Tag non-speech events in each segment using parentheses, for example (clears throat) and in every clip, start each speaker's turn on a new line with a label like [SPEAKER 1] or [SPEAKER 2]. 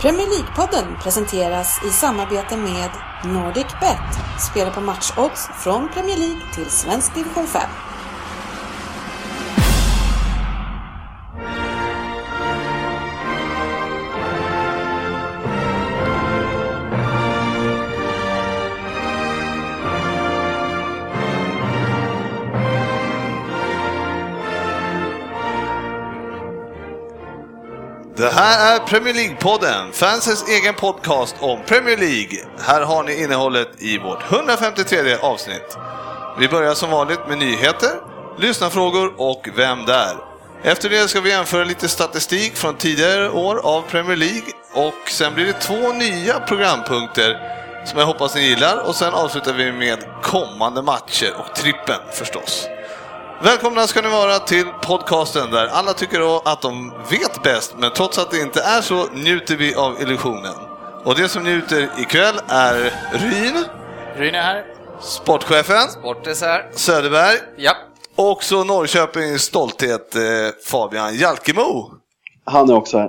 [SPEAKER 1] Premier League-podden presenteras i samarbete med NordicBet. Spela på matchodds från Premier League till svensk division 5.
[SPEAKER 2] Det här är Premier League-podden, fansens egen podcast om Premier League. Här har ni innehållet i vårt 153 avsnitt. Vi börjar som vanligt med nyheter, lyssnarfrågor och Vem där? Efter det ska vi jämföra lite statistik från tidigare år av Premier League och sen blir det två nya programpunkter som jag hoppas ni gillar och sen avslutar vi med kommande matcher och trippen förstås. Välkomna ska ni vara till podcasten där alla tycker att de vet bäst, men trots att det inte är så njuter vi av illusionen. Och det som njuter ikväll är Ryn,
[SPEAKER 3] Rune här.
[SPEAKER 2] sportchefen,
[SPEAKER 3] Bortes här.
[SPEAKER 2] Söderberg
[SPEAKER 3] Ja.
[SPEAKER 2] och så Norrköpings stolthet eh, Fabian Jalkemo.
[SPEAKER 4] Han är också här.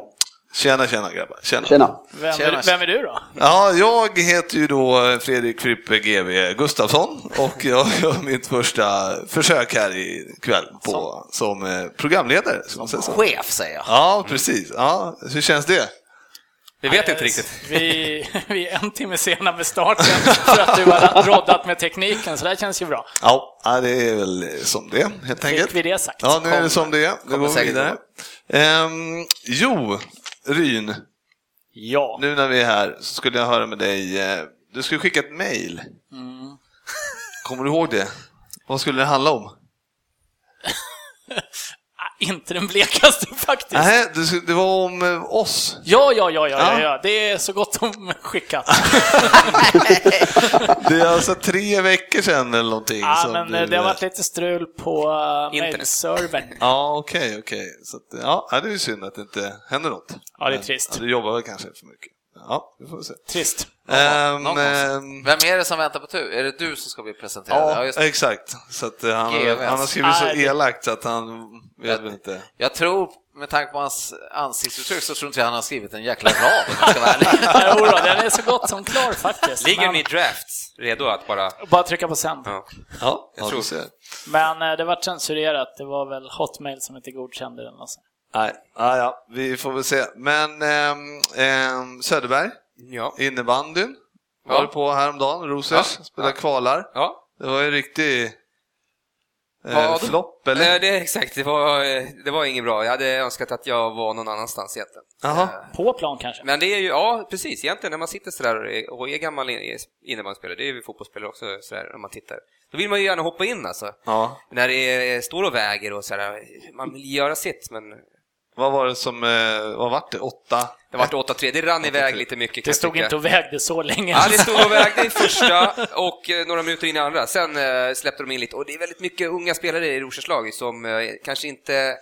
[SPEAKER 2] Tjena, tjena grabbar. Tjena.
[SPEAKER 4] Tjena.
[SPEAKER 3] Vem,
[SPEAKER 2] Tjena.
[SPEAKER 3] är, vem är du då?
[SPEAKER 2] Ja, jag heter ju då Fredrik Frippe GW Gustafsson och jag gör mitt första försök här ikväll på, som eh, programledare. Som man säger så.
[SPEAKER 5] chef säger jag.
[SPEAKER 2] Ja, precis. Ja, hur känns det?
[SPEAKER 5] Vi vet inte riktigt.
[SPEAKER 3] (laughs) Vi, vi är en timme sena med starten för att du har roddat med tekniken, så det här känns ju bra.
[SPEAKER 2] Ja, ja, det är väl som det helt enkelt.
[SPEAKER 3] vi det sagt.
[SPEAKER 2] Ja, nu är det som det är. Nu
[SPEAKER 5] Kommer
[SPEAKER 2] går vi
[SPEAKER 5] säkert
[SPEAKER 2] vidare. Ehm, jo, Ryn,
[SPEAKER 3] Ja.
[SPEAKER 2] nu när vi är här så skulle jag höra med dig. eh, Du skulle skicka ett mejl.
[SPEAKER 5] Mm.
[SPEAKER 2] Kommer du ihåg det? Vad skulle det handla om?
[SPEAKER 3] Ah, Inte den blekaste faktiskt.
[SPEAKER 2] Nej, det sk- det var om eh, oss.
[SPEAKER 3] Ja, ja, ja, ja, ja,
[SPEAKER 2] Ja.
[SPEAKER 3] ja, det är så gott om skickat.
[SPEAKER 2] Det är alltså tre veckor sedan eller någonting.
[SPEAKER 3] Ja,
[SPEAKER 2] som
[SPEAKER 3] men
[SPEAKER 2] du-
[SPEAKER 3] eh, det har varit lite strul på uh,
[SPEAKER 5] Internet.
[SPEAKER 3] mailservern.
[SPEAKER 2] Ja, okej, okej. Så att, ja, det är ju synd att det inte händer något.
[SPEAKER 3] Ja, det är
[SPEAKER 2] Men,
[SPEAKER 3] trist.
[SPEAKER 2] ja, Du jobbar väl kanske för mycket. Ja, vi får väl se.
[SPEAKER 3] (laughs) Trist.
[SPEAKER 2] Ehm,
[SPEAKER 5] någon gång.
[SPEAKER 2] ehm,
[SPEAKER 5] Vem är det som väntar på tur? Är det du som ska bli presenterad?
[SPEAKER 2] ja,
[SPEAKER 5] Ja, just det.
[SPEAKER 2] exakt. Så att eh, han,
[SPEAKER 5] GVs.
[SPEAKER 2] han har skrivit så
[SPEAKER 3] Nej, det-
[SPEAKER 2] elakt så att han vet väl inte.
[SPEAKER 5] Jag tror, med tanke på hans ansiktsuttryck, så tror inte jag han har skrivit en jäkla rad om jag ska
[SPEAKER 3] (laughs)
[SPEAKER 5] vara ärlig.
[SPEAKER 3] Jodå, den är så gott som klar faktiskt.
[SPEAKER 6] Ligger
[SPEAKER 3] Men-
[SPEAKER 6] ni i drafts redo att bara...
[SPEAKER 3] Bara trycka på sänd.
[SPEAKER 6] Ja.
[SPEAKER 2] Ja,
[SPEAKER 6] jag
[SPEAKER 2] ja,
[SPEAKER 6] tror-
[SPEAKER 2] du ser.
[SPEAKER 3] Men eh, det var censurerat, det var väl Hotmail som inte godkände den. Alltså.
[SPEAKER 2] Nej, ja, ja, vi får väl se. Men ehm, ehm, Söderberg,
[SPEAKER 6] Ja.
[SPEAKER 2] innebandyn var
[SPEAKER 6] Ja.
[SPEAKER 2] du på häromdagen. Rosers
[SPEAKER 6] Ja.
[SPEAKER 2] spelade kvalar.
[SPEAKER 6] ja.
[SPEAKER 2] Det var ju en riktig eh,
[SPEAKER 6] Vad?
[SPEAKER 2] flopp,
[SPEAKER 6] Eh,
[SPEAKER 2] eller?
[SPEAKER 6] Det är exakt, det var, eh, det var inget bra. Jag hade önskat att jag var någon annanstans egentligen.
[SPEAKER 2] Jaha.
[SPEAKER 3] På plan kanske?
[SPEAKER 6] Men det är ju, ja precis, egentligen när man sitter sådär och är gammal in- innebandyspelare, det är ju fotbollsspelare också sådär när man tittar. Då vill man ju gärna hoppa in alltså.
[SPEAKER 2] Ja.
[SPEAKER 6] När det är, står och väger och sådär, man vill göra sitt men
[SPEAKER 2] Vad var det som, eh, vad vart det? Åtta?
[SPEAKER 6] det vart 8-3, Eh. det rann iväg lite mycket kan
[SPEAKER 3] Det
[SPEAKER 6] jag
[SPEAKER 3] stod
[SPEAKER 6] tycka.
[SPEAKER 3] inte och vägde så länge.
[SPEAKER 6] Ja, det stod och vägde i första och eh, några minuter in i andra. Sen eh, släppte de in lite och det är väldigt mycket unga spelare i Rosers lag som eh, kanske inte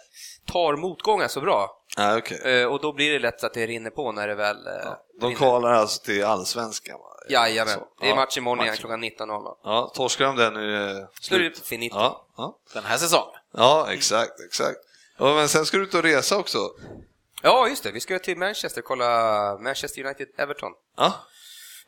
[SPEAKER 6] tar motgångar så bra.
[SPEAKER 2] Nej, okej.
[SPEAKER 6] Eh, och då blir det lätt att det rinner på när det väl... Eh,
[SPEAKER 2] De
[SPEAKER 6] rinner.
[SPEAKER 2] kvalar alltså till allsvenskan? va?
[SPEAKER 6] Jajamän.
[SPEAKER 2] Så.
[SPEAKER 6] Det är
[SPEAKER 2] Ja,
[SPEAKER 6] match imorgon igen
[SPEAKER 2] match.
[SPEAKER 6] klockan 19.00.
[SPEAKER 2] Ja, torskar de den nu är det
[SPEAKER 6] Slut, finito.
[SPEAKER 2] Ja, ja.
[SPEAKER 5] Den här säsongen.
[SPEAKER 2] ja, exakt, exakt. Ja, men sen ska du ut och resa också.
[SPEAKER 6] Ja, just det. Vi ska till Manchester kolla Manchester United-Everton.
[SPEAKER 2] Ja,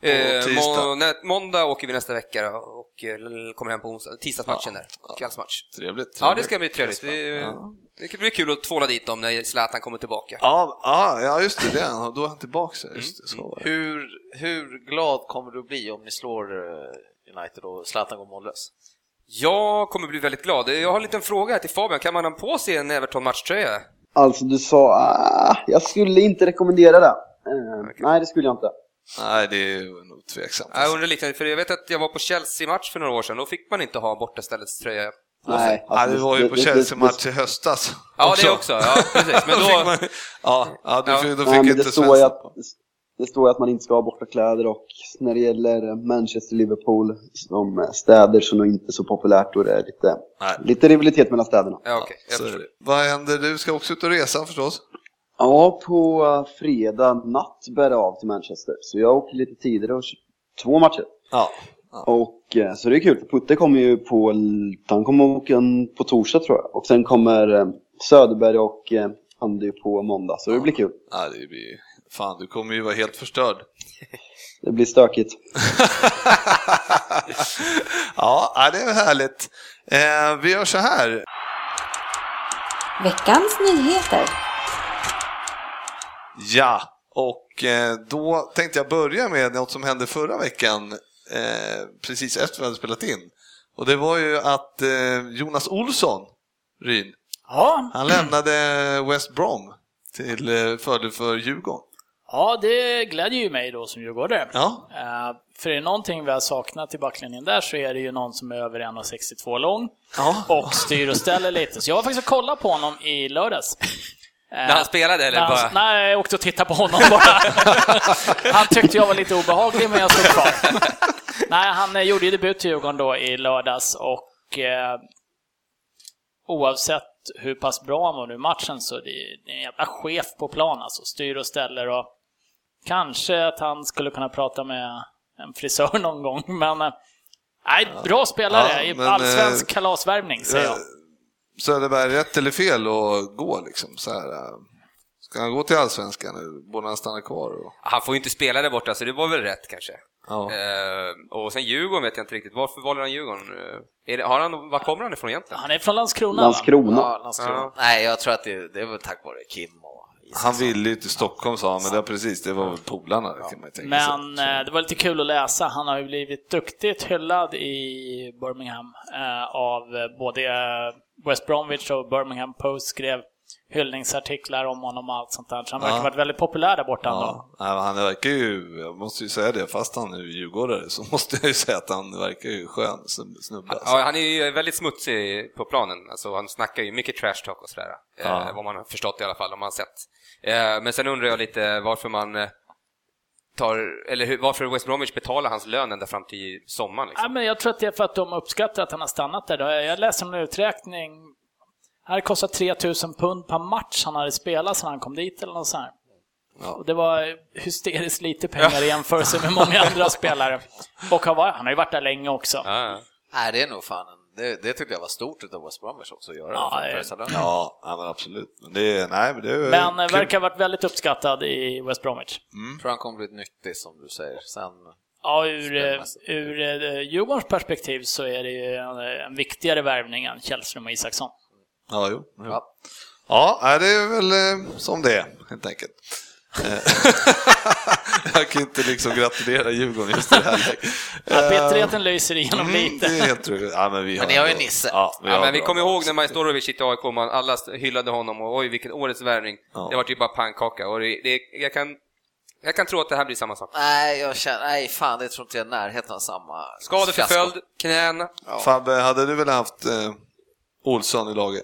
[SPEAKER 6] Eh,
[SPEAKER 2] tisdag.
[SPEAKER 6] må- nä- måndag åker vi nästa vecka då, och eh, l- kommer hem på onsdag. Tisdagsmatchen där. Kvällsmatch.
[SPEAKER 2] trevligt. trevligt.
[SPEAKER 6] Ja, det ska bli trevligt. Det,
[SPEAKER 2] Ja.
[SPEAKER 6] det kan bli kul att tvåla dit dem när Zlatan kommer tillbaka.
[SPEAKER 2] Ja, ja, ja, just det, det. är han. Då är han tillbaka. Just
[SPEAKER 6] Mm.
[SPEAKER 2] det, så var det.
[SPEAKER 5] Hur, hur glad kommer du bli om ni slår eh, United och Zlatan går mållös?
[SPEAKER 6] Jag kommer bli väldigt glad. Jag har en liten fråga här till Fabian. Kan man ha på sig en Everton matchtröja?
[SPEAKER 4] Alltså du sa, ah, jag skulle inte rekommendera det. Eh, Nej, det skulle jag inte.
[SPEAKER 2] Nej, det är ju nog tveksamt.
[SPEAKER 6] Jag undrar lite, för jag vet att jag var på Chelsea-match för några år sedan. Då fick man inte ha bortaställets tröja.
[SPEAKER 4] Nej,
[SPEAKER 2] Ja,
[SPEAKER 4] alltså,
[SPEAKER 2] du var ju på
[SPEAKER 4] det- det-
[SPEAKER 2] Chelsea-match i höstas.
[SPEAKER 6] Ja, det också. Ja, precis.
[SPEAKER 2] (laughs)
[SPEAKER 6] Men
[SPEAKER 2] Då fick
[SPEAKER 6] då...
[SPEAKER 2] man- Ja, ja, du
[SPEAKER 6] Ja.
[SPEAKER 2] fick, då
[SPEAKER 4] Nej,
[SPEAKER 2] fick
[SPEAKER 4] men det
[SPEAKER 2] inte
[SPEAKER 4] står, ju
[SPEAKER 2] Svensson.
[SPEAKER 4] att, det står ju att man inte ska ha bortakläder och när det gäller Manchester Liverpool som städer så är det nog inte så populärt och det är lite,
[SPEAKER 2] Nej.
[SPEAKER 4] lite rivalitet mellan städerna.
[SPEAKER 6] Ja, okej. Jag
[SPEAKER 2] Så är
[SPEAKER 6] förstår.
[SPEAKER 2] det. Vad händer? Du ska också ut och resa förstås?
[SPEAKER 4] Ja, på eh, fredag natt bär det av till Manchester så jag åker lite tidigare och kör två matcher.
[SPEAKER 2] Ja.
[SPEAKER 4] Och, eh, så det är kul, för Putte kommer ju på, l- han kommer åka en på torsdag tror jag. Och sen kommer eh, Söderberg och eh, Andy på måndag, så det blir kul.
[SPEAKER 2] Ja, det blir ju Fan, du kommer ju vara helt förstörd.
[SPEAKER 4] Det blir stökigt.
[SPEAKER 2] Ja, ja, det är väl härligt. Eh, vi gör så här.
[SPEAKER 1] Veckans nyheter.
[SPEAKER 2] Ja, och eh, då tänkte jag börja med något som hände förra veckan, eh, precis efter vi hade spelat in. Och det var ju att eh, Jonas Olsson, Ryn,
[SPEAKER 3] (laughs) Ja,
[SPEAKER 2] han lämnade West Brom till eh, fördel för Djurgården.
[SPEAKER 3] ja, det glädjer ju mig då som djurgårdare.
[SPEAKER 2] Ja,
[SPEAKER 3] Eh, för är det någonting vi har saknat i backlinjen där så är det ju någon som är över 1,62 lång
[SPEAKER 2] ja.
[SPEAKER 3] och styr och ställer lite. Så jag var faktiskt och kollade på honom i lördags. Eh,
[SPEAKER 6] När han spelade eller
[SPEAKER 3] När han-
[SPEAKER 6] bara...
[SPEAKER 3] Nej, jag åkte och tittade på honom
[SPEAKER 6] (laughs)
[SPEAKER 3] bara. Han tyckte jag var lite obehaglig, men jag stod kvar. Nej, han eh, gjorde ju debut i Djurgården då i lördags och eh, oavsett hur pass bra han var nu i matchen så det är det är en jävla chef på plan alltså. Styr och ställer och kanske att han skulle kunna prata med en frisör (laughs) någon gång, men eh, nej, bra spelare
[SPEAKER 2] Ja,
[SPEAKER 3] i
[SPEAKER 2] men,
[SPEAKER 3] allsvensk
[SPEAKER 2] eh,
[SPEAKER 3] kalasvärvning säger jag.
[SPEAKER 2] Söderberg, rätt eller fel att gå liksom? Så här, eh, ska han gå till Allsvenskan nu? Borde han stanna kvar? Och...
[SPEAKER 6] Han får ju inte spela där borta, så det var väl rätt kanske.
[SPEAKER 2] Ja.
[SPEAKER 6] Eh, och sen Djurgården vet jag inte riktigt. Varför valde han Djurgården? Eh, Är det, har han, var kommer han ifrån egentligen?
[SPEAKER 3] Han är från Landskrona, va?
[SPEAKER 4] Landskrona.
[SPEAKER 5] Ja, Landskrona.
[SPEAKER 6] Ja.
[SPEAKER 5] Nej, jag tror att det, det var tack vare Kim och Isak.
[SPEAKER 2] Han ville ju till Stockholm sa han, men det var precis, det var väl polarna kan man ju tänka sig.
[SPEAKER 3] Men eh, det var lite kul att läsa. Han har ju blivit duktigt hyllad i Birmingham eh, av eh, både eh, West Bromwich och Birmingham Post skrev hyllningsartiklar om honom och allt sånt där. Så han verkar ha varit väldigt populär där borta ändå.
[SPEAKER 2] Ja, nej, men han verkar ju, jag måste ju säga det, fast han är djurgårdare så (laughs) måste jag ju säga att han verkar ju skön snub- snubbe. Alltså.
[SPEAKER 6] Ja, han är ju väldigt smutsig på planen. Alltså, han snackar ju mycket trash talk och sådär.
[SPEAKER 2] Ja.
[SPEAKER 6] Eh, vad man har förstått i alla fall, om man har sett. Eh, men sen undrar jag lite varför man eh, tar, eller hur, varför West Bromwich betalar hans lön ända fram till sommaren.
[SPEAKER 3] Ja,
[SPEAKER 6] Liksom.
[SPEAKER 3] men jag tror att det är för att de uppskattar att han har stannat där. då. Jag läste om en uträkning. Det hade kostat 3000 pund per match han hade spelat sedan han kom dit eller något sånt här. Och det var hysteriskt lite pengar i jämförelse med många andra spelare. Och han, var, han har ju varit där länge också.
[SPEAKER 6] Ja, ja.
[SPEAKER 5] Nej, det är nog fan en, det, det tyckte jag var stort utav West Bromwich också att göra.
[SPEAKER 3] Ja,
[SPEAKER 5] för att
[SPEAKER 3] eh,
[SPEAKER 5] pressa lönen.
[SPEAKER 2] Ja, ja, men absolut. Men det, nej, men det är
[SPEAKER 3] Men eh,
[SPEAKER 2] kul.
[SPEAKER 3] verkar ha varit väldigt uppskattad i West Bromwich.
[SPEAKER 5] Jag tror han kommer bli nyttig som du säger. Sen,
[SPEAKER 3] Ja, ur, eh,
[SPEAKER 5] Spelmässigt.
[SPEAKER 3] ur eh, Djurgårdens perspektiv så är det ju en, eh, en viktigare värvning än Källström och Isaksson.
[SPEAKER 2] Ja, jo. jo. Ja.
[SPEAKER 5] Ja.
[SPEAKER 2] nej, det är väl eh, som det är, helt enkelt. Eh, (laughs) jag kan inte liksom gratulera Djurgården just i det här läget.
[SPEAKER 3] Att bitterheten lyser igenom
[SPEAKER 2] Eh, Mm, det
[SPEAKER 3] lite.
[SPEAKER 2] är helt true. Ja, men vi har,
[SPEAKER 5] ni har ju Nisse.
[SPEAKER 2] Ja,
[SPEAKER 6] Ja,
[SPEAKER 2] har
[SPEAKER 6] men vi
[SPEAKER 2] bra
[SPEAKER 6] kommer
[SPEAKER 2] lag.
[SPEAKER 6] ihåg när Majstorovic gick till AIK, man, alla hyllade honom och oj vilken årets värvning.
[SPEAKER 2] Ja.
[SPEAKER 6] Det var ju bara pannkaka och det, det, jag, kan, jag kan tro att det här blir samma sak.
[SPEAKER 5] nej, jag känner, nej fan, det tror inte jag är i närheten av samma.
[SPEAKER 6] Skadeförföljd,
[SPEAKER 5] fiasko.
[SPEAKER 6] knän.
[SPEAKER 2] Fabbe, hade du väl haft eh, Olsson i laget?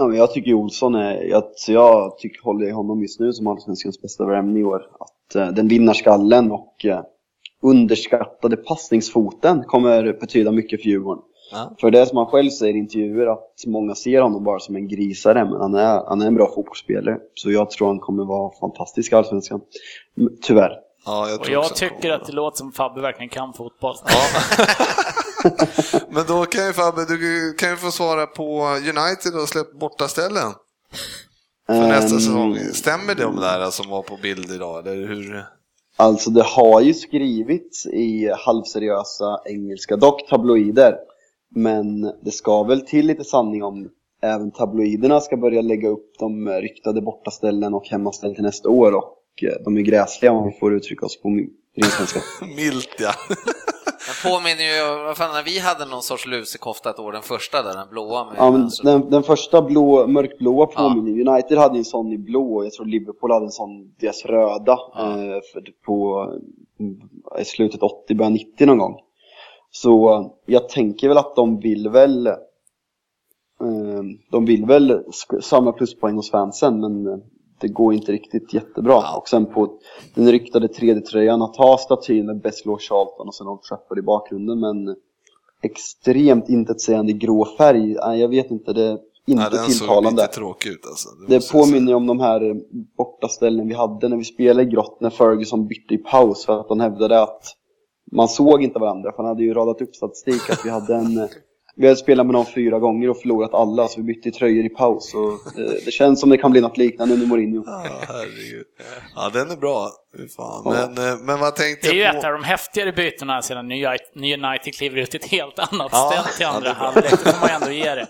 [SPEAKER 4] Ja, men jag tycker ju Olsson är, jag, så jag tycker, håller ju honom just nu som Allsvenskans bästa värvning i år. Att eh, den vinner skallen och eh, underskattade passningsfoten kommer betyda mycket för Djurgården.
[SPEAKER 2] Ja.
[SPEAKER 4] För det som han själv säger i intervjuer att många ser honom bara som en grisare men han är, han är en bra fotbollsspelare. Så jag tror han kommer vara fantastisk i Allsvenskan. Mm, Tyvärr.
[SPEAKER 2] Ja, jag tror
[SPEAKER 3] Och
[SPEAKER 2] också
[SPEAKER 3] jag
[SPEAKER 2] han kommer
[SPEAKER 3] tycker
[SPEAKER 2] bra.
[SPEAKER 3] att det låter som Fabbe verkligen kan fotboll.
[SPEAKER 2] Men då kan ju Fabbe, du kan ju få svara på United och släpp borta ställen för nästa
[SPEAKER 4] Ehm,
[SPEAKER 2] säsong. Stämmer de där som var på bild idag, eller hur?
[SPEAKER 4] Alltså det har ju skrivits i halvseriösa engelska, dock tabloider. Men det ska väl till lite sanning om även tabloiderna ska börja lägga upp de ryktade bortaställen och hemmaställen till nästa år och eh, de är gräsliga om vi får uttrycka oss på min ren svenska.
[SPEAKER 2] Milt ja.
[SPEAKER 5] Den påminner ju, vad fan, när vi hade någon sorts lusekofta ett år, den första där, den blåa med
[SPEAKER 4] Ja, men
[SPEAKER 5] vänster-
[SPEAKER 4] den, den första blå, mörkblåa påminner. United hade ju en sån i blå och jag tror Liverpool hade en sån, deras röda, eh, för, på eh, i slutet 80, början 90 någon gång. Så eh, jag tänker väl att de vill väl eh, de vill väl sk- samla pluspoäng hos fansen men eh, det går inte riktigt jättebra. Och sen på den ryktade 3D-tröjan att ha statyn med Best Law Charlton och sen Old Trafford i bakgrunden men extremt intetsägande grå färg. Nej, jag vet inte, det är inte
[SPEAKER 2] Nej, den såg
[SPEAKER 4] tilltalande.
[SPEAKER 2] lite tråkig ut alltså. Det måste
[SPEAKER 4] Det
[SPEAKER 2] jag säga.
[SPEAKER 4] påminner ju om de här eh, bortaställen vi hade när vi spelade i grott när Ferguson bytte i paus för att han hävdade att man såg inte varandra för han hade ju radat upp statistik att vi hade en eh, Vi har spelat med dem fyra gånger och förlorat alla, så vi bytte tröjor i paus. Och, eh, det känns som det kan bli något liknande under Mourinho.
[SPEAKER 2] Ja, herregud. Ja, den är bra. Fy Fan.
[SPEAKER 4] Ja.
[SPEAKER 2] Men, eh, men vad tänkte
[SPEAKER 3] Det är ju
[SPEAKER 2] jag
[SPEAKER 3] ett av de häftigare bytena sedan New Uni- New United kliver ut till ett helt annat
[SPEAKER 2] Ja,
[SPEAKER 3] ställ till
[SPEAKER 2] ja, det
[SPEAKER 3] andra
[SPEAKER 2] är bra.
[SPEAKER 3] halvlek. Det får man ju ändå ge
[SPEAKER 2] (laughs)
[SPEAKER 3] det.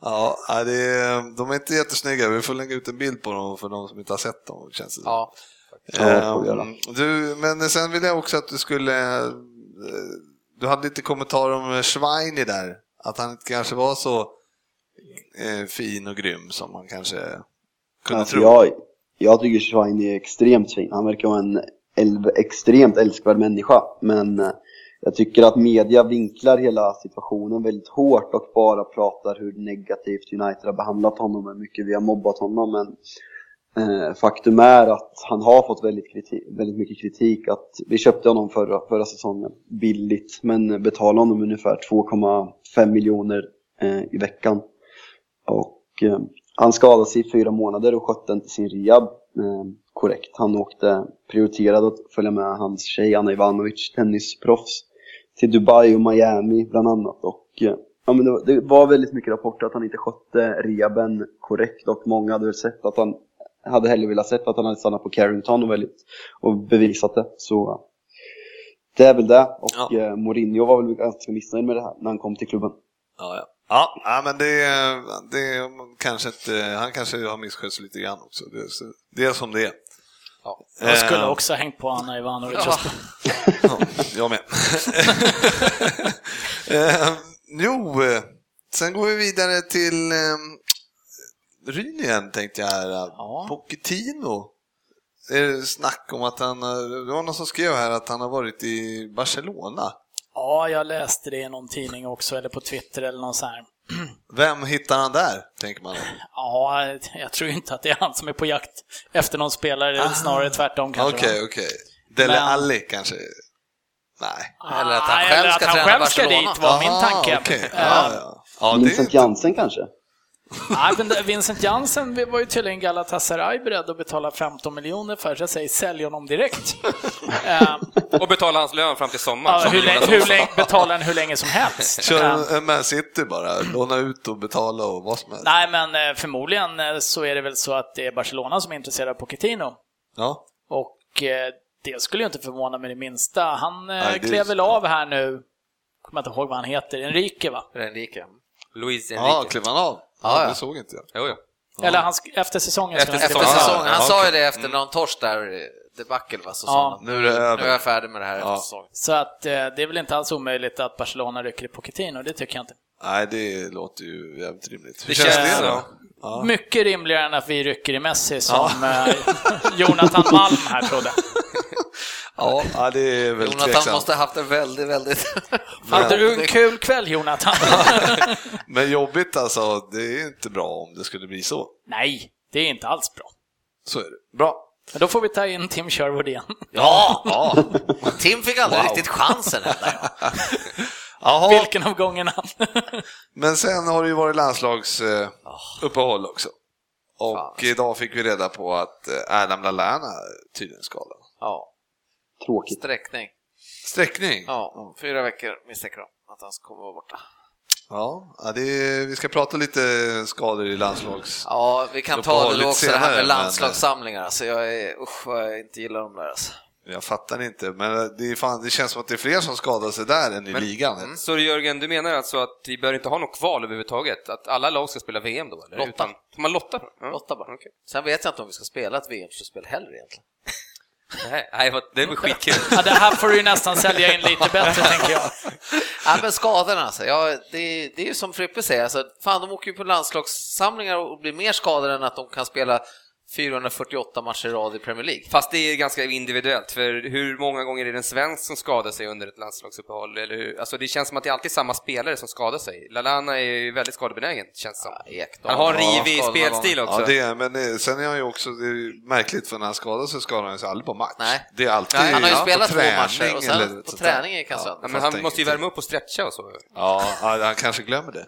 [SPEAKER 2] Ja, nej, det är, de är inte jättesnygga. Vi får lägga ut en bild på dem för de som inte har sett dem. Känns det. som.
[SPEAKER 5] Ja.
[SPEAKER 4] Ja, det får vi göra.
[SPEAKER 2] Ehm, du, men sen vill jag också att du skulle... eh, Du hade lite kommentarer om Schweini där. Att han inte kanske var så eh, fin och grym som man kanske kunde
[SPEAKER 4] Alltså,
[SPEAKER 2] tro.
[SPEAKER 4] jag, jag tycker Schwein är extremt fin. Han verkar vara en el- extremt älskvärd människa. Men eh, jag tycker att media vinklar hela situationen väldigt hårt och bara pratar hur negativt United har behandlat honom och hur mycket vi har mobbat honom. Men eh, faktum är att han har fått väldigt, kriti- väldigt mycket kritik. Att vi köpte honom förra, förra säsongen billigt men betalade honom ungefär 2,5 miljoner eh, i veckan. Och eh, han skadade sig i fyra månader och skötte inte sin rehab eh, korrekt. Han åkte prioriterad att följa med hans tjej Anna Ivanovic, tennisproffs, till Dubai och Miami bland annat. Och, eh, ja, men det, var- det var väldigt mycket rapporter att han inte skötte rehaben korrekt och många hade väl sett att han hade hellre velat sett att han hade stannat på Carrington och, väldigt, och bevisat det. Så det är väl det. Och
[SPEAKER 2] Ja.
[SPEAKER 4] eh, Mourinho var väl ganska missnöjd med det här när han kom till klubben.
[SPEAKER 2] Ja, ja. Ja, ja, men det, det kanske inte, han kanske har misskött sig lite grann också. Det, så- det är som det är.
[SPEAKER 5] Ja.
[SPEAKER 3] Jag skulle
[SPEAKER 2] Ehm,
[SPEAKER 3] också ha hängt på Anna Ivanovic.
[SPEAKER 5] Ja.
[SPEAKER 2] Ja, jag med. eh, jo, eh, sen går vi vidare till eh, Ryn igen tänkte jag här.
[SPEAKER 3] Ja.
[SPEAKER 2] Pochettino. Det är snack om att han, eh, det var någon som skrev här att han har varit i Barcelona.
[SPEAKER 3] Ja, jag läste det i någon tidning också, eller på Twitter eller någon sån här.
[SPEAKER 2] Vem hittar han där, tänker man.
[SPEAKER 3] Ja, jag tror inte att det är han som är på jakt efter någon spelare,
[SPEAKER 5] Ah.
[SPEAKER 3] eller snarare tvärtom kanske. va?
[SPEAKER 2] Okej, okej. Dele
[SPEAKER 3] Men-
[SPEAKER 2] Alli kanske? Nej.
[SPEAKER 5] Eller att han
[SPEAKER 3] Ah,
[SPEAKER 5] själv
[SPEAKER 3] eller
[SPEAKER 5] ska
[SPEAKER 3] att han
[SPEAKER 5] träna
[SPEAKER 3] själv ska
[SPEAKER 5] Barcelona.
[SPEAKER 3] dit var min
[SPEAKER 2] Aha,
[SPEAKER 3] tanke.
[SPEAKER 2] okej.
[SPEAKER 3] Eh,
[SPEAKER 2] Ja, ja. Ja, det är
[SPEAKER 4] Vincent
[SPEAKER 2] inte...
[SPEAKER 4] Jansen kanske?
[SPEAKER 3] Nej, men det- Vincent Jansen var ju tydligen Galatasaray beredd att betala 15 miljoner för, så jag säger sälj honom
[SPEAKER 5] (laughs)
[SPEAKER 3] direkt. Eh,
[SPEAKER 6] (laughs) Och betala hans lön fram till sommaren.
[SPEAKER 3] ja,
[SPEAKER 6] som
[SPEAKER 3] hur
[SPEAKER 6] Jonas
[SPEAKER 3] länge, hur
[SPEAKER 6] Olsson.
[SPEAKER 3] länge, betala den hur länge som helst. Eh,
[SPEAKER 2] Kör en Man City bara, låna ut och betala och vad som helst.
[SPEAKER 3] nej, men eh, förmodligen eh, så är det väl så att det är Barcelona som är intresserade av Pochettino.
[SPEAKER 2] Ja.
[SPEAKER 3] Och eh, det skulle ju inte förvåna mig det minsta. Han eh,
[SPEAKER 2] Nej, det-
[SPEAKER 3] klev väl av här nu, kommer jag inte ihåg vad han heter, Enrique va?
[SPEAKER 5] Enrique.
[SPEAKER 6] Luis Enrique.
[SPEAKER 2] Ja, klev han av?
[SPEAKER 5] Ja,
[SPEAKER 2] Ja,
[SPEAKER 5] ja.
[SPEAKER 2] det såg inte jag.
[SPEAKER 6] Jo, jo.
[SPEAKER 3] Eller han, sk- efter säsongen
[SPEAKER 5] Efter,
[SPEAKER 3] skulle
[SPEAKER 5] efter
[SPEAKER 3] han
[SPEAKER 6] säsongen.
[SPEAKER 3] skriva.
[SPEAKER 5] säsongen. Han
[SPEAKER 2] Ja,
[SPEAKER 5] sa ju
[SPEAKER 2] okej. Mm.
[SPEAKER 5] det efter någon torsk där, eh, debacle va, så
[SPEAKER 3] Ja.
[SPEAKER 5] sa han att
[SPEAKER 2] Nu är det
[SPEAKER 5] nu är jag
[SPEAKER 2] över.
[SPEAKER 5] färdig med det här efter
[SPEAKER 2] Ja.
[SPEAKER 5] säsongen.
[SPEAKER 3] Så att eh, det är väl inte alls omöjligt att Barcelona rycker i Pochettino, det tycker jag inte.
[SPEAKER 2] Nej, det låter ju jävligt rimligt. Hur
[SPEAKER 6] Det
[SPEAKER 2] känns
[SPEAKER 6] känns
[SPEAKER 2] det då?
[SPEAKER 6] så.
[SPEAKER 2] Ja.
[SPEAKER 3] Mycket rimligare än att vi rycker i Messi
[SPEAKER 2] (laughs)
[SPEAKER 3] som eh, Jonathan Malm här trodde.
[SPEAKER 2] Ja, ja, det är väl
[SPEAKER 5] Jonathan
[SPEAKER 2] tveksamt.
[SPEAKER 5] måste ha haft en väldigt, väldigt...
[SPEAKER 3] Hade du en kul kväll Jonathan?
[SPEAKER 2] Men jobbigt alltså, det är inte bra om det skulle bli så.
[SPEAKER 3] (laughs) Nej, det är inte alls bra.
[SPEAKER 2] Så är det. Bra.
[SPEAKER 3] Men då får vi ta in Tim Sherwood igen.
[SPEAKER 5] Ja!
[SPEAKER 2] (laughs) Ja.
[SPEAKER 5] Tim fick aldrig
[SPEAKER 2] Wow.
[SPEAKER 5] riktigt chansen heller.
[SPEAKER 2] (laughs) Jaha,
[SPEAKER 3] Vilken av gångerna? (laughs)
[SPEAKER 2] men sen har det ju varit
[SPEAKER 5] Ah.
[SPEAKER 2] landslagsuppehåll också. Och
[SPEAKER 5] alltså.
[SPEAKER 2] idag fick vi reda på att eh, Adam Lallana tydligen skadad.
[SPEAKER 5] Ja,
[SPEAKER 4] Tråkigt.
[SPEAKER 5] sträckning.
[SPEAKER 2] Sträckning?
[SPEAKER 5] Ja, fyra veckor misstänker de att han kommer vara borta.
[SPEAKER 2] Ja, ja, det är, vi ska prata lite skador i landslags...
[SPEAKER 5] Ja, vi kan
[SPEAKER 2] Då
[SPEAKER 5] ta
[SPEAKER 2] på
[SPEAKER 5] det
[SPEAKER 2] lite
[SPEAKER 5] då också, det här
[SPEAKER 2] senare, men-
[SPEAKER 5] med landslagssamlingar. Alltså, jag är, usch vad jag inte gillar de där alltså.
[SPEAKER 2] Jag fattar inte, men det, är fan, det känns som att det är fler som skadar sig där än i ligan.
[SPEAKER 6] Så Jörgen, du menar alltså att vi bör inte ha något kval överhuvudtaget? Att alla lag ska spela VM då? Eller?
[SPEAKER 5] Lotta.
[SPEAKER 6] Utan- man lottar? Ja.
[SPEAKER 5] Lotta bara.
[SPEAKER 6] Okej.
[SPEAKER 5] Sen vet jag inte om vi ska spela ett VM-slutspel heller egentligen.
[SPEAKER 6] Nej, nej, vad- det var skitkul.
[SPEAKER 5] (laughs)
[SPEAKER 3] Ja, det här får du ju nästan sälja in lite bättre tänker jag.
[SPEAKER 5] Nej men skadorna alltså, ja, det, det är ju som Frippe säger, alltså, fan de åker ju på landslagssamlingar och blir mer skadade än att de kan spela 448 matcher i rad i Premier
[SPEAKER 6] (laughs)
[SPEAKER 5] League.
[SPEAKER 6] Fast det är ganska individuellt, för hur många gånger är det en svensk som skadar sig under ett landslagsuppehåll? Eller hur? Alltså, det känns som att det är alltid samma spelare som skadar sig. Lalana är ju väldigt skadebenägen, känns det som.
[SPEAKER 5] Ekdal,
[SPEAKER 6] Han har en
[SPEAKER 5] ja,
[SPEAKER 6] rivig
[SPEAKER 5] skadorna
[SPEAKER 6] spelstil
[SPEAKER 5] gånger.
[SPEAKER 6] också.
[SPEAKER 2] Ja, det är, men eh, sen är han ju också, det är ju märkligt för när han skadar sig skadar han sig aldrig på match.
[SPEAKER 5] Nej.
[SPEAKER 2] Det är alltid
[SPEAKER 5] Nej, han har ju
[SPEAKER 2] på
[SPEAKER 5] spelat två
[SPEAKER 2] träning
[SPEAKER 5] matcher och sen
[SPEAKER 2] eller
[SPEAKER 5] på
[SPEAKER 2] sånt där.
[SPEAKER 5] träning gick han
[SPEAKER 2] Ja,
[SPEAKER 5] sönder.
[SPEAKER 6] Ja,
[SPEAKER 2] jag
[SPEAKER 6] men
[SPEAKER 2] fattar
[SPEAKER 6] han måste ju
[SPEAKER 2] ingenting.
[SPEAKER 6] värma upp och stretcha och så.
[SPEAKER 2] Ja, ja, han kanske glömmer det.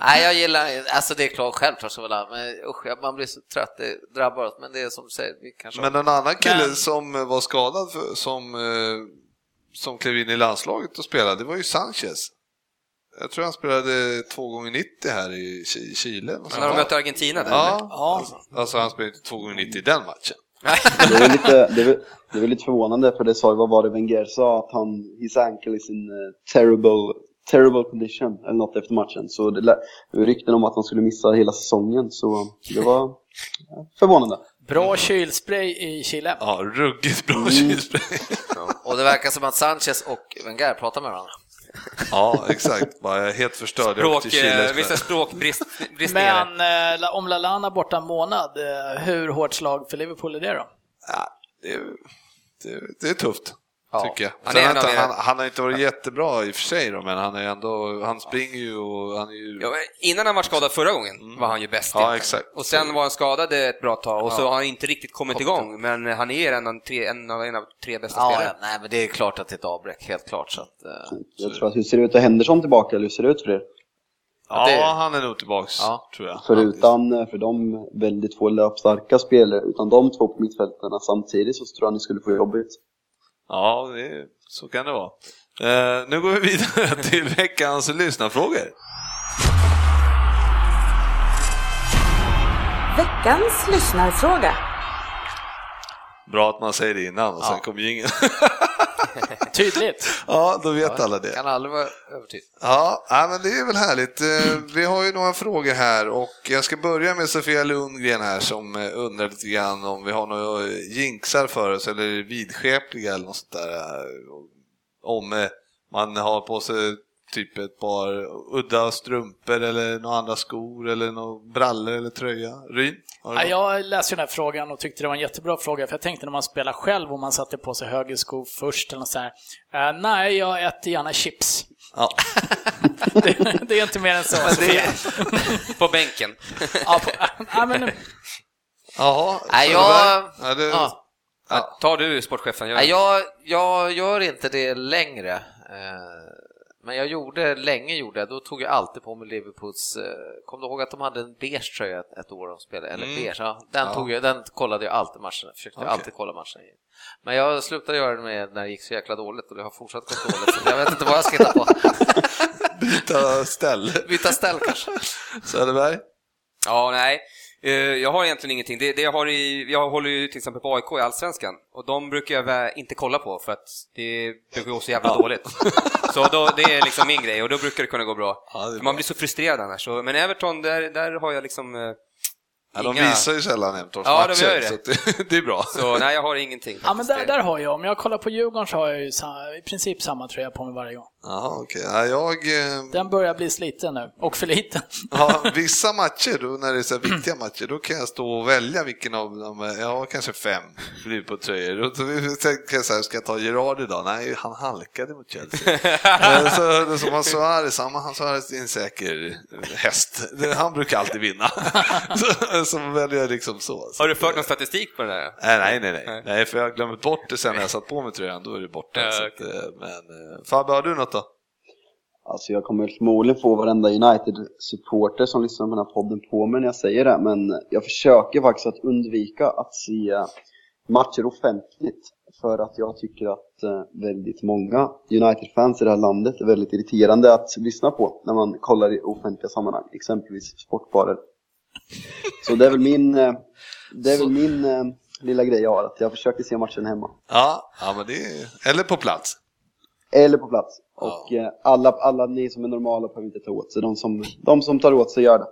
[SPEAKER 5] Nej, jag gillar alltså det är klart, självklart så väl han, men usch, jag- man blir så trött, det drabbar oss, men det är som du säger, vi kanske
[SPEAKER 2] Men en annan kille
[SPEAKER 3] Men-
[SPEAKER 2] som eh, var skadad, för, som, eh, som klev in i landslaget och spelade, det var ju Sanchez. Jag tror han spelade 2 gånger 90 här i Chi- Chile. och så.
[SPEAKER 6] När de mötte Argentina där.
[SPEAKER 2] Ja,
[SPEAKER 3] Ja,
[SPEAKER 2] alltså han spelade 2 gånger 90 i den matchen.
[SPEAKER 4] Det är väl lite, det är väl, det är väl lite förvånande för det sa vad var det Wenger sa att han, his ankle is in eh, terrible, terrible condition eller något efter matchen. Så det lä- det var rykten om att han skulle missa hela säsongen så det var ja, förvånande.
[SPEAKER 3] bra kylspray i Chile.
[SPEAKER 2] Ja, ruggigt bra kylspray.
[SPEAKER 5] Och det verkar som att Sanchez och Wenger pratar med varandra.
[SPEAKER 2] Ja, exakt. Bara helt förstörd. Jag åkte
[SPEAKER 6] Språk,
[SPEAKER 2] till Chile
[SPEAKER 6] eh,
[SPEAKER 2] efter
[SPEAKER 6] vissa
[SPEAKER 2] det. (laughs)
[SPEAKER 6] språkbristningar.
[SPEAKER 3] Men eh, La- om Lallana borta en månad, eh, hur hårt slag för Liverpool är det då?
[SPEAKER 2] Ja, det, är- det, är- det är tufft.
[SPEAKER 5] Ja.
[SPEAKER 2] Tycker jag.
[SPEAKER 6] Han
[SPEAKER 2] Sen
[SPEAKER 6] är
[SPEAKER 2] har
[SPEAKER 6] en av
[SPEAKER 2] inte-
[SPEAKER 6] era-
[SPEAKER 2] han, han har inte varit jättebra i och för sig då, men han är ändå, han springer ju och han är ju...
[SPEAKER 6] Ja, innan han var skadad förra gången var han ju bäst.
[SPEAKER 2] Ja,
[SPEAKER 6] egentligen.
[SPEAKER 2] exakt.
[SPEAKER 6] Och sen var han skadad ett bra tag och så har han inte riktigt kommit igång. Men han är en av, tre, en av, en av tre bästa
[SPEAKER 5] Ja, ja,
[SPEAKER 6] spelare.
[SPEAKER 5] nej men det är klart att det är ett avbräck, helt klart. Så att, eh,
[SPEAKER 4] Jag tror att, hur ser det ut? Är Henderson tillbaka eller hur ser det ut för er?
[SPEAKER 2] Ja,
[SPEAKER 5] det-
[SPEAKER 2] han är nog tillbaks,
[SPEAKER 5] Ja.
[SPEAKER 2] tror jag.
[SPEAKER 4] För utan, eh, för de väldigt få löpstarka spelare, utan de två på mittfältarna samtidigt så tror jag ni skulle få jobbigt.
[SPEAKER 2] Ja, det, så kan det vara. Eh, nu går vi vidare (laughs) till veckans lyssnarfrågor.
[SPEAKER 1] Veckans lyssnarfråga.
[SPEAKER 2] Bra att man säger det innan och sen kommer ju ingen. (laughs)
[SPEAKER 3] Tydligt.
[SPEAKER 2] ja, då vet alla det.
[SPEAKER 5] kan aldrig vara övertygad.
[SPEAKER 2] Ja, ja, men det är väl härligt. Eh, Vi har ju några frågor här och jag ska börja med Sofia Lundgren här som eh, undrar lite grann om vi har några eh, jinxar för oss eller är vidskepliga eller något sånt där. eh, Om eh, man har på sig typ ett par udda strumpor eller några andra skor eller några brallor eller tröja. Ryn? har du
[SPEAKER 3] Ja,
[SPEAKER 2] något?
[SPEAKER 3] jag läste ju den här frågan och tyckte det var en jättebra fråga, för jag tänkte när man spelar själv om man satte på sig höger sko först eller något så här. Eh, nej, jag äter gärna chips. (laughs)
[SPEAKER 2] Ja.
[SPEAKER 3] det, det är inte mer än så. Sofia. (laughs)
[SPEAKER 6] På bänken.
[SPEAKER 3] Ja, på, (laughs) ja, men,
[SPEAKER 2] Jaha.
[SPEAKER 5] Nej, jag...
[SPEAKER 2] Söderberg? Ja, det,
[SPEAKER 5] Ja.
[SPEAKER 2] Ja.
[SPEAKER 6] Tar du sportchefen? Jag-
[SPEAKER 5] Nej, jag, jag gör inte det längre. Eh, Men jag gjorde, länge gjorde jag, då tog jag alltid på mig Liverpools, eh, kom du ihåg att de hade en beige tröja ett- ett år de spelade, eller beige, ja, den,
[SPEAKER 2] Mm. Ja.
[SPEAKER 5] Tog jag, den kollade jag alltid matcherna, försökte
[SPEAKER 2] Okej.
[SPEAKER 5] alltid kolla matcherna i. Men jag slutade göra det med när det gick så jäkla dåligt och det har fortsatt gå dåligt, så jag vet inte vad jag ska hitta på.
[SPEAKER 2] Byta ställe.
[SPEAKER 5] Byta ställ kanske.
[SPEAKER 2] Söderberg?
[SPEAKER 6] Ja, nej. Eh, Jag har egentligen ingenting. Det, det jag, har i, jag håller ju till exempel på AIK i Allsvenskan och de brukar jag vä- inte kolla på för att det brukar gå så jävla dåligt. Så då, det är liksom min grej och då brukar det kunna gå bra.
[SPEAKER 2] Ja, det är
[SPEAKER 6] För
[SPEAKER 2] bra.
[SPEAKER 6] Man blir så frustrerad annars. Så, men Everton, där, där har jag liksom... eh,
[SPEAKER 2] Ja, de
[SPEAKER 6] Inga-
[SPEAKER 2] visar ju sällan Hemtorps
[SPEAKER 6] Ja, de
[SPEAKER 2] matcher,
[SPEAKER 6] gör ju det.
[SPEAKER 2] så att det, (laughs) det är bra.
[SPEAKER 6] Så nej, jag har ingenting.
[SPEAKER 3] ja, men där,
[SPEAKER 6] faktiskt.
[SPEAKER 3] där har jag, om jag kollar på Djurgården så har jag ju sa, i princip samma tröja på mig varje gång.
[SPEAKER 2] Jaha, okej. Ja, jag... eh,
[SPEAKER 3] Den börjar bli sliten nu, och för liten.
[SPEAKER 2] Ja, vissa matcher, då, när det är så här viktiga matcher, då kan jag stå och välja vilken av dem. eh, Jag har kanske fem blir på tröjor. Och då tänker jag så här, ska jag ta Gerard idag? Nej, han halkade mot Chelsea. Eh, så, då, som han Suarez, han han Suarez är en säker häst. Det- Han brukar alltid vinna. (laughs) Så, så väljer jag liksom så. så.
[SPEAKER 6] Har du fört någon statistik på den där?
[SPEAKER 2] Nej, nej, nej, nej,
[SPEAKER 6] Nej.
[SPEAKER 2] nej, för jag har glömt bort det sen när jag satt på mig tröjan, då är det borta.
[SPEAKER 6] Ja,
[SPEAKER 2] Så att, eh, men, eh, Fabbe, har du något då?
[SPEAKER 4] Alltså jag kommer förmodligen få varenda United-supporter som lyssnar på den här podden på mig när jag säger det, men jag försöker faktiskt att undvika att se matcher offentligt. För att jag tycker att eh, väldigt många United-fans i det här landet är väldigt irriterande att lyssna på när man kollar i offentliga sammanhang, exempelvis sportbarer. Så det är väl min, eh, det är väl min eh, lilla grej jag har, att jag försöker se matchen hemma.
[SPEAKER 2] Ja, ja men det är... eller på plats.
[SPEAKER 4] Eller på plats. Och eh, alla, alla ni som är normala behöver inte ta åt sig. De som, de som tar åt sig gör det.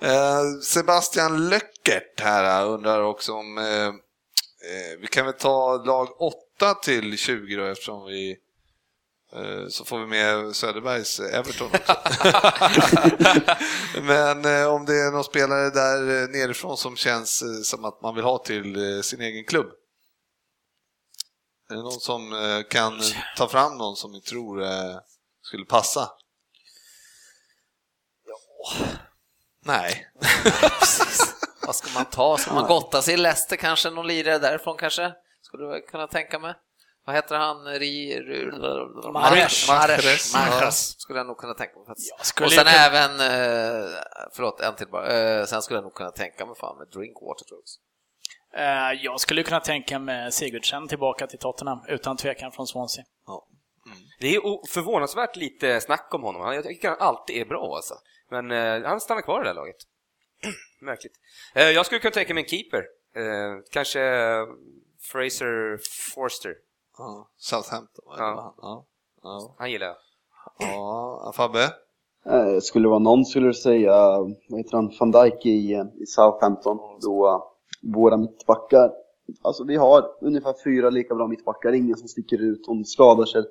[SPEAKER 2] (laughs) Eh, Sebastian Löckert här eh, undrar också om eh, eh, vi kan väl ta lag 8 till 20 då eftersom vi eh, så får vi med Söderbergs eh, Everton också. Men eh, om det är någon spelare där eh, nerifrån som känns eh, som att man vill ha till eh, sin egen klubb? Är det någon som eh, kan ta fram någon som ni tror eh, skulle passa? Nej.
[SPEAKER 5] Vad ska man ta? Ska man gotta sig i Leicester kanske? Någon lirare därifrån kanske? Skulle du kunna tänka mig? Vad heter han? Ri- Ru-
[SPEAKER 3] Mahrez.
[SPEAKER 5] Mahrez.
[SPEAKER 2] Mahrez.
[SPEAKER 5] Mahrez. Skulle jag nog kunna tänka mig. faktiskt.
[SPEAKER 3] Jag skulle
[SPEAKER 5] Och sen
[SPEAKER 3] inte-
[SPEAKER 5] även, eh, förlåt, en till bara. Eh, Sen skulle jag nog kunna tänka mig fan med Drinkwater tror jag också.
[SPEAKER 3] Eh, jag skulle kunna tänka mig Sigurdsen tillbaka till Tottenham, utan tvekan från Swansea.
[SPEAKER 6] Det är o- förvånansvärt lite snack om honom. Han- Jag tycker han alltid är bra alltså. Men eh, han stannar kvar i det här laget. (clears throat) Märkligt. Eh, jag skulle kunna tänka mig en keeper. Eh, kanske eh, Fraser Forster.
[SPEAKER 2] Ja, Southampton. va?
[SPEAKER 6] Ja.
[SPEAKER 2] Ja. Ja.
[SPEAKER 6] Han gillar jag.
[SPEAKER 2] ja, Fabbe?
[SPEAKER 4] Eh, skulle det vara någon skulle du säga, vad heter han, van Dijk i, eh, i Southampton, då eh, våra mittbackar, alltså vi har ungefär fyra lika bra mittbackar, ingen som sticker ut, om skadar sig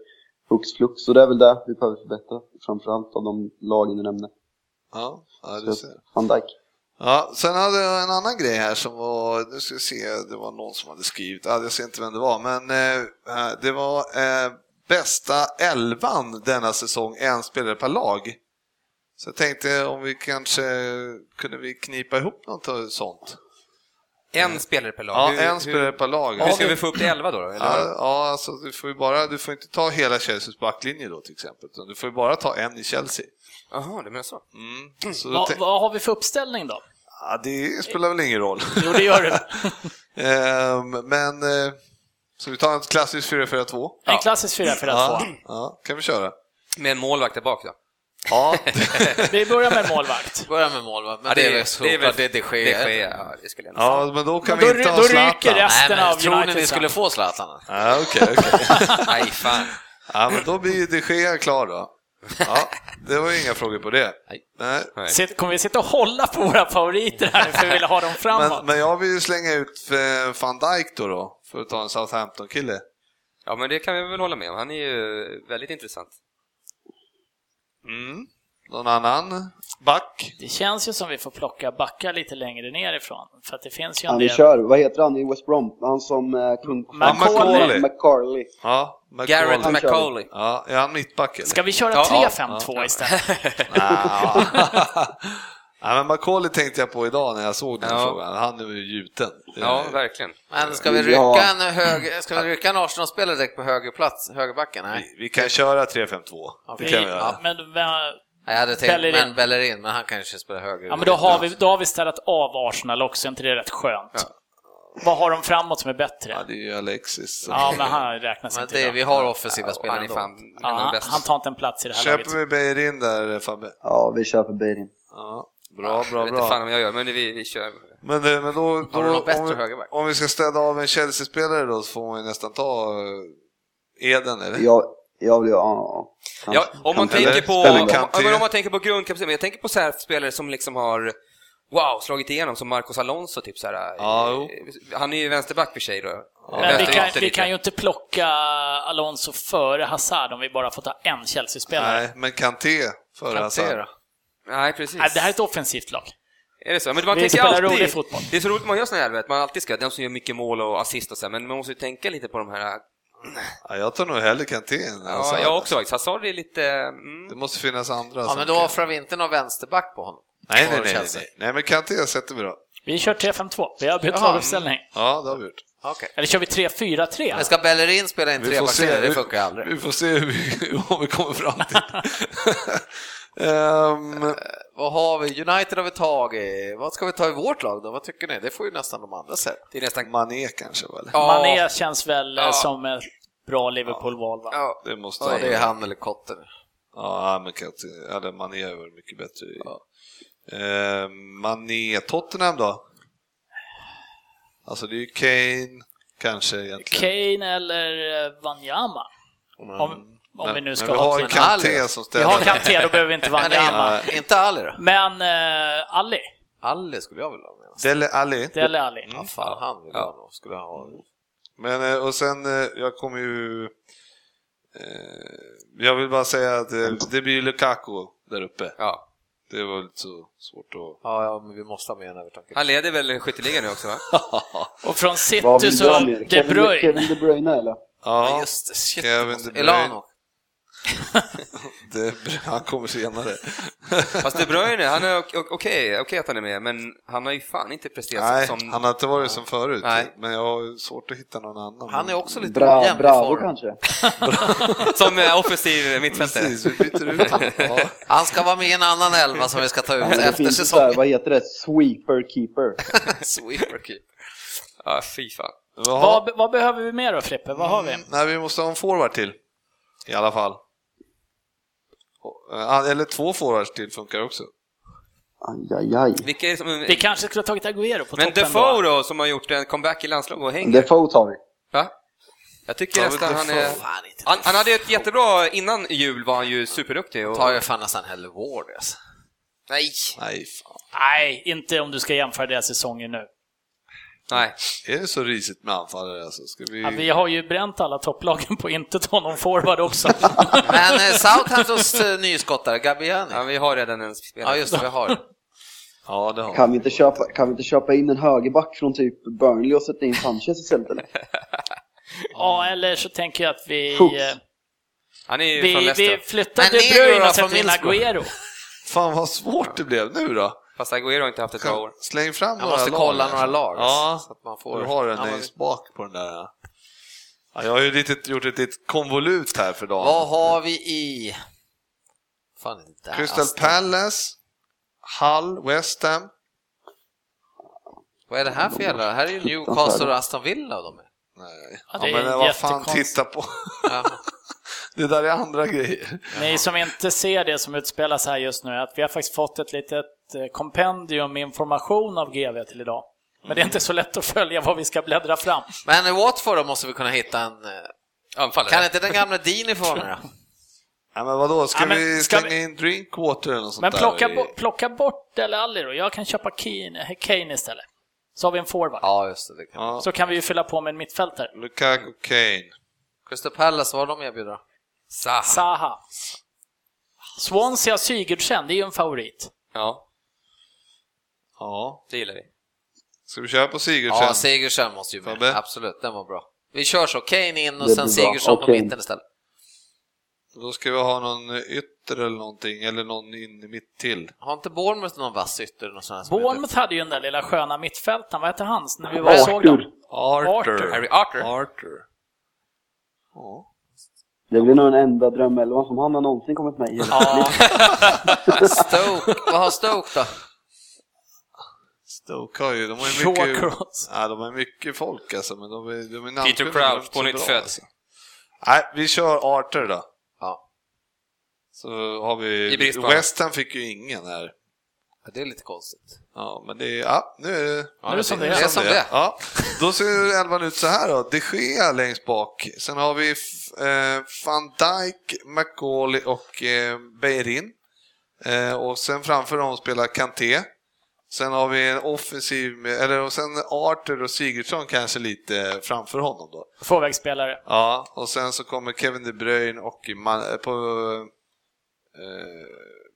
[SPEAKER 4] hux flux, så det är väl det vi behöver förbättra, framförallt av de lagen du nämnde.
[SPEAKER 2] Ja, ja du
[SPEAKER 4] Så,
[SPEAKER 2] ser.
[SPEAKER 4] van Dijk.
[SPEAKER 2] Ja, sen hade jag en annan grej här som var, nu ska vi se, det var någon som hade skrivit, ja, jag ser inte vem det var, men eh, det var eh, bästa elvan denna säsong, en spelare per lag. Så jag tänkte om vi kanske kunde vi knipa ihop något sånt.
[SPEAKER 6] En spelare per lag.
[SPEAKER 2] Ja,
[SPEAKER 6] Hur-
[SPEAKER 2] en spelare per lag.
[SPEAKER 6] Hur, hur ska vi få upp till 11 då? då? Eller?
[SPEAKER 2] Ja, ja, alltså du får ju bara, du får inte ta hela Chelseas backlinje då till exempel, utan du får ju bara ta en i Chelsea.
[SPEAKER 6] Jaha, du menar så?
[SPEAKER 2] Mm. Så då
[SPEAKER 3] Vad,
[SPEAKER 2] tänk,
[SPEAKER 3] vad har vi för uppställning då?
[SPEAKER 2] ja, det spelar väl ingen roll.
[SPEAKER 3] Jo,
[SPEAKER 2] (laughs)
[SPEAKER 3] det gör det.
[SPEAKER 2] Ehm, men eh, så vi tar en klassisk 4-4-2?
[SPEAKER 3] En klassisk 4-4-2.
[SPEAKER 2] Ja, ja, kan vi köra?
[SPEAKER 6] Med en målvakt där bak då?
[SPEAKER 2] Ja,
[SPEAKER 3] Vi börjar med målvakt.
[SPEAKER 5] Börja med målvakt, men det, är väl såklart det är de Gea.
[SPEAKER 6] Det sker, ja, det skulle jag
[SPEAKER 2] (laughs)
[SPEAKER 6] nog
[SPEAKER 2] ja men då kan
[SPEAKER 3] Men
[SPEAKER 2] vi
[SPEAKER 3] då
[SPEAKER 2] inte
[SPEAKER 3] ry-
[SPEAKER 2] ha
[SPEAKER 3] då
[SPEAKER 2] Zlatan.
[SPEAKER 3] ryker det.
[SPEAKER 5] Nej,
[SPEAKER 3] Resten
[SPEAKER 5] men
[SPEAKER 3] av
[SPEAKER 5] tror ni
[SPEAKER 3] United
[SPEAKER 5] ni skulle
[SPEAKER 3] sen.
[SPEAKER 5] få Zlatan?
[SPEAKER 2] Ja, okej, okej.
[SPEAKER 6] säga. Nej, fan.
[SPEAKER 2] Ja, men då blir de Gea klar då. Ja, det var ju inga frågor på det.
[SPEAKER 5] Nej.
[SPEAKER 2] Nej.
[SPEAKER 3] Sitt- Kommer vi sitta och hålla på våra favoriter här nu för vi vill ha dem framåt?
[SPEAKER 2] Men, men jag vill ju slänga ut eh, van Dijk då, då för att ta en Southampton-kille.
[SPEAKER 6] Ja, men det kan vi väl hålla med om. Han är ju väldigt intressant.
[SPEAKER 2] Mm. Någon annan back?
[SPEAKER 3] Det känns ju som vi får plocka backar lite längre nerifrån. För att det finns ju en
[SPEAKER 4] Han vi
[SPEAKER 3] del...
[SPEAKER 4] kör, vad heter han i West Brom? Han som eh, kung på
[SPEAKER 3] Ja,
[SPEAKER 2] McCauley.
[SPEAKER 4] McCarley.
[SPEAKER 2] Ja, McCauley.
[SPEAKER 6] Garrett
[SPEAKER 4] Han kör.
[SPEAKER 6] McCauley.
[SPEAKER 2] Ja, är han mittback eller?
[SPEAKER 3] Ska vi köra
[SPEAKER 6] Ja,
[SPEAKER 3] 3-5-2 istället?
[SPEAKER 2] Ja. Ah. (laughs) ja, men Macaulay tänkte jag på idag när jag såg den
[SPEAKER 6] Ja.
[SPEAKER 2] frågan. Han är ju gjuten. Eh, Det är-
[SPEAKER 6] Ja, verkligen.
[SPEAKER 5] Men ska vi rycka
[SPEAKER 4] Ja.
[SPEAKER 5] en, hög, ska vi rycka en Arsenal-spelare direkt på högerplats, högerbacken? Nej.
[SPEAKER 2] vi, vi kan köra 3-5-2. (laughs) Det kan vi
[SPEAKER 3] Ja,
[SPEAKER 2] göra.
[SPEAKER 3] Men, vem-
[SPEAKER 5] Nej, Jag hade tänkt
[SPEAKER 3] Bellerin.
[SPEAKER 5] men Bellerin, men han kanske spelar höger.
[SPEAKER 3] ja, men då, har vi, då har vi städat av Arsenal också, är inte det rätt skönt? Vad har de framåt som är bättre?
[SPEAKER 2] Ja, det är ju Alexis.
[SPEAKER 3] Ja, men han räknas
[SPEAKER 5] Men
[SPEAKER 3] inte.
[SPEAKER 5] det,
[SPEAKER 3] idag.
[SPEAKER 5] vi har offensiva spelare
[SPEAKER 6] Han är
[SPEAKER 5] ändå.
[SPEAKER 6] fan en
[SPEAKER 3] ja,
[SPEAKER 6] av de
[SPEAKER 3] han,
[SPEAKER 6] bästa.
[SPEAKER 3] han tar inte en plats i det här
[SPEAKER 2] Köper
[SPEAKER 3] laget.
[SPEAKER 2] vi Beirin där, Fabbe?
[SPEAKER 4] Ja, vi kör för Beirin.
[SPEAKER 2] Ja, bra,
[SPEAKER 6] Jag
[SPEAKER 2] bra,
[SPEAKER 6] vet inte fan
[SPEAKER 2] bra.
[SPEAKER 6] om jag gör, men vi, vi kör.
[SPEAKER 2] Men, eh, men då, då
[SPEAKER 5] du någon bättre
[SPEAKER 2] om, vi,
[SPEAKER 5] högerback?
[SPEAKER 2] om vi ska städa av en Chelsea-spelare då så får man ju nästan ta eh, Eden, eller?
[SPEAKER 4] Jag, jag vill ju, ja. ja.
[SPEAKER 6] Ja, om man
[SPEAKER 4] Kanté.
[SPEAKER 6] tänker på,
[SPEAKER 4] Spelare.
[SPEAKER 6] om,
[SPEAKER 2] Kanté.
[SPEAKER 6] ja, men om man tänker på grundkapaciteten, men jag tänker på så här spelare som liksom har Wow, slagit igenom som Marcos Alonso, typ så här.
[SPEAKER 2] Ja,
[SPEAKER 6] eh, Han är ju vänsterback för sig då.
[SPEAKER 3] Men vi kan,
[SPEAKER 6] Vänsterytter
[SPEAKER 3] vi kan ju
[SPEAKER 6] lite.
[SPEAKER 3] inte plocka Alonso före Hazard om vi bara får ta en Chelsea-spelare.
[SPEAKER 2] Nej, men Kanté före
[SPEAKER 5] Kanté
[SPEAKER 2] Hazard.
[SPEAKER 5] då?
[SPEAKER 6] Nej, precis.
[SPEAKER 3] Nej, det här är ett offensivt lag.
[SPEAKER 6] Är det så? Men man
[SPEAKER 3] Vi
[SPEAKER 6] tänker
[SPEAKER 3] spelar
[SPEAKER 6] alltid,
[SPEAKER 3] rolig fotboll.
[SPEAKER 6] Det är så roligt man gör såna här, vet, man alltid ska, den som gör mycket mål och assist och så här, men man måste ju tänka lite på de här...
[SPEAKER 2] Ja, jag tar nog hellre Kanté än
[SPEAKER 6] Ja,
[SPEAKER 2] Hazard.
[SPEAKER 6] jag också faktiskt. Hazard är lite... Mm,
[SPEAKER 2] Det måste finnas andra.
[SPEAKER 5] Ja,
[SPEAKER 2] som
[SPEAKER 5] men då
[SPEAKER 2] kan-
[SPEAKER 5] offrar vi inte någon vänsterback på honom.
[SPEAKER 2] Nej, nej,
[SPEAKER 5] Har
[SPEAKER 2] nej,
[SPEAKER 5] Chelsea.
[SPEAKER 2] nej. Nej, men Kanté sätter vi då.
[SPEAKER 3] Vi kör 3-5-2. Vi har bytt
[SPEAKER 5] Jaha.
[SPEAKER 3] laguppställning.
[SPEAKER 2] Ja, det har vi gjort.
[SPEAKER 5] Okej.
[SPEAKER 3] Eller kör vi 3-4-3?
[SPEAKER 5] Men ska Bellerin spela in
[SPEAKER 2] Vi får,
[SPEAKER 5] trebackslinje?
[SPEAKER 2] se,
[SPEAKER 5] Det funkar aldrig.
[SPEAKER 2] vi får se hur vi, (laughs) om vi kommer fram
[SPEAKER 5] (laughs)
[SPEAKER 2] till. Ehm,
[SPEAKER 5] Vad har vi? United har vi tagit. Vad ska vi ta i vårt lag då? Vad tycker ni? Det får ju nästan de andra säga.
[SPEAKER 6] det är nästan...
[SPEAKER 2] Mané kanske väl?
[SPEAKER 6] Ja,
[SPEAKER 3] Mané känns väl eh,
[SPEAKER 6] Ja.
[SPEAKER 3] som ett bra Liverpool-val, va?
[SPEAKER 6] ja.
[SPEAKER 2] Det måste
[SPEAKER 5] Ja,
[SPEAKER 2] vara.
[SPEAKER 5] det är han eller Kotte.
[SPEAKER 2] Ja, men Kanté- eller Mané är väl mycket bättre. i- Ehm, Mané, Tottenham då? Alltså det är ju Kane, kanske egentligen.
[SPEAKER 3] Kane eller eh, Wanyama? Om, om
[SPEAKER 2] men,
[SPEAKER 3] vi nu ska
[SPEAKER 2] men vi
[SPEAKER 3] ha...
[SPEAKER 2] har
[SPEAKER 3] tre.
[SPEAKER 2] ju Kanté
[SPEAKER 5] Ali.
[SPEAKER 2] som
[SPEAKER 3] Vi har
[SPEAKER 2] ställer.
[SPEAKER 3] Kanté, då behöver
[SPEAKER 6] (laughs)
[SPEAKER 3] vi inte
[SPEAKER 5] Men
[SPEAKER 3] Wanyama.
[SPEAKER 5] inte, inte Ali då?
[SPEAKER 3] Men eh, Ali,
[SPEAKER 5] Ali skulle jag vilja ha med.
[SPEAKER 2] Dele Alli.
[SPEAKER 3] Dele Ali.
[SPEAKER 2] Mm.
[SPEAKER 5] Ja, fan, han vill jag ha nog. Skulle jag ha.
[SPEAKER 2] Men eh, och sen, eh, jag kommer ju... Eh, jag vill bara säga att eh, det blir ju Lukaku där uppe.
[SPEAKER 6] ja.
[SPEAKER 2] Det var lite så svårt att...
[SPEAKER 5] Ja, ja, men vi måste ha med en övertanke.
[SPEAKER 6] Han leder väl skytteligan nu också, va?
[SPEAKER 3] Och från
[SPEAKER 4] Vad
[SPEAKER 3] City
[SPEAKER 4] vill
[SPEAKER 3] så
[SPEAKER 4] du ha
[SPEAKER 3] har
[SPEAKER 4] mer?
[SPEAKER 3] De
[SPEAKER 4] Kevin
[SPEAKER 3] Bruyne.
[SPEAKER 4] Kevin De Bruyne eller?
[SPEAKER 5] Ja,
[SPEAKER 2] Ja,
[SPEAKER 5] just det. Shit,
[SPEAKER 2] Kevin
[SPEAKER 5] måste-
[SPEAKER 2] De Bruyne.
[SPEAKER 5] Elano.
[SPEAKER 2] det, (laughs) han kommer senare.
[SPEAKER 6] Fast De Bruyne, han är o- o- okej okej att han är med, men han har ju fan inte presterat
[SPEAKER 2] Nej,
[SPEAKER 6] som...
[SPEAKER 2] han har inte varit som förut.
[SPEAKER 6] Nej.
[SPEAKER 2] Men jag har svårt att hitta någon annan.
[SPEAKER 5] Han är också lite
[SPEAKER 4] Bra,
[SPEAKER 5] ojämn i
[SPEAKER 4] Bravo
[SPEAKER 5] form.
[SPEAKER 4] kanske?
[SPEAKER 6] Som eh, offensiv
[SPEAKER 2] (laughs)
[SPEAKER 6] mittfältare.
[SPEAKER 2] Precis, vi byter ut honom. Ja.
[SPEAKER 5] Han ska vara med i en annan elva som vi ska ta ut
[SPEAKER 4] Nej, det
[SPEAKER 5] efter
[SPEAKER 4] finns ju så här,
[SPEAKER 5] säsongen.
[SPEAKER 4] vad heter det? Sweeper keeper.
[SPEAKER 5] Sweeperkeeper.
[SPEAKER 6] Ja, fy fan.
[SPEAKER 2] Jaha.
[SPEAKER 3] Vad, vad behöver vi mer då, Frippe? Vad har vi?
[SPEAKER 6] Mm.
[SPEAKER 2] Nej, vi måste ha en forward till. i alla fall. Och, eh, Eller två forwards till funkar också.
[SPEAKER 4] Aj, aj, aj.
[SPEAKER 6] Vilka är det som...
[SPEAKER 3] Vi kanske skulle ha tagit Agüero på
[SPEAKER 6] Men
[SPEAKER 3] toppen då.
[SPEAKER 6] Defoe då, som har gjort en comeback i landslaget och hänger.
[SPEAKER 4] Defoe tar vi.
[SPEAKER 6] Va? Jag tycker
[SPEAKER 2] Ja, men
[SPEAKER 6] nästan han
[SPEAKER 2] Defoe.
[SPEAKER 6] är...
[SPEAKER 5] Fan, inte
[SPEAKER 6] Han, han hade ju ett jättebra... Innan jul var han ju superduktig. Och...
[SPEAKER 5] tar jag fan nästan hellre Ward alltså.
[SPEAKER 6] Nej!
[SPEAKER 2] Nej, fan.
[SPEAKER 3] Nej, inte om du ska jämföra deras säsonger nu.
[SPEAKER 6] Nej.
[SPEAKER 2] Är det så risigt med anfallare alltså? Ska vi...
[SPEAKER 3] Ja, vi har ju bränt alla topplagen på att inte ta någon forward
[SPEAKER 6] (laughs)
[SPEAKER 3] också.
[SPEAKER 5] Men eh, Southamptons eh, nyskottare, Gabiani.
[SPEAKER 6] Ja, vi har redan en spelare.
[SPEAKER 5] Ja, just det, vi har.
[SPEAKER 2] Ja, det har vi.
[SPEAKER 4] Kan vi, inte köpa, kan vi inte köpa in en högerback från typ Burnley och sätta in Sanchez istället eller?
[SPEAKER 3] ja, eller så tänker jag att vi...
[SPEAKER 4] Hooks.
[SPEAKER 3] eh,
[SPEAKER 6] Han är ju från
[SPEAKER 3] Vi, vi
[SPEAKER 6] Leicester.
[SPEAKER 3] flyttar
[SPEAKER 5] Men
[SPEAKER 3] De
[SPEAKER 5] Negro
[SPEAKER 3] Bruyne
[SPEAKER 5] då,
[SPEAKER 3] och sätter
[SPEAKER 5] från
[SPEAKER 3] in
[SPEAKER 5] Middlesbrough?
[SPEAKER 3] Agüero.
[SPEAKER 6] (laughs)
[SPEAKER 2] Fan vad svårt det blev nu då.
[SPEAKER 6] Fast Aguero har inte haft ett bra år.
[SPEAKER 2] Släng fram
[SPEAKER 5] Jag
[SPEAKER 2] några
[SPEAKER 5] måste
[SPEAKER 2] lag.
[SPEAKER 5] kolla några lag.
[SPEAKER 2] Ja,
[SPEAKER 5] Så att man får...
[SPEAKER 2] du har en
[SPEAKER 5] Ja, men-
[SPEAKER 2] längst bak på den där. ja. Ja, jag har ju litet, gjort ett litet konvolut här för dagen.
[SPEAKER 5] Vad har vi i... Fan, är det där?
[SPEAKER 2] Crystal
[SPEAKER 5] Aston-
[SPEAKER 2] Palace, Hull, West Ham.
[SPEAKER 5] Vad är det här för jävla... Här är ju Newcastle och Aston Villa och de är.
[SPEAKER 2] Nej.
[SPEAKER 3] Ja,
[SPEAKER 2] Ja,
[SPEAKER 3] det är
[SPEAKER 2] men vad fan,
[SPEAKER 3] jättekonstigt.
[SPEAKER 2] titta på.
[SPEAKER 5] Ja.
[SPEAKER 2] (laughs) Det där är andra grejer.
[SPEAKER 3] Ni som inte ser det som utspelas här just nu, är att vi har faktiskt fått ett litet eh, kompendium med information av GV till idag. Men det är inte så lätt att följa vad vi ska bläddra fram.
[SPEAKER 5] Men i Watford då måste vi kunna hitta en... eh,
[SPEAKER 6] Anfallare.
[SPEAKER 5] Kan inte den gamla Dini få vara med då?
[SPEAKER 2] Ja, men vadå, ska
[SPEAKER 3] Ja, men
[SPEAKER 2] vi
[SPEAKER 3] ska
[SPEAKER 2] slänga in Drinkwater eller något sånt
[SPEAKER 3] Men plocka,
[SPEAKER 2] där? i-
[SPEAKER 3] bo- plocka bort Dele Alli då. Jag kan köpa Kane, eh, Kane istället. Så har vi en forward.
[SPEAKER 5] Ja, just det. det kan.
[SPEAKER 2] Ja,
[SPEAKER 3] Så kan vi ju fylla på med en mittfältare.
[SPEAKER 2] Lukaku Kane.
[SPEAKER 5] Crystal Palace, vad har de erbjuder då?
[SPEAKER 6] Sa.
[SPEAKER 3] Saha. Swansea Sigurdsen, det är ju en favorit.
[SPEAKER 6] Ja,
[SPEAKER 2] Ja.
[SPEAKER 6] det gillar vi.
[SPEAKER 2] Ska vi köra på Sigurdsen?
[SPEAKER 5] Ja, Sigurdsson måste ju med.
[SPEAKER 2] Fabbe?
[SPEAKER 5] Absolut, den var bra. Vi kör så, Kane in och
[SPEAKER 4] Det
[SPEAKER 5] sen
[SPEAKER 4] blir bra.
[SPEAKER 5] Sigurdsson på
[SPEAKER 4] Okej.
[SPEAKER 5] mitten istället.
[SPEAKER 2] Då ska vi ha någon ytter eller någonting, eller någon in mitt till.
[SPEAKER 5] Har inte Bournemouth någon vass ytter? Någon sån här som
[SPEAKER 3] Bournemouth hade ju den där lilla sköna mittfältaren, vad hette hans? När vi var och såg dem.
[SPEAKER 4] Arthur.
[SPEAKER 2] Arthur.
[SPEAKER 3] Arthur.
[SPEAKER 6] Harry Arthur.
[SPEAKER 2] Arthur. Ja.
[SPEAKER 4] Det blir nog den enda drömelvan som han har någonsin kommit med i.
[SPEAKER 3] Ja,
[SPEAKER 5] heter? Stoke, vad har Stoke då?
[SPEAKER 2] Stoke har ju, de har ju mycket...
[SPEAKER 3] Shawcross.
[SPEAKER 2] Ja, de har mycket folk alltså, men de är, de är
[SPEAKER 6] Peter
[SPEAKER 2] namnkunniga, de är
[SPEAKER 6] Crouch,
[SPEAKER 2] så
[SPEAKER 6] på
[SPEAKER 2] bra,
[SPEAKER 6] nytt född.
[SPEAKER 2] alltså. Nej, vi kör Arthur då.
[SPEAKER 5] Ja,
[SPEAKER 2] Så har vi...
[SPEAKER 6] I brist på
[SPEAKER 2] West Ham fick ju ingen här.
[SPEAKER 5] det är lite konstigt.
[SPEAKER 2] Ja, men det är... Ja, nu är det...
[SPEAKER 3] Nu är det som det är.
[SPEAKER 5] Det är som det är.
[SPEAKER 2] Ja, då ser elvan ut så här då. De Gea längst bak. Sen har vi F- eh, van Dijk, McCauley och eh, Beirin. Eh, och sen framför dem spelar Kanté. Sen har vi en offensiv, med, eller och sen Arthur och Sigurdsson kanske lite framför honom då.
[SPEAKER 3] Tvåvägsspelare.
[SPEAKER 2] Ja, och sen så kommer Kevin De Bruyne och Man, på eh,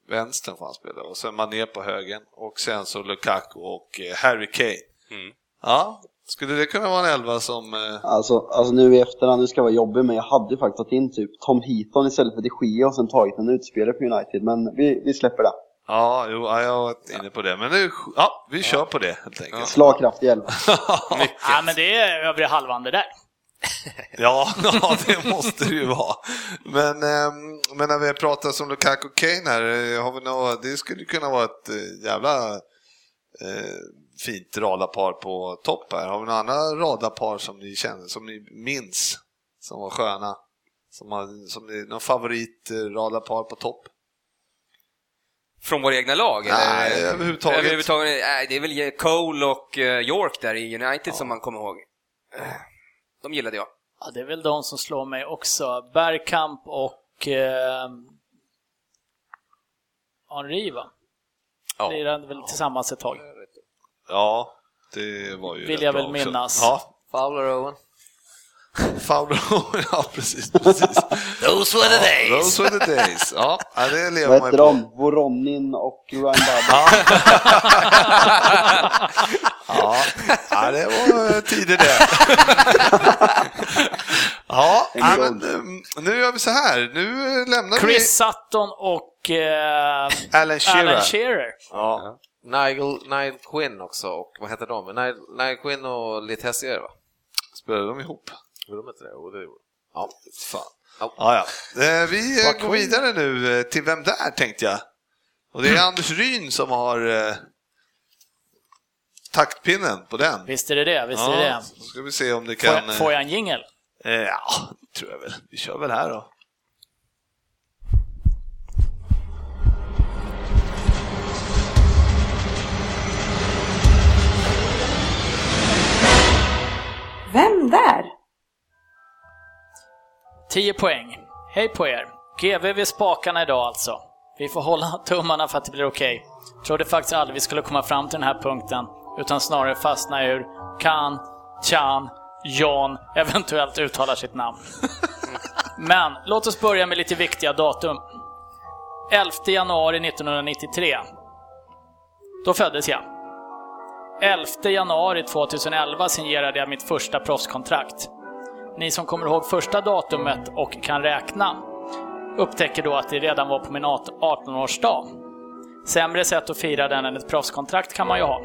[SPEAKER 2] vänstern får han spela och sen Mané på högen och sen så Lukaku och eh, Harry Kane.
[SPEAKER 6] Mm.
[SPEAKER 2] Ja, skulle det kunna vara en elva som... Eh,
[SPEAKER 4] Alltså, alltså nu i efterhand, nu ska jag vara jobbig, men jag hade faktiskt tagit in typ Tom Heaton istället för de Gea och sen tagit en utspelare på United. Men vi, vi släpper det.
[SPEAKER 2] ja, jo, ja, jag har varit inne på det, men nu, ja, vi kör på det helt enkelt.
[SPEAKER 4] Slagkraftig elva.
[SPEAKER 3] Ja, men det är övre halvan det där.
[SPEAKER 2] Ja, (laughs) ja det måste det ju vara. Men, ehm, men när vi pratar om Lukaku och Kane här, eh, har vi något, det skulle kunna vara ett eh, jävla eh, fint radarpar på topp här. Har vi några andra radarpar som ni känner, som ni minns, som var sköna? Som, har, som är någon favorit eh, radarpar på topp?
[SPEAKER 6] Från våra egna lag?
[SPEAKER 2] Nej,
[SPEAKER 6] eller?
[SPEAKER 2] överhuvudtaget.
[SPEAKER 6] överhuvudtaget nej, det är väl Cole och eh, York där i United som man kommer ihåg. Eh, De gillade jag.
[SPEAKER 3] Ja, det är väl de som slår mig också. Bergkamp och eh, Henri va?
[SPEAKER 5] Ja.
[SPEAKER 3] Lirade väl tillsammans ett tag.
[SPEAKER 2] Ja, det var ju
[SPEAKER 3] Vill
[SPEAKER 2] rätt
[SPEAKER 3] jag
[SPEAKER 2] bra
[SPEAKER 3] väl
[SPEAKER 2] också.
[SPEAKER 3] minnas.
[SPEAKER 2] Ja,
[SPEAKER 5] Fowler Owen.
[SPEAKER 2] Fowler (laughs) ja precis, (laughs) precis.
[SPEAKER 5] Those were the days!
[SPEAKER 2] Those were the days. Ja, ja, det lever
[SPEAKER 4] Vad
[SPEAKER 2] man
[SPEAKER 4] heter
[SPEAKER 2] ju på.
[SPEAKER 4] de? Voronin och Ryan Babel.
[SPEAKER 2] Ja, ja det var eh, tider det. (laughs) Ja,
[SPEAKER 4] En
[SPEAKER 2] nej,
[SPEAKER 4] gång.
[SPEAKER 2] men, eh, nu gör vi så här. Nu eh, lämnar
[SPEAKER 3] Chris Sutton och eh,
[SPEAKER 2] vi Alan Shearer.
[SPEAKER 3] Alan Shearer.
[SPEAKER 2] Ja.
[SPEAKER 5] Nigel, Nigel Quinn också, och vad heter de? Nigel, Nigel Quinn och Litessier va?
[SPEAKER 2] Spelade de ihop?
[SPEAKER 5] Gjorde de inte det? Jo, det gjorde de. Ja,
[SPEAKER 2] Fan.
[SPEAKER 5] Ja.
[SPEAKER 2] Ja, ja. Eh, Vi eh,
[SPEAKER 5] Vad
[SPEAKER 2] går
[SPEAKER 5] kul.
[SPEAKER 2] vidare nu eh, till Vem där tänkte jag. Och det är Anders Ryn som har eh, taktpinnen på den.
[SPEAKER 3] Visst är det det, visst är det det.
[SPEAKER 2] så ska vi se om det
[SPEAKER 3] Får
[SPEAKER 2] kan...
[SPEAKER 3] jag, får jag en jingel?
[SPEAKER 2] eh, Ja, tror jag väl. Vi kör väl här då.
[SPEAKER 3] 10 poäng. Hej på er! GV vid spakarna idag alltså. Vi får hålla (laughs) tummarna för att det blir okej. Trodde faktiskt aldrig vi skulle komma fram till den här punkten, utan snarare fastna ur kan, Chan, Jan eventuellt uttalar sitt namn. Men låt oss börja med lite viktiga datum. 11 januari 1993. Då föddes jag. 11 januari 2011 signerade jag mitt första proffskontrakt. Ni som kommer ihåg första datumet och kan räkna upptäcker då att det redan var på min 18-årsdag. Sämre sätt att fira den än ett proffskontrakt kan man ju ha.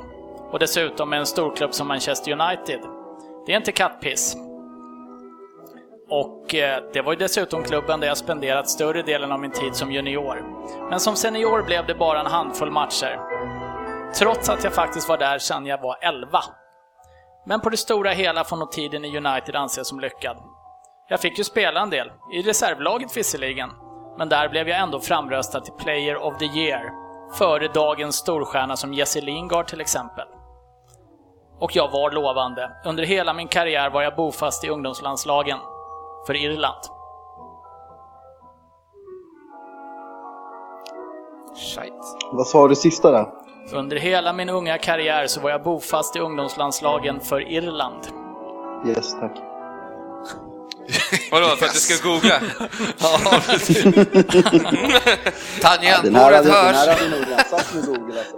[SPEAKER 3] Och dessutom med en storklubb som Manchester United. Det är inte kattpiss. Och eh, det var ju dessutom klubben där jag spenderat större delen av min tid som junior. Men som senior blev det bara en handfull matcher. Trots att jag faktiskt var där sedan jag var 11. Men på det stora hela får nog tiden i United anses som lyckad. Jag fick ju spela en del, i reservlaget visserligen, men där blev jag ändå framröstad till Player of the Year, före dagens storstjärna som Jesse Lingard till exempel. Och jag var lovande. Under hela min karriär var jag bofast i ungdomslandslagen, för Irland.
[SPEAKER 4] Vad sa du sista där?
[SPEAKER 3] Under hela min unga karriär så var jag bofast i ungdomslandslagen för Irland.
[SPEAKER 4] Yes, tack.
[SPEAKER 6] Vadå, för att du ska googla? (laughs)
[SPEAKER 4] Den här hade,
[SPEAKER 5] Tangentbordet
[SPEAKER 4] den här
[SPEAKER 5] hörs.
[SPEAKER 4] hade nog redan satt med Google alltså.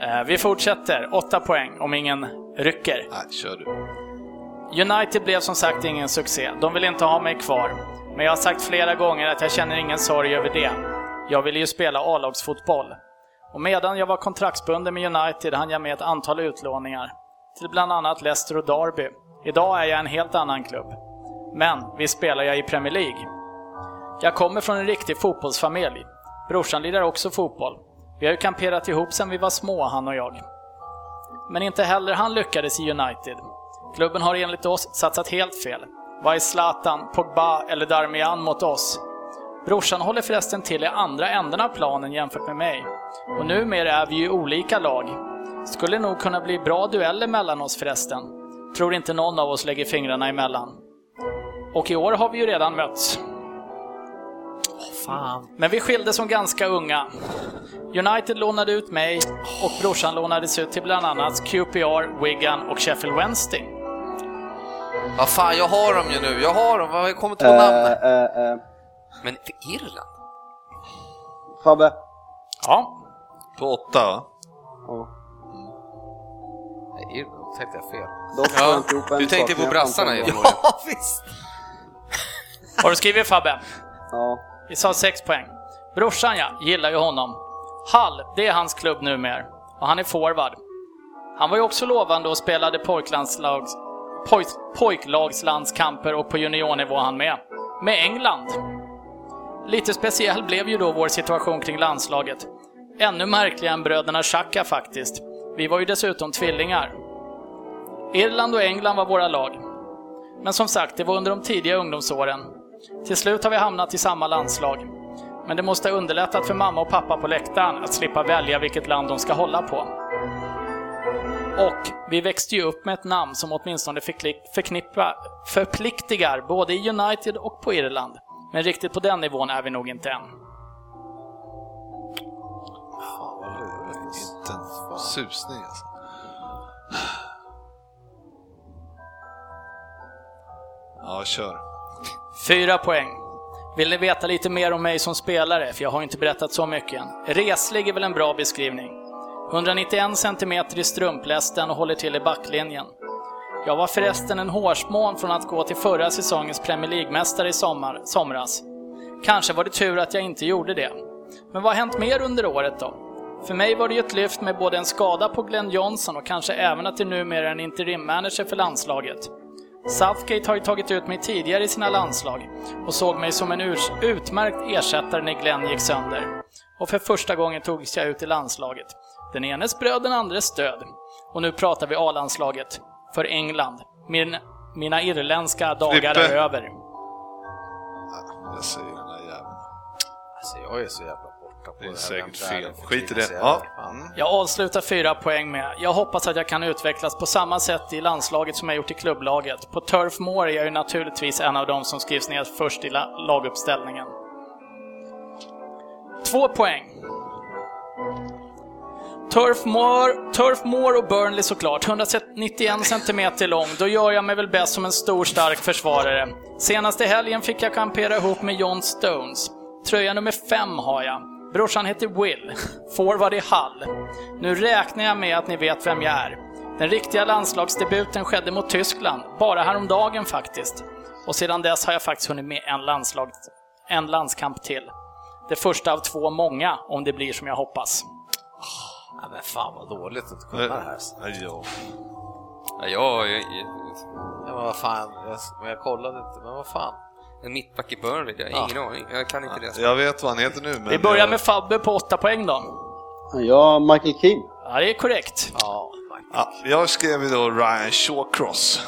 [SPEAKER 3] Eh, Vi fortsätter, 8 poäng om ingen rycker.
[SPEAKER 2] Nej, kör du.
[SPEAKER 3] United blev som sagt ingen succé. De vill inte ha mig kvar. Men jag har sagt flera gånger att jag känner ingen sorg över det. Jag ville ju spela A-lagsfotboll. Och medan jag var kontraktsbunden med United hann jag med ett antal utlåningar. Till bland annat Leicester och Derby. Idag är jag en helt annan klubb. Men visst spelar jag i Premier League. Jag kommer från en riktig fotbollsfamilj. Brorsan lirar också fotboll. Vi har ju kamperat ihop sedan vi var små, han och jag. Men inte heller han lyckades i United. Klubben har enligt oss satsat helt fel. Vad är Zlatan, Pogba eller Darmian mot oss? Brorsan håller förresten till i andra änden av planen jämfört med mig. Och numera är vi ju olika lag. Skulle nog kunna bli bra dueller mellan oss förresten. Tror inte någon av oss lägger fingrarna emellan. Och i år har vi ju redan mötts. fan. Men vi skildes som ganska unga. United lånade ut mig och brorsan lånades ut till bland annat QPR, Wigan och Sheffield Wednesday.
[SPEAKER 5] Vad fan, jag har dem ju nu. Jag har dem. Jag kommer inte på
[SPEAKER 4] Eh,
[SPEAKER 5] namnet.
[SPEAKER 4] eh, eh.
[SPEAKER 6] Men för Irland?
[SPEAKER 4] Fabbe?
[SPEAKER 3] Ja,
[SPEAKER 2] På åtta, va?
[SPEAKER 4] Ja.
[SPEAKER 5] Nej, Irland. tänkte jag fel.
[SPEAKER 4] Dock får jag
[SPEAKER 6] Ja,
[SPEAKER 4] inte ihop en
[SPEAKER 6] du tänkte
[SPEAKER 4] sak,
[SPEAKER 6] på
[SPEAKER 4] men jag
[SPEAKER 6] brassarna
[SPEAKER 4] kan
[SPEAKER 6] ju.
[SPEAKER 4] ta en.
[SPEAKER 6] Morgan.
[SPEAKER 5] Ja, visst.
[SPEAKER 3] har du skrivit Fabbe?
[SPEAKER 4] Ja.
[SPEAKER 3] Vi sa 6 poäng. Brorsan ja, gillar ju honom. Hall, det är hans klubb numera. Och han är forward. Han var ju också lovande och spelade pojklandslags, poj, pojklagslandskamper och på juniornivå han med. Med England. Lite speciell blev ju då vår situation kring landslaget. Ännu märkligare än bröderna Xhaka faktiskt. Vi var ju dessutom tvillingar. Irland och England var våra lag. Men som sagt, det var under de tidiga ungdomsåren. Till slut har vi hamnat i samma landslag. Men det måste ha underlättat för mamma och pappa på läktaren att slippa välja vilket land de ska hålla på. Och vi växte ju upp med ett namn som åtminstone förkli- förknippa, förpliktigar både i United och på Irland. Men riktigt på den nivån är vi nog inte än.
[SPEAKER 2] Inte en susning alltså. Ja, kör.
[SPEAKER 3] Fyra poäng. Vill ni veta lite mer om mig som spelare? För jag har inte berättat så mycket än. Reslig är väl en bra beskrivning. 191 cm i strumplästen och håller till i backlinjen. Jag var förresten en hårsmån från att gå till förra säsongens Premier League-mästare i sommar, somras. Kanske var det tur att jag inte gjorde det. Men vad har hänt mer under året då? För mig var det ju ett lyft med både en skada på Glenn Johnson och kanske även att det numera är en interimmanager för landslaget. Southgate har ju tagit ut mig tidigare i sina landslag och såg mig som en urs- utmärkt ersättare när Glenn gick sönder. Och för första gången togs jag ut i landslaget. Den enes bröd, den andres stöd. Och nu pratar vi A-landslaget. För England. Min, mina irländska dagar
[SPEAKER 2] Frippe.
[SPEAKER 3] är över.
[SPEAKER 2] Jag säger den där jäveln.
[SPEAKER 5] Alltså, jag är så jävla borta på
[SPEAKER 2] Det är
[SPEAKER 5] här
[SPEAKER 2] säkert
[SPEAKER 5] vem
[SPEAKER 2] fel.
[SPEAKER 5] är för
[SPEAKER 2] Skit i
[SPEAKER 5] tiden,
[SPEAKER 2] det.
[SPEAKER 5] så
[SPEAKER 2] Ja. Mm.
[SPEAKER 5] jävla fan.
[SPEAKER 3] Jag avslutar fyra poäng med. Jag hoppas att jag kan utvecklas på samma sätt i landslaget som jag gjort i klubblaget. På Turf Moor är jag ju naturligtvis en av dem som skrivs ner först i la- laguppställningen. Två poäng. Turf Moor, Turf Moor och Burnley såklart, 191 cm lång. Då gör jag mig väl bäst som en stor stark försvarare. Senast i helgen fick jag kampera ihop med John Stones. Tröja nummer fem har jag. Brorsan heter Will. Forward i Hall. Nu räknar jag med att ni vet vem jag är. Den riktiga landslagsdebuten skedde mot Tyskland, bara häromdagen faktiskt. Och sedan dess har jag faktiskt hunnit med en, landslag, en landskamp till. Det första av två många, om det blir som jag hoppas.
[SPEAKER 5] Ja, men fan vad dåligt att
[SPEAKER 2] Eh.
[SPEAKER 5] kunna det här. Alltså.
[SPEAKER 2] Nej, ja.
[SPEAKER 6] Ja, jag, jag,
[SPEAKER 5] Ja, men vad fan, jag, men jag kollade inte, men vad fan.
[SPEAKER 6] en mittback i Burnley, jag har ingen aning. Jag kan inte det.
[SPEAKER 2] Jag vet vad han heter nu, men...
[SPEAKER 3] Vi börjar
[SPEAKER 2] jag-
[SPEAKER 3] med Fabbe på 8 poäng då.
[SPEAKER 4] Ja, Michael Keane.
[SPEAKER 3] Ja, det är korrekt.
[SPEAKER 5] Ja,
[SPEAKER 2] Ja, jag skrev ju då Ryan Shawcross.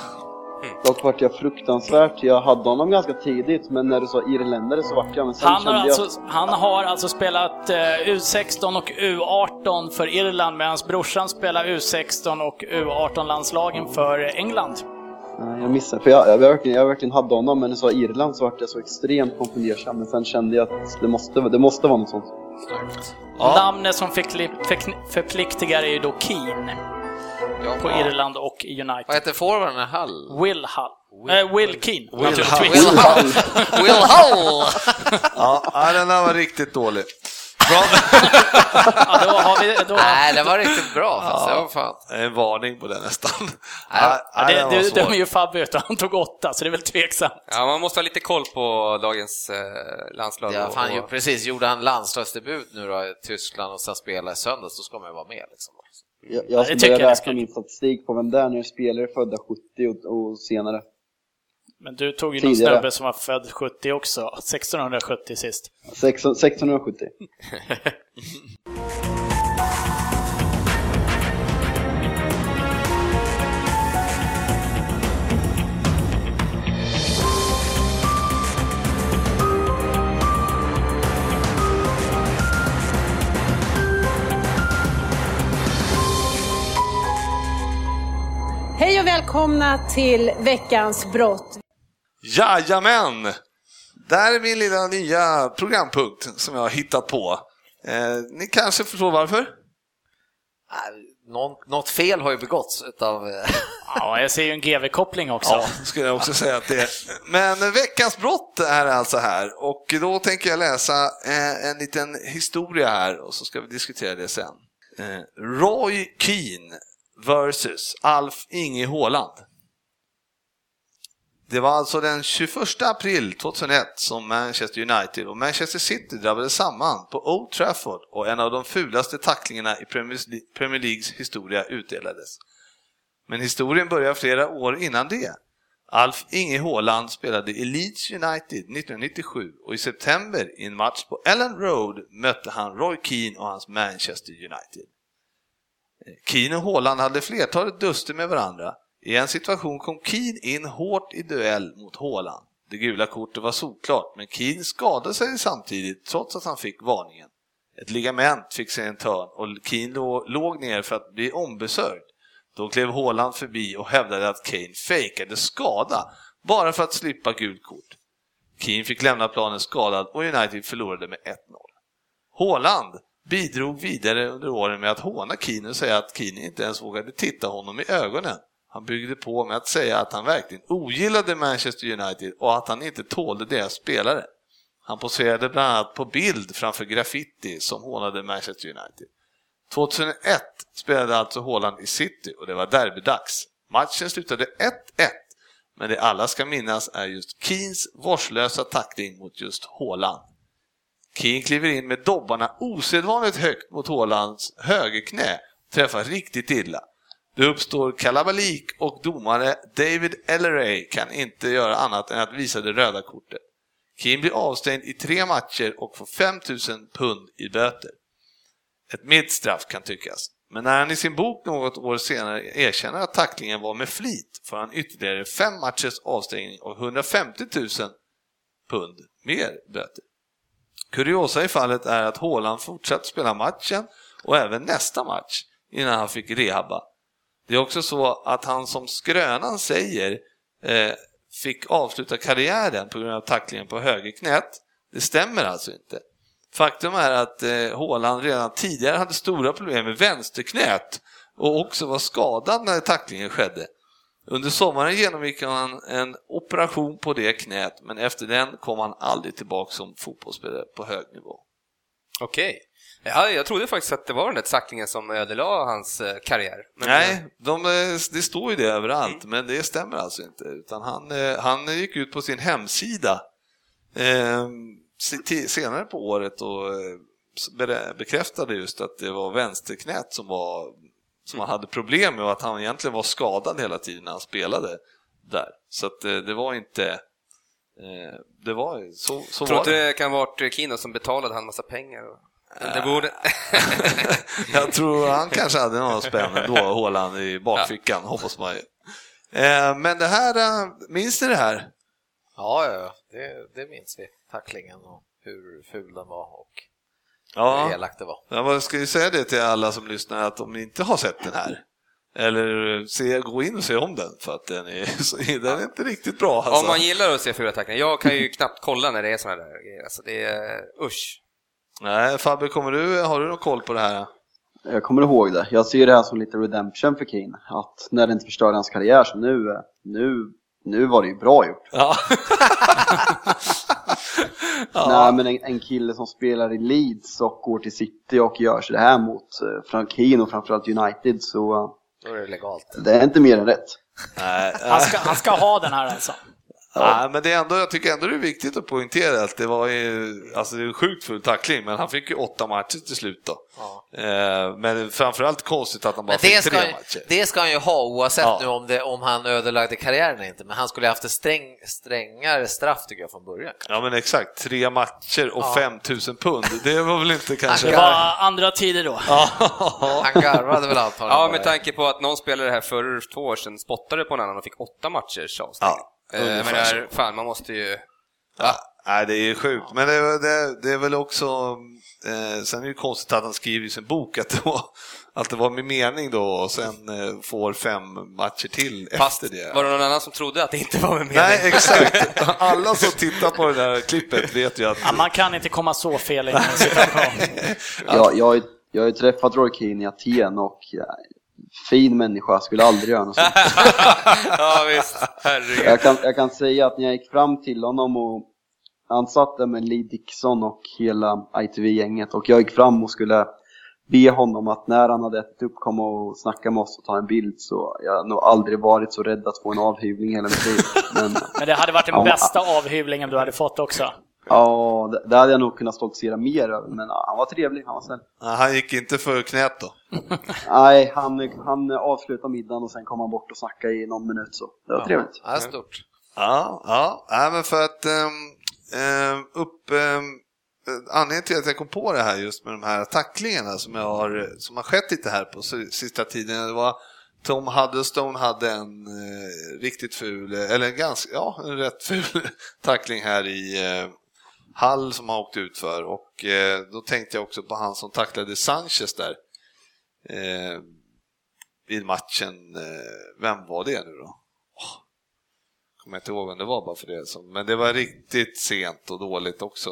[SPEAKER 4] Dock vart jag fruktansvärt, jag hade honom ganska tidigt, men när du sa irländare så vart jag, men sen
[SPEAKER 3] Han har,
[SPEAKER 4] kände jag...
[SPEAKER 3] alltså, han har alltså spelat eh, U16 och U18 för Irland medan brorsan spelar U16 och U18-landslagen för England.
[SPEAKER 4] Nej, jag missade, för jag, jag, verkligen, jag verkligen hade honom, men när du sa Irland så vart jag så extremt konfunderad, men sen kände jag att det måste, det måste vara något sånt.
[SPEAKER 3] Namnet som förkli- förkn- förpliktigar är ju då Keane
[SPEAKER 5] ja,
[SPEAKER 3] på
[SPEAKER 5] ja.
[SPEAKER 3] Irland och
[SPEAKER 5] Vad
[SPEAKER 3] United.
[SPEAKER 5] heter forwarden i Hull?
[SPEAKER 3] Will Hull. eh, Will Keane.
[SPEAKER 5] Will Hull.
[SPEAKER 3] naturligtvis.
[SPEAKER 5] Will Hull! (laughs) Will Hull!
[SPEAKER 2] Ja, nej, den där var riktigt dålig.
[SPEAKER 3] Ja, då har vi, då,
[SPEAKER 5] Nej, det var riktigt bra fast det var fan.
[SPEAKER 2] En varning på den nästan.
[SPEAKER 5] Ja,
[SPEAKER 3] ja,
[SPEAKER 2] den
[SPEAKER 3] det,
[SPEAKER 2] var
[SPEAKER 3] det, det
[SPEAKER 2] svår.
[SPEAKER 3] var ju Fabbe utan han tog åtta, så det är väl tveksamt.
[SPEAKER 6] Ja, man måste ha lite koll på dagens eh, landslag.
[SPEAKER 5] Ja,
[SPEAKER 6] och-
[SPEAKER 5] fan, ju,
[SPEAKER 6] och-
[SPEAKER 5] precis. Gjorde han landslagsdebut nu då i Tyskland och sen spela i söndags, då ska man ju vara med liksom.
[SPEAKER 4] Jag,
[SPEAKER 3] det
[SPEAKER 4] jag ska
[SPEAKER 3] tycker jag
[SPEAKER 4] börja
[SPEAKER 3] ni
[SPEAKER 4] räkna
[SPEAKER 3] skulle-
[SPEAKER 4] min statistik på vem det är när spelare är födda 70 och, och senare.
[SPEAKER 3] Men du tog ju någon
[SPEAKER 4] Tidigare.
[SPEAKER 3] snubbe som var född 70 också, 1670 sist.
[SPEAKER 4] 16- 1670.
[SPEAKER 7] Hej och välkomna till veckans brott.
[SPEAKER 2] Jajamän! Där är min lilla nya programpunkt som jag har hittat på. Eh, ni kanske förstår varför?
[SPEAKER 5] Någon, något fel har ju begåtts utav... eh,
[SPEAKER 3] Ja, jag ser ju en GV-koppling också.
[SPEAKER 2] Ja, skulle jag också säga att det är. Men veckans brott är alltså här och då tänker jag läsa eh, en liten historia här och så ska vi diskutera det sen. Eh, Roy Keane versus Alf Inge Haaland. Det var alltså den 21 april 2001 som Manchester United och Manchester City drabbades samman på Old Trafford och en av de fulaste tacklingarna i Premier Premier Leagues historia utdelades. Men historien börjar flera år innan det. Alf Inge Haaland spelade i Leeds United 1997 och i september i en match på Ellen Road mötte han Roy Keane och hans Manchester United. Eh, Keane och Haaland hade flertalet duster med varandra. I en situation kom Keane in hårt i duell mot Haaland. Det gula kortet var solklart, men Keane skadade sig samtidigt trots att han fick varningen. Ett ligament fick sig en törn och Keane lå- låg ner för att bli ombesörjd. Då klev Haaland förbi och hävdade att Kane fejkade skada bara för att slippa gult kort. Keane fick lämna planen skadad och United förlorade med 1-0. Haaland bidrog vidare under åren med att håna Keane och säga att Keane inte ens vågade titta honom i ögonen. Han byggde på med att säga att han verkligen ogillade Manchester United och att han inte tålde deras spelare. Han poserade bland annat på bild framför graffiti som hånade Manchester United. 2001 spelade alltså Haaland i City och det var derbydags. Matchen slutade 1-1, men det alla ska minnas är just Keens vårdslösa tackling mot just Haaland. Keane kliver in med dobbarna osedvanligt högt mot Haalands högerknä och träffar riktigt illa. Det uppstår kalabalik och domare David Elleray kan inte göra annat än att visa det röda kortet. Keane blir avstängd i tre matcher och får 5000 pund i böter. Ett milt straff kan tyckas. Men när han i sin bok något år senare erkänner att tacklingen var med flit får han ytterligare fem matchers avstängning och 150 000 pund mer böter. Kuriosa i fallet är att Haaland fortsatt spela matchen och även nästa match innan han fick rehabba. Det är också så att han som skrönan säger eh, fick avsluta karriären på grund av tacklingen på högerknät. Det stämmer alltså inte. Faktum är att eh, Haaland redan tidigare hade stora problem med vänsterknät och också var skadad när tacklingen skedde. Under sommaren genomgick han en operation på det knät, men efter den kom han aldrig tillbaka som fotbollsspelare på hög nivå.
[SPEAKER 6] Okej. Ja, jag trodde faktiskt att det var den där tacklingen som ödelade hans eh, karriär. Men- Mm.
[SPEAKER 2] Nej, de, eh, det står ju det överallt, men det stämmer alltså inte. Utan han, eh, han gick ut på sin hemsida eh, se- ti- senare på året och eh, s- berä- bekräftade just att det var vänsterknät som, var, som
[SPEAKER 6] Mm.
[SPEAKER 2] han hade problem med och att han egentligen var skadad hela tiden när han spelade där. Så att, eh, det var inte... eh, Det var så, så
[SPEAKER 6] Tror
[SPEAKER 2] var
[SPEAKER 6] inte
[SPEAKER 2] det.
[SPEAKER 6] det kan ha varit Kino som betalade han massa pengar? och- Det borde... (laughs)
[SPEAKER 2] Jag tror han kanske hade några spänn då, Håland i bakfickan, hoppas man ju. Eh, Men det här, eh, minns ni det här?
[SPEAKER 5] (laughs) Ja, ja, ja. Det, det minns vi. Tacklingen och hur ful den var och hur
[SPEAKER 2] Ja,
[SPEAKER 5] elakt det var.
[SPEAKER 2] jag ska ju säga det till alla som lyssnar att om ni inte har sett den här, eller se, gå in och se om den, för att den är, så- den är inte riktigt bra. Alltså.
[SPEAKER 6] Om man gillar att se fula tacklingar. Jag kan ju knappt kolla när det är såna där grejer. Alltså, det är... Usch.
[SPEAKER 2] Nej, Fabbe, kommer du, har du någon koll på det här?
[SPEAKER 4] Jag kommer ihåg det. Jag ser det här som lite redemption för Kane. Att när det inte förstörde hans karriär så nu, eh, nu, nu var det ju bra gjort. (laughs)
[SPEAKER 2] Ja.
[SPEAKER 4] Nej men en, en kille som spelar i Leeds och går till City och gör så det här mot eh, Frank Keane och framförallt United så eh,
[SPEAKER 5] Då är det legalt.
[SPEAKER 4] det är inte mer än rätt.
[SPEAKER 2] Nej,
[SPEAKER 3] Han ska, han ska ha den här alltså.
[SPEAKER 2] Nej, men det är ändå, jag tycker ändå det är viktigt att poängtera att det var ju, alltså det är en sjukt full tackling, men han fick ju åtta matcher till slut då. Eh, Men framförallt konstigt att han bara
[SPEAKER 5] Men det
[SPEAKER 2] fick
[SPEAKER 5] ska,
[SPEAKER 2] tre
[SPEAKER 5] han-
[SPEAKER 2] matcher.
[SPEAKER 5] det ska han ju ha oavsett
[SPEAKER 2] Ja.
[SPEAKER 5] nu om, det, om han ödelagde karriären eller inte, men han skulle haft ett sträng, strängare straff tycker jag från början.
[SPEAKER 2] Ja men exakt, tre matcher och 5000 pund, det var väl
[SPEAKER 3] (laughs)
[SPEAKER 2] inte kanske...
[SPEAKER 3] Det var andra tider då.
[SPEAKER 5] Han garvade väl antagligen.
[SPEAKER 6] Ja,
[SPEAKER 5] bara.
[SPEAKER 6] med tanke på att någon spelare här för två år sedan spottade på en annan och fick åtta matchers avstängning.
[SPEAKER 2] Ja,
[SPEAKER 6] Eh, men
[SPEAKER 2] ungefär
[SPEAKER 6] det är, fan, man måste ju...
[SPEAKER 2] Ja, nej, det är sjukt, men det, det, det är väl också... Eh, sen är det ju konstigt att han skriver i sin bok att det var, att det var med mening då och sen eh, får fem matcher till efter det.
[SPEAKER 6] Var det någon annan som trodde att det inte var med mening?
[SPEAKER 2] Nej,
[SPEAKER 3] (laughs)
[SPEAKER 2] exakt. Alla som tittar på det där klippet vet ju att...
[SPEAKER 3] Ja, man kan inte komma så fel i en situation.
[SPEAKER 4] Jag, jag, har ju- jag har ju träffat Roy Keane i Aten och ja, fin människa, skulle aldrig göra något sånt.
[SPEAKER 6] ja,
[SPEAKER 2] (laughs)
[SPEAKER 6] visst. Herregud.
[SPEAKER 4] jag, kan, jag kan säga att när jag gick fram till honom och han satt där med Lee Dixon och hela ITV-gänget och jag gick fram och skulle be honom att när han hade ätit upp komma och snacka med oss och ta en bild så jag har nog aldrig varit så rädd att få en avhyvling i hela mitt liv. Men (laughs)
[SPEAKER 3] Men det hade varit den
[SPEAKER 4] Ja.
[SPEAKER 3] bästa avhyvlingen du hade fått också.
[SPEAKER 4] ja, det, det hade jag nog kunnat stoltsera mer över. Men ja, han var trevlig, han var snäll.
[SPEAKER 2] Ja, Han gick inte för knät då.
[SPEAKER 4] Nej, han, han avslutade middagen och sen kom han bort och snackade i någon minut så det var trevligt.
[SPEAKER 5] Ja, stort.
[SPEAKER 2] Ja, ja. Nej, men för att ehm, ehm, upp... ehm, eh, anledningen till att jag kom på det här just med de här tacklingarna som, jag har, som har skett lite här på si- sista tiden, det var Tom Huddlestone hade en eh, riktigt ful, eh, eller en ganska, ja, en rätt ful (laughs) tackling här i eh, Hall som han åkte ut för och eh, då tänkte jag också på han som tacklade Sanchez där eh, i matchen. Eh, vem var det nu då? kommer jag inte ihåg vem det var bara för det. som- Men det var riktigt sent och dåligt också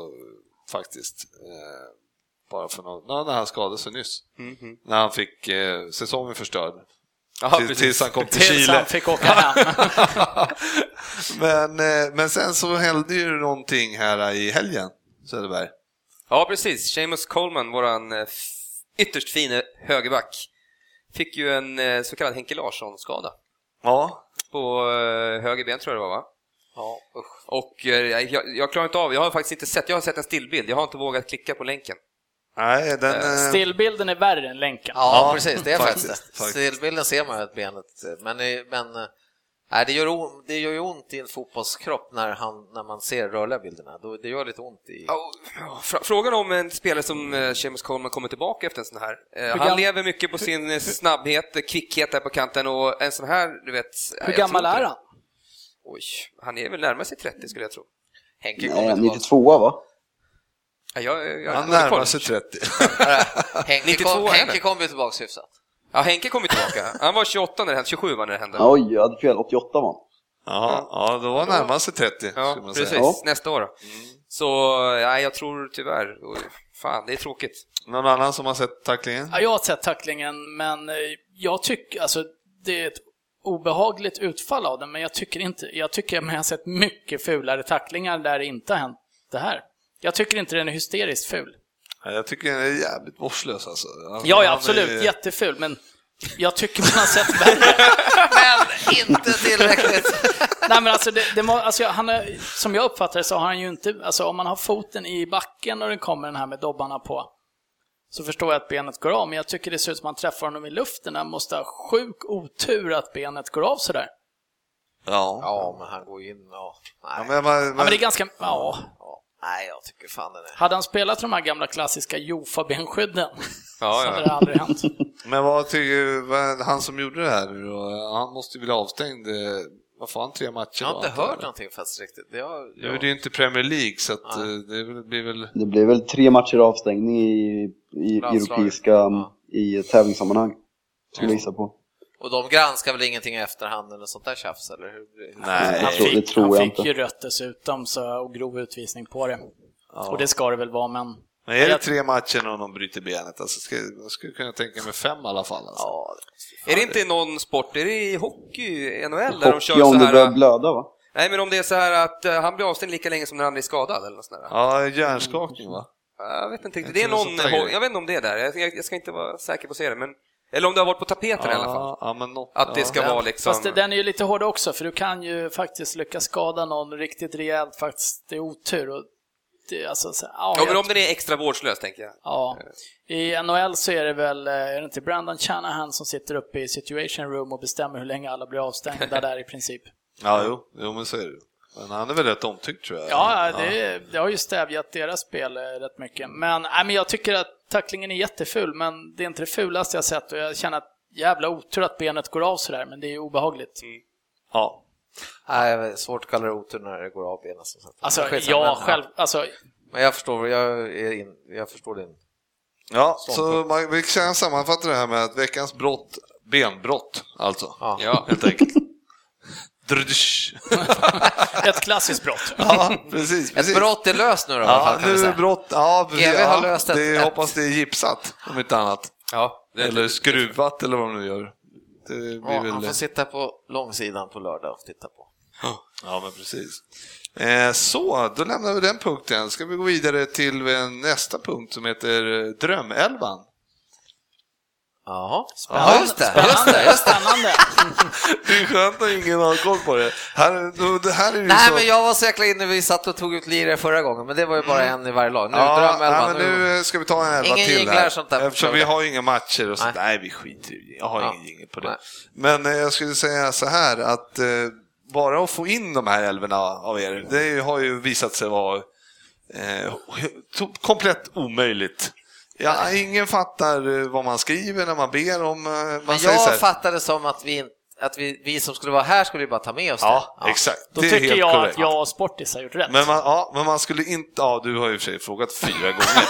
[SPEAKER 2] faktiskt. Eh, Bara för någon, ja, när han skadade sig nyss. När han fick eh, säsongen förstörd.
[SPEAKER 6] Ja,
[SPEAKER 2] Till-
[SPEAKER 6] precis.
[SPEAKER 2] tills han (laughs) kom till
[SPEAKER 3] Tills
[SPEAKER 2] Chile.
[SPEAKER 3] han fick åka hem.
[SPEAKER 2] Men, eh, men sen så hände ju någonting här i helgen, Söderberg.
[SPEAKER 6] Ja, precis. Seamus Coleman, våran eh, f- ytterst fine högerback, fick ju en eh, så kallad Henke Larsson-skada.
[SPEAKER 2] Ja.
[SPEAKER 6] På eh, höger ben tror jag det var, va? Ja, usch. Och eh, jag- jag, jag klarar inte av, jag har faktiskt inte sett, jag har sett en stillbild, jag har inte vågat klicka på länken.
[SPEAKER 2] Nej, den... eh,
[SPEAKER 3] Stillbilden är värre än länken.
[SPEAKER 5] Ja,
[SPEAKER 2] Ja,
[SPEAKER 5] precis. Det är
[SPEAKER 2] faktiskt,
[SPEAKER 5] faktiskt det.
[SPEAKER 2] faktiskt.
[SPEAKER 5] Stillbilden ser man ju att benet, eh, men, eh, men eh, nej, det, gör ont, det gör ju ont i en fotbollskropp när, han, när man ser rörliga bilderna. Då, det gör lite ont i...
[SPEAKER 6] Ja, och- fra- Frågan om en spelare som eh, Seamus Coleman kommer tillbaka efter en sån här. Eh, Han
[SPEAKER 3] gam-
[SPEAKER 6] lever mycket på sin eh, snabbhet, eh, kvickhet där på kanten och en sån här, du vet... eh,
[SPEAKER 3] Hur
[SPEAKER 6] jag tror
[SPEAKER 3] gammal
[SPEAKER 6] inte
[SPEAKER 3] är
[SPEAKER 6] det.
[SPEAKER 3] han?
[SPEAKER 6] Oj, han är väl närmare sig 30 skulle jag tro.
[SPEAKER 5] Henke kommer
[SPEAKER 4] Nej,
[SPEAKER 5] tillbaka.
[SPEAKER 4] 92 va?
[SPEAKER 6] Ja, Jag, jag,
[SPEAKER 2] Han
[SPEAKER 6] jag-
[SPEAKER 2] närmar sig (laughs) 30.
[SPEAKER 5] Henke,
[SPEAKER 6] 92
[SPEAKER 5] kom,
[SPEAKER 6] är det.
[SPEAKER 5] Henke kom ju tillbaka hyfsat.
[SPEAKER 6] Ja, Henke kom ju tillbaka. Han var 28 när det hände, 27 var när det hände. Ja,
[SPEAKER 4] Oj, jag hade fel. 88 var han.
[SPEAKER 2] Ja, ja då var han närmar sig 30. skulle man
[SPEAKER 6] precis.
[SPEAKER 2] säga.
[SPEAKER 4] Ja.
[SPEAKER 6] Nästa år då.
[SPEAKER 3] Mm.
[SPEAKER 6] Så, nej, jag tror tyvärr... oj, Fan, det är tråkigt.
[SPEAKER 2] Någon annan som har sett tacklingen?
[SPEAKER 3] Ja, jag har sett tacklingen, men eh, jag tycker, alltså det är ett obehagligt utfall av den, men jag tycker inte, jag tycker att jag har sett mycket fulare tacklingar där det inte har hänt det här. Jag tycker inte den är hysteriskt ful.
[SPEAKER 2] Ja, Jag tycker den är jävligt vårdslös alltså. Han-
[SPEAKER 3] Ja, ja
[SPEAKER 2] han
[SPEAKER 3] absolut,
[SPEAKER 2] är-
[SPEAKER 3] jätteful, men jag tycker man har sett värre.
[SPEAKER 5] Men inte (laughs) tillräckligt.
[SPEAKER 3] Nej, men alltså, det, det må, alltså jag- han är, som jag uppfattar det så har han ju inte, alltså om man har foten i backen och den kommer den här med dobbarna på, så förstår jag att benet går av, men jag tycker det ser ut som att man träffar honom i luften. Han måste ha sjuk otur att benet går av sådär.
[SPEAKER 2] Ja.
[SPEAKER 5] Ja, men han går ju in och... Nej,
[SPEAKER 2] Ja, men, men,
[SPEAKER 3] Ja, men det är ganska... Ja.
[SPEAKER 5] ja, nej jag tycker fan den är...
[SPEAKER 3] Hade han spelat de här gamla klassiska Jofa-benskydden så
[SPEAKER 6] Ja,
[SPEAKER 3] hade
[SPEAKER 6] ja.
[SPEAKER 3] det aldrig hänt.
[SPEAKER 2] men vad tycker vad, han som gjorde det här nu då? Han måste ju bli avstängd. eh, Vad fan, tre matcher?
[SPEAKER 5] Jag har
[SPEAKER 2] va,
[SPEAKER 5] inte
[SPEAKER 2] antar
[SPEAKER 5] hört
[SPEAKER 2] jag?
[SPEAKER 5] någonting faktiskt riktigt. Det har,
[SPEAKER 2] Nu är det ju inte Premier League så att, eh, det blir väl...
[SPEAKER 4] Det blev väl tre matcher avstängning i, i
[SPEAKER 5] Landslaget.
[SPEAKER 4] europeiska
[SPEAKER 5] Ja.
[SPEAKER 4] i tävlingssammanhang. Skulle jag gissa på.
[SPEAKER 5] Och de granskar väl ingenting i efterhand eller sånt där tjafs, eller hur?
[SPEAKER 2] Nej.
[SPEAKER 3] Han
[SPEAKER 4] tror- det
[SPEAKER 3] fick,
[SPEAKER 4] tror
[SPEAKER 3] han
[SPEAKER 4] jag
[SPEAKER 3] fick
[SPEAKER 4] inte.
[SPEAKER 3] ju rött dessutom så, och grov utvisning på det. Och det ska det väl vara, men...
[SPEAKER 2] Men är det
[SPEAKER 3] Jag-
[SPEAKER 2] tre matcher om de bryter benet? Alltså, ska, jag skulle kunna tänka mig fem i alla fall. Alltså.
[SPEAKER 5] Ja,
[SPEAKER 6] Är det inte i någon sport, är det i hockey, NHL, där de kör
[SPEAKER 4] Hockey om
[SPEAKER 6] så
[SPEAKER 4] det börjar
[SPEAKER 6] här...
[SPEAKER 4] blöda va?
[SPEAKER 6] Nej, men om det är så här att eh, han blir avstängd lika länge som när han blir skadad eller något sånt där.
[SPEAKER 2] Ja, hjärnskakning va?
[SPEAKER 6] Jag vet inte riktigt.
[SPEAKER 2] Jag
[SPEAKER 6] Det är
[SPEAKER 2] tror
[SPEAKER 6] någon,
[SPEAKER 2] sånt där
[SPEAKER 6] ho- jag vet inte om det är där. Jag, jag, jag ska inte vara säker på att säga det, men... Eller om det har varit på tapeten i alla fall.
[SPEAKER 2] Ja, ja, men något,
[SPEAKER 6] Att det
[SPEAKER 2] ja.
[SPEAKER 6] ska vara liksom...
[SPEAKER 3] Fast det, den är ju lite hård också, för du kan ju faktiskt lyckas skada någon riktigt rejält faktiskt. Det är otur. Och det, alltså, så, ja,
[SPEAKER 6] Ja, men
[SPEAKER 3] jag-
[SPEAKER 6] om den är extra vårdslös, tänker jag.
[SPEAKER 3] Ja. I NHL så är det väl, eh, är det inte Brandon Shanahan som sitter uppe i situation room och bestämmer hur länge alla blir avstängda där i princip.
[SPEAKER 2] Ja, jo, jo, men så är det. Men han är väl rätt omtyckt tror jag.
[SPEAKER 3] Ja, det, det har ju stävjat deras spel eh, rätt mycket. Men, nej, men jag tycker att tacklingen är jätteful, men det är inte det fulaste jag sett och jag känner att jävla otur att benet går av sådär, men det är ju obehagligt.
[SPEAKER 2] ja.
[SPEAKER 5] nej, svårt att kalla det otur när det går av benen som sagt.
[SPEAKER 3] Alltså,
[SPEAKER 5] Skitsamma,
[SPEAKER 3] ja,
[SPEAKER 5] men-
[SPEAKER 3] själv, alltså,
[SPEAKER 5] Men jag förstår, jag, är in, jag förstår din...
[SPEAKER 2] Ja, så man, vi kan sammanfatta det här med att veckans brott, benbrott alltså.
[SPEAKER 5] Ja.
[SPEAKER 6] Ja.
[SPEAKER 2] Helt enkelt. Drudsch.
[SPEAKER 3] ett klassiskt brott.
[SPEAKER 2] ja,
[SPEAKER 5] (laughs)
[SPEAKER 2] precis. precis.
[SPEAKER 5] Ett brott är löst nu då, i alla
[SPEAKER 2] Ja,
[SPEAKER 5] fall, kan vi
[SPEAKER 2] nu är
[SPEAKER 5] säga.
[SPEAKER 2] brott, ja, precis,
[SPEAKER 5] GV har
[SPEAKER 2] ja,
[SPEAKER 5] löst ett-
[SPEAKER 2] det,
[SPEAKER 5] ett-
[SPEAKER 2] hoppas det är gipsat om inte annat.
[SPEAKER 6] Ja, det,
[SPEAKER 2] Eller skruvat eller vad de nu gör. Det blir
[SPEAKER 5] Ja,
[SPEAKER 2] väl...
[SPEAKER 5] han får sitta på långsidan på lördag och titta på.
[SPEAKER 2] Ja, men precis. Eh, Så, då lämnar vi den punkten. Ska vi gå vidare till eh, nästa punkt som heter eh, (laughs) Drömälvan.
[SPEAKER 5] Jaha, spännande. Ja, just det. Just
[SPEAKER 3] Spännande,
[SPEAKER 5] det.
[SPEAKER 3] spännande.
[SPEAKER 2] Det är skönt att ingen har koll på det. Här, då- det här är ju
[SPEAKER 5] Nej,
[SPEAKER 2] så...
[SPEAKER 5] men jag var så jäkla inne, vi satt och tog ut lirare förra gången, men det var ju bara en i varje lag. Nu
[SPEAKER 2] Mm. Ja,
[SPEAKER 5] drömelvan,
[SPEAKER 2] nej, men nu eh, ska vi ta en elva
[SPEAKER 5] Ingen
[SPEAKER 2] till
[SPEAKER 5] jinglar
[SPEAKER 2] här.
[SPEAKER 5] sånt där på
[SPEAKER 2] Eftersom vi
[SPEAKER 5] lördag.
[SPEAKER 2] har ju inga matcher och sånt.
[SPEAKER 5] Nej.
[SPEAKER 2] Nej, vi skiter i det. Jag har
[SPEAKER 5] Ja.
[SPEAKER 2] ingen jingel på det.
[SPEAKER 5] Nej.
[SPEAKER 2] Men eh, jag skulle säga så här att eh, bara att få in de här älvorna av er, det är ju- har ju visat sig vara eh, to- komplett omöjligt. Ja, ingen fattar eh, vad man skriver när man ber om... eh, Man
[SPEAKER 5] Men
[SPEAKER 2] säger så här,
[SPEAKER 5] jag fattade som att vi, inte- att vi, vi som skulle vara här skulle ju bara ta med oss
[SPEAKER 2] ja,
[SPEAKER 5] det.
[SPEAKER 2] exakt.
[SPEAKER 3] Då
[SPEAKER 2] det är
[SPEAKER 3] tycker
[SPEAKER 2] helt
[SPEAKER 3] jag
[SPEAKER 2] korrekt.
[SPEAKER 3] att jag och Sportis har gjort rätt.
[SPEAKER 2] Men man, ja, men man skulle inte... Ja, du har ju i och för sig frågat fyra gånger.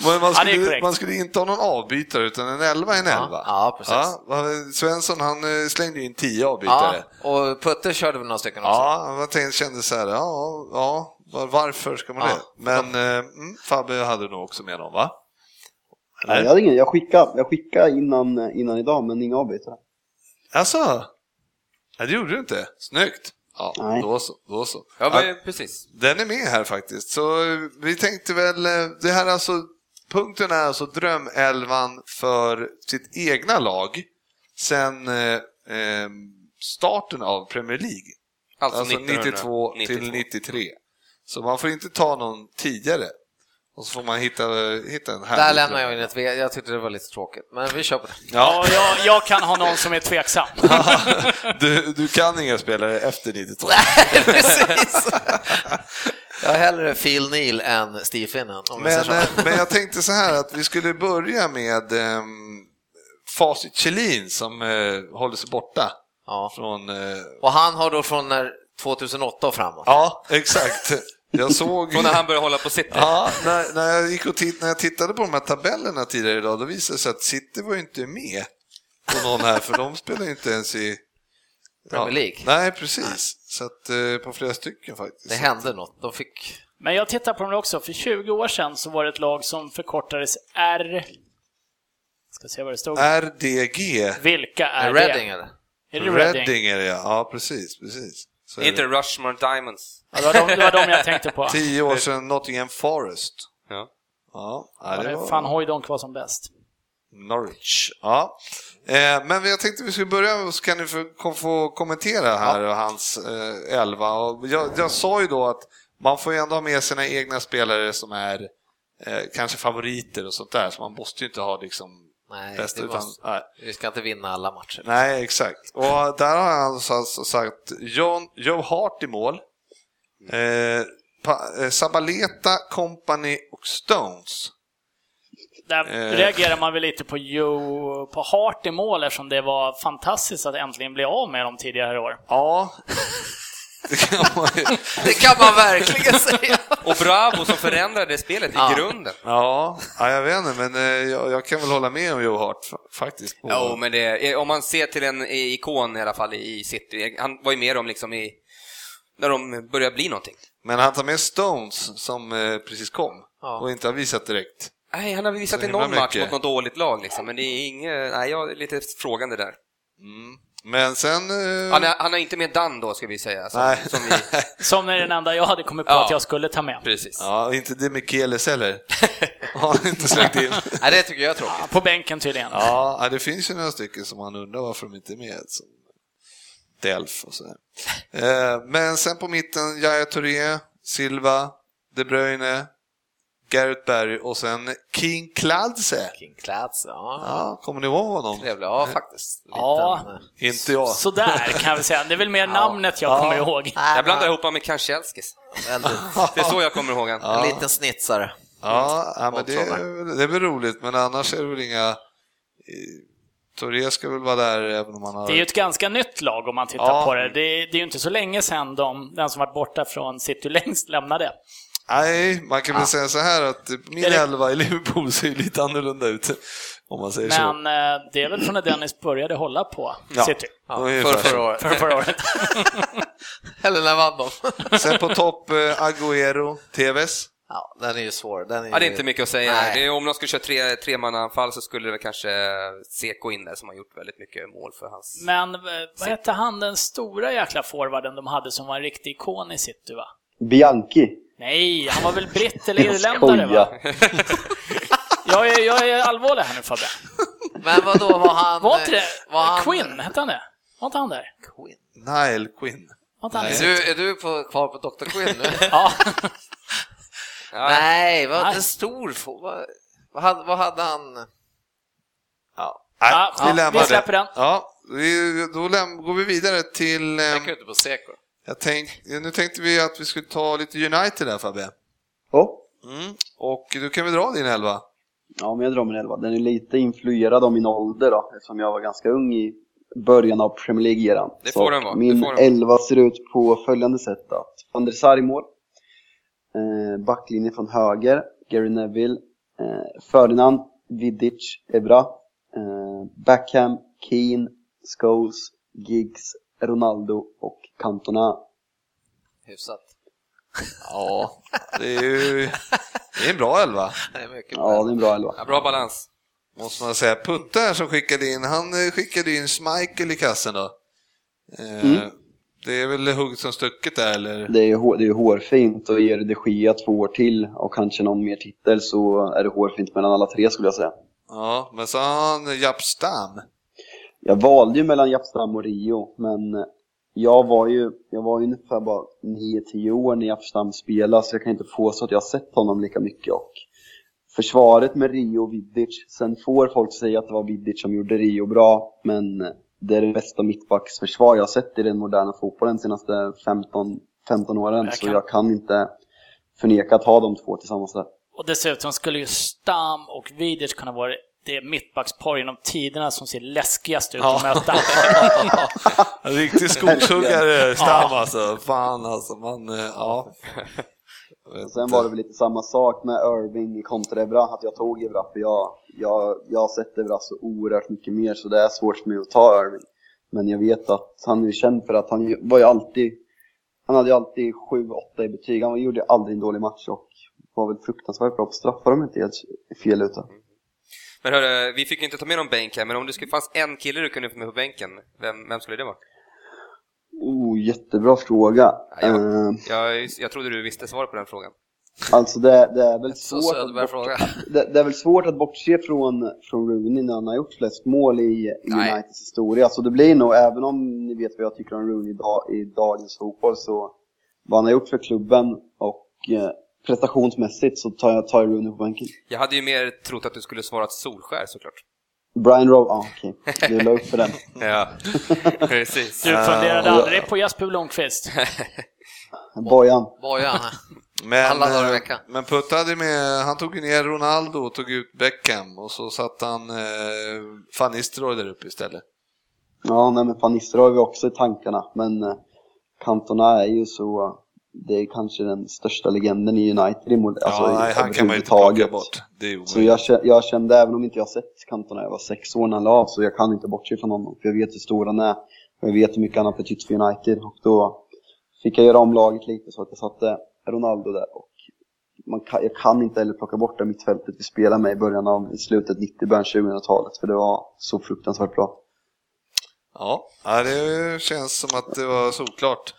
[SPEAKER 2] men man
[SPEAKER 3] Ja, det är
[SPEAKER 2] skulle,
[SPEAKER 3] korrekt.
[SPEAKER 2] man skulle inte ha någon avbytare, utan en elva är en elva.
[SPEAKER 5] ja, precis.
[SPEAKER 2] vad- Svensson han eh, slängde ju in tio
[SPEAKER 5] Ja,
[SPEAKER 2] avbytare.
[SPEAKER 5] och Putte körde väl några stycken också?
[SPEAKER 2] Ja, man tänkte, kände så här, ja, ja, var- varför ska man
[SPEAKER 5] Ja.
[SPEAKER 2] det? Men eh, mm, Fabbe hade nog också med dem, va?
[SPEAKER 4] Nej, jag, hade ingen, jag skickade, jag skickade innan, innan idag, men inga avbytare.
[SPEAKER 2] Alltså? Nej, det gjorde du inte. Snyggt! Ja,
[SPEAKER 4] Nej.
[SPEAKER 2] då så. Då så.
[SPEAKER 6] ja men, precis.
[SPEAKER 2] Den är med här faktiskt. Så eh, vi tänkte väl, eh, det här är alltså, punkten är alltså drömelvan för sitt egna lag sen eh, eh, starten av Premier League.
[SPEAKER 6] Alltså,
[SPEAKER 2] Alltså, 92 till 93. Så man får inte ta någon tidigare. Och så får man hitta, hitta en här.
[SPEAKER 5] Där lämnar jag in ett V, jag tyckte det var lite tråkigt, men vi kör på det.
[SPEAKER 3] Ja, jag, jag kan ha någon som är tveksam.
[SPEAKER 2] (laughs) Du, du kan inga spelare efter 92.
[SPEAKER 5] Precis! (laughs) Jag är hellre Phil Neal än Steve Finnan, om jag
[SPEAKER 2] Men,
[SPEAKER 5] säger
[SPEAKER 2] eh,
[SPEAKER 5] så.
[SPEAKER 2] men jag tänkte så här att vi skulle börja med eh, Facit Kjellin som eh, håller sig borta.
[SPEAKER 5] Ja.
[SPEAKER 2] Från, eh,
[SPEAKER 5] Och han har då från när 2008 och framåt.
[SPEAKER 2] ja, exakt. Jag såg...
[SPEAKER 6] Och när han började hålla på City.
[SPEAKER 2] Ja, när, när, jag gick och titt, när jag tittade på de här tabellerna tidigare idag, då visade det sig att City var ju inte med på någon här, för de spelar ju inte ens i...
[SPEAKER 5] Premier League.
[SPEAKER 2] Nej, precis. Så att, eh, på flera stycken faktiskt.
[SPEAKER 5] Det hände något. De fick...
[SPEAKER 3] Men jag tittar på dem också. För 20 år sedan så var det ett lag som förkortades R... Ska se vad det stod.
[SPEAKER 2] RDG,
[SPEAKER 3] Vilka är
[SPEAKER 5] Reading
[SPEAKER 3] det?
[SPEAKER 5] eller?
[SPEAKER 3] Är det Reading?
[SPEAKER 2] Reading är det ja. Ja, precis, precis. Så är
[SPEAKER 6] Inte
[SPEAKER 2] det.
[SPEAKER 6] Rushmore Diamonds.
[SPEAKER 3] Ja, det, var de, det var de jag tänkte
[SPEAKER 5] (laughs)
[SPEAKER 3] på.
[SPEAKER 2] Tio år sedan Nottingham Forest.
[SPEAKER 6] Ja.
[SPEAKER 2] Ja,
[SPEAKER 3] Ja,
[SPEAKER 2] ja
[SPEAKER 3] det
[SPEAKER 2] det
[SPEAKER 3] är fan
[SPEAKER 2] var
[SPEAKER 3] Hojdonk var som bäst.
[SPEAKER 2] Norwich. Ja. Eh, Men jag tänkte vi skulle börja och så kan ni få, kom- få kommentera här och hans eh, elva. Och jag, jag sa ju då att man får ju ändå ha med sina egna spelare som är eh, kanske favoriter och sånt där, så man måste ju inte ha liksom
[SPEAKER 5] Nej,
[SPEAKER 2] bästa.
[SPEAKER 5] det
[SPEAKER 2] Utan,
[SPEAKER 5] måste-
[SPEAKER 2] nej.
[SPEAKER 5] Vi ska inte vinna alla matcher.
[SPEAKER 2] Nej, exakt. Och där har han alltså sagt John, Joe Hart i mål, eh, pa, eh, Sabaleta, Company och Stones.
[SPEAKER 3] Där
[SPEAKER 2] Eh.
[SPEAKER 3] reagerar man väl lite på Joe, på Hart i mål eftersom det var fantastiskt att äntligen bli av med dem tidigare år.
[SPEAKER 2] Ja, det kan man ju.
[SPEAKER 5] (laughs) Det kan man verkligen säga!
[SPEAKER 6] Och Bravo som förändrade spelet i grunden.
[SPEAKER 2] Ja, ja, jag vet inte, men eh, jag, jag kan väl hålla med om Joe Hart fa- faktiskt. På,
[SPEAKER 6] Jo, men det, eh, om man ser till en i- ikon i alla fall i i City, han var ju med dem liksom i, när de började bli någonting.
[SPEAKER 2] Men han tar med Stones som eh, precis kom
[SPEAKER 5] Ja.
[SPEAKER 2] och inte har visat direkt.
[SPEAKER 6] Nej, han har väl visat
[SPEAKER 2] Så
[SPEAKER 6] i
[SPEAKER 2] himla
[SPEAKER 6] någon match
[SPEAKER 2] mycket.
[SPEAKER 6] mot något dåligt lag liksom, men det är inget, nej jag är lite frågande där.
[SPEAKER 2] Mm. Men sen... eh,
[SPEAKER 6] Han, är, han har inte med Dan då, ska vi säga. Som,
[SPEAKER 2] Nej.
[SPEAKER 6] Som vi,
[SPEAKER 2] (laughs)
[SPEAKER 3] Som är den enda jag hade kommit på
[SPEAKER 6] Ja.
[SPEAKER 3] att jag skulle ta med.
[SPEAKER 6] precis.
[SPEAKER 2] Ja, inte det med Keles heller. (laughs) Har han inte slängt in.
[SPEAKER 5] Nej, det tycker jag är tråkigt.
[SPEAKER 3] På bänken tydligen.
[SPEAKER 2] Ja, ja, det finns ju några stycken som man undrar varför de inte är med. Som Delf och sådär. Eh, Men sen på mitten, Jaya Touré, Silva, De Bruyne, Gareth Barry och sen King Kladze.
[SPEAKER 5] King Clads, ja.
[SPEAKER 2] Ja, kommer ni ihåg honom?
[SPEAKER 5] Trevlig, ja faktiskt. Liten,
[SPEAKER 3] Ja.
[SPEAKER 5] eh,
[SPEAKER 2] Inte jag.
[SPEAKER 3] Sådär kan vi säga. Det är väl mer namnet jag kommer ihåg.
[SPEAKER 6] Jag blandar ihop honom med Kanchielskis.
[SPEAKER 5] eh, väldigt-
[SPEAKER 6] Det är så jag kommer ihåg honom.
[SPEAKER 5] En liten snitsare.
[SPEAKER 2] Ja, ja men det,
[SPEAKER 5] Åtrådda.
[SPEAKER 2] är väl- det är väl roligt, men annars är det väl inga... eh, Touré ska väl vara där även om han har...
[SPEAKER 3] Det är ju ett ganska nytt lag om man tittar
[SPEAKER 2] Ja.
[SPEAKER 3] på det. det. är- Det är ju inte så länge sedan de, den som varit borta från City längst lämnade.
[SPEAKER 2] Nej, man kan väl säga så här att min
[SPEAKER 3] Ah. Eller-
[SPEAKER 2] elva i Liverpool ser ju lite annorlunda ut. Om man säger så.
[SPEAKER 3] Men eh, det är väl från när Dennis började hålla på
[SPEAKER 2] Ja.
[SPEAKER 3] City.
[SPEAKER 2] Ja,
[SPEAKER 5] För,
[SPEAKER 2] ungefär så.
[SPEAKER 5] förra året.
[SPEAKER 3] För förra året.
[SPEAKER 5] (laughs) Eller när vann de?
[SPEAKER 2] Sen på topp, eh, Agüero, Tevez.
[SPEAKER 5] Ja, den är ju svår. Den är
[SPEAKER 6] Ja, det är
[SPEAKER 5] ju-
[SPEAKER 6] inte mycket att säga.
[SPEAKER 5] Nej.
[SPEAKER 6] Det är, om de skulle köra tre, tre så skulle det väl kanske Seko in där som har gjort väldigt mycket mål för hans...
[SPEAKER 3] Men eh, vad hette han den stora jäkla forwarden de hade som var en riktig ikon i City va?
[SPEAKER 4] Bianchi.
[SPEAKER 3] Nej, han var väl britt eller
[SPEAKER 4] Jag
[SPEAKER 3] irländare va?
[SPEAKER 4] skojar.
[SPEAKER 3] Jag är, jag är allvarlig här nu Fabbe.
[SPEAKER 5] Men vad då var han...
[SPEAKER 3] Var inte det
[SPEAKER 5] var han-
[SPEAKER 3] Quinn? Hette han det? Var inte han där?
[SPEAKER 5] Quinn.
[SPEAKER 2] Nile Quinn.
[SPEAKER 3] Var inte han
[SPEAKER 5] Är
[SPEAKER 3] där?
[SPEAKER 5] du, är du på, kvar på Dr. Quinn (laughs) nu?
[SPEAKER 3] Ja,
[SPEAKER 5] Nej, vad
[SPEAKER 3] Nej.
[SPEAKER 5] en stor... fo- Vad, vad, hade, vad hade han?
[SPEAKER 2] Ja. Nej,
[SPEAKER 3] Ja, ja, vi
[SPEAKER 2] lämnar det.
[SPEAKER 3] släpper den.
[SPEAKER 2] Ja, vi, då läm- går vi vidare till... ehm,
[SPEAKER 5] Jag inte på Seko.
[SPEAKER 2] jag tänk, eh, nu tänkte vi att vi skulle ta lite United där Fabbe.
[SPEAKER 4] Ja.
[SPEAKER 2] Och du kan väl dra din elva?
[SPEAKER 4] Ja, men jag drar min elva. Den är lite influerad av min ålder då, eftersom jag var ganska ung i början av Premier League-eran.
[SPEAKER 6] Det
[SPEAKER 4] Så
[SPEAKER 6] får den vara, det
[SPEAKER 4] Min
[SPEAKER 6] får den vara.
[SPEAKER 4] elva ser ut på följande sätt då. Van der Sar i mål. Eh, backlinje från höger, Gary Neville. Eh, Ferdinand, Vidic, Evra. Eh, Beckham, Keane, Scholes, Giggs, Ronaldo och Cantona.
[SPEAKER 5] Hyfsat.
[SPEAKER 2] Ja. Det är ju det är en bra elva,
[SPEAKER 5] Det är mycket
[SPEAKER 4] Ja, det är en bra elva.
[SPEAKER 6] Ja, bra balans.
[SPEAKER 2] måste man säga. Putte här som skickade in, han eh, skickade in Schmeichel i kassen då. Eh,
[SPEAKER 3] Mm.
[SPEAKER 2] Det är väl hugget som stucket där eller?
[SPEAKER 4] Det är, ju hår, det är ju hårfint och ger de Gea två år till och kanske någon mer titel så är det hårfint mellan alla tre skulle jag säga.
[SPEAKER 2] Ja, men så har han Japp Stam.
[SPEAKER 4] Jag valde ju mellan Japstam och Rio, men jag var ju, jag var ju ungefär bara 9-10 år när Japstam spelade så jag kan inte påstå att jag har sett honom lika mycket. Och försvaret med Rio och Vidic, sen får folk säga att det var Vidic som gjorde Rio bra, men det är det bästa mittbacksförsvar jag har sett i den moderna fotbollen de senaste 15, 15 åren,
[SPEAKER 3] Jag
[SPEAKER 4] så
[SPEAKER 3] kan-
[SPEAKER 4] jag kan inte förneka att ha de två tillsammans där.
[SPEAKER 3] och dessutom skulle ju Stam och Vidic kunna vara det mittbackspar genom tiderna som ser läskigast ut att möta.
[SPEAKER 2] En Riktig skogshuggare, Stam alltså. Fan alltså, man, eh, ja. vet
[SPEAKER 4] Sen
[SPEAKER 2] inte.
[SPEAKER 4] var det väl lite samma sak med Irving kontra Evra, att jag tog Evra för jag, jag, jag har sett Evra så oerhört mycket mer så det är svårt för mig att ta Irving. Men jag vet att han är ju känd för att han ju- var ju alltid, han hade ju alltid 7-8 i betyg, han gjorde ju aldrig en dålig match och var väl fruktansvärt bra på straffar om jag inte helt fel ute.
[SPEAKER 6] Mm. Men hörru, vi fick ju inte ta med någon bänk här, men om det skulle fanns en kille du kunde få med på bänken, vem, vem skulle det vara?
[SPEAKER 4] Oh, jättebra fråga.
[SPEAKER 6] Ja, ja.
[SPEAKER 4] Eh,
[SPEAKER 6] Jag, jag trodde du visste svaret på den frågan.
[SPEAKER 4] Alltså det, det är väl
[SPEAKER 5] Så
[SPEAKER 4] svårt att
[SPEAKER 5] Söderberg
[SPEAKER 4] bort,
[SPEAKER 5] fråga.
[SPEAKER 4] det, det är väl svårt att bortse från, från Rooney när han har gjort flest mål i i
[SPEAKER 5] Nej.
[SPEAKER 4] Uniteds historia. Så det blir nog, även om ni vet vad jag tycker om Rooney i dag, i dagens fotboll, så vad han har gjort för klubben och eh, prestationsmässigt så tar jag, tar jag Rooney på bänken.
[SPEAKER 6] Jag hade ju mer trott att du skulle svara Solskär såklart.
[SPEAKER 4] Brian Rowe, ah, okej. Du la upp
[SPEAKER 2] (laughs)
[SPEAKER 4] för den.
[SPEAKER 5] Mm.
[SPEAKER 6] Ja, (laughs) precis.
[SPEAKER 3] Du funderade aldrig på Jasper Blomqvist?
[SPEAKER 4] Bojan.
[SPEAKER 5] Bojan.
[SPEAKER 2] Men,
[SPEAKER 5] Alla dagar i
[SPEAKER 2] eh,
[SPEAKER 5] veckan.
[SPEAKER 2] Men Putte hade med, han tog ju ner Ronaldo och tog ut Beckham och så satte han eh, Van Nistelrooy där uppe istället.
[SPEAKER 4] Ja, nej men Van Nistelrooy har vi också i tankarna, men eh, Cantona är ju så, det är kanske den största legenden i United i mål, alltså
[SPEAKER 2] ja,
[SPEAKER 4] i-
[SPEAKER 2] nej, han kan man ju inte
[SPEAKER 4] överhuvudtaget.
[SPEAKER 2] plocka bort. Det är ju
[SPEAKER 4] Så jag, kä- jag kände, även om inte jag sett Cantona, jag var sex år när han la av, så jag kan inte bortse från honom. För jag vet hur stor han är, och jag vet hur mycket han har betytt för United. Och då fick jag göra om laget lite så att jag satte Ronaldo där. Och man kan, jag kan inte heller plocka bort det mittfältet vi spelade med i början av, i slutet 90, början 2000-talet, för det var så fruktansvärt bra.
[SPEAKER 2] Ja, ja, det känns som att det var solklart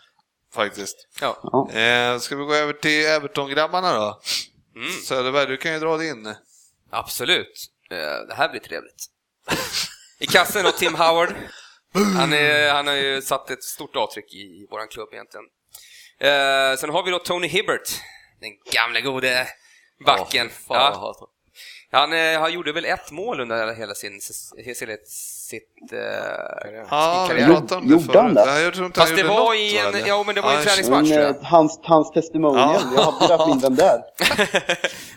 [SPEAKER 2] faktiskt.
[SPEAKER 6] Ja.
[SPEAKER 4] Ja.
[SPEAKER 2] Eh, ska vi gå över till Everton-grabbarna då?
[SPEAKER 6] Mm.
[SPEAKER 2] Söderberg, du kan ju dra din.
[SPEAKER 6] Absolut. Eh, Det här blir trevligt. I kassen då, Tim Howard. Han, är, han har ju satt ett stort avtryck i vår klubb egentligen. Eh, sen har vi då Tony Hibbert, den gamle gode backen.
[SPEAKER 5] Åh, fan, jag
[SPEAKER 6] ja.
[SPEAKER 5] hatar honom.
[SPEAKER 6] han, eh, han gjorde väl ett mål under hela sin, hela sitt, eh,
[SPEAKER 2] Ja,
[SPEAKER 6] sin
[SPEAKER 2] vi (laughs)
[SPEAKER 6] karriär.
[SPEAKER 2] pratade om det
[SPEAKER 4] Gjorde han
[SPEAKER 2] förut.
[SPEAKER 4] det?
[SPEAKER 2] Nej, jag tror inte
[SPEAKER 6] Fast
[SPEAKER 2] han
[SPEAKER 6] det
[SPEAKER 2] gjorde
[SPEAKER 6] var
[SPEAKER 2] något,
[SPEAKER 6] i en,
[SPEAKER 2] eller?
[SPEAKER 6] ja, men det var ju
[SPEAKER 2] Nej,
[SPEAKER 6] en
[SPEAKER 4] Men,
[SPEAKER 6] träningsmatch tror jag.
[SPEAKER 4] eh, hans, hans testimonial,
[SPEAKER 2] Ja.
[SPEAKER 4] jag hade haft in den där.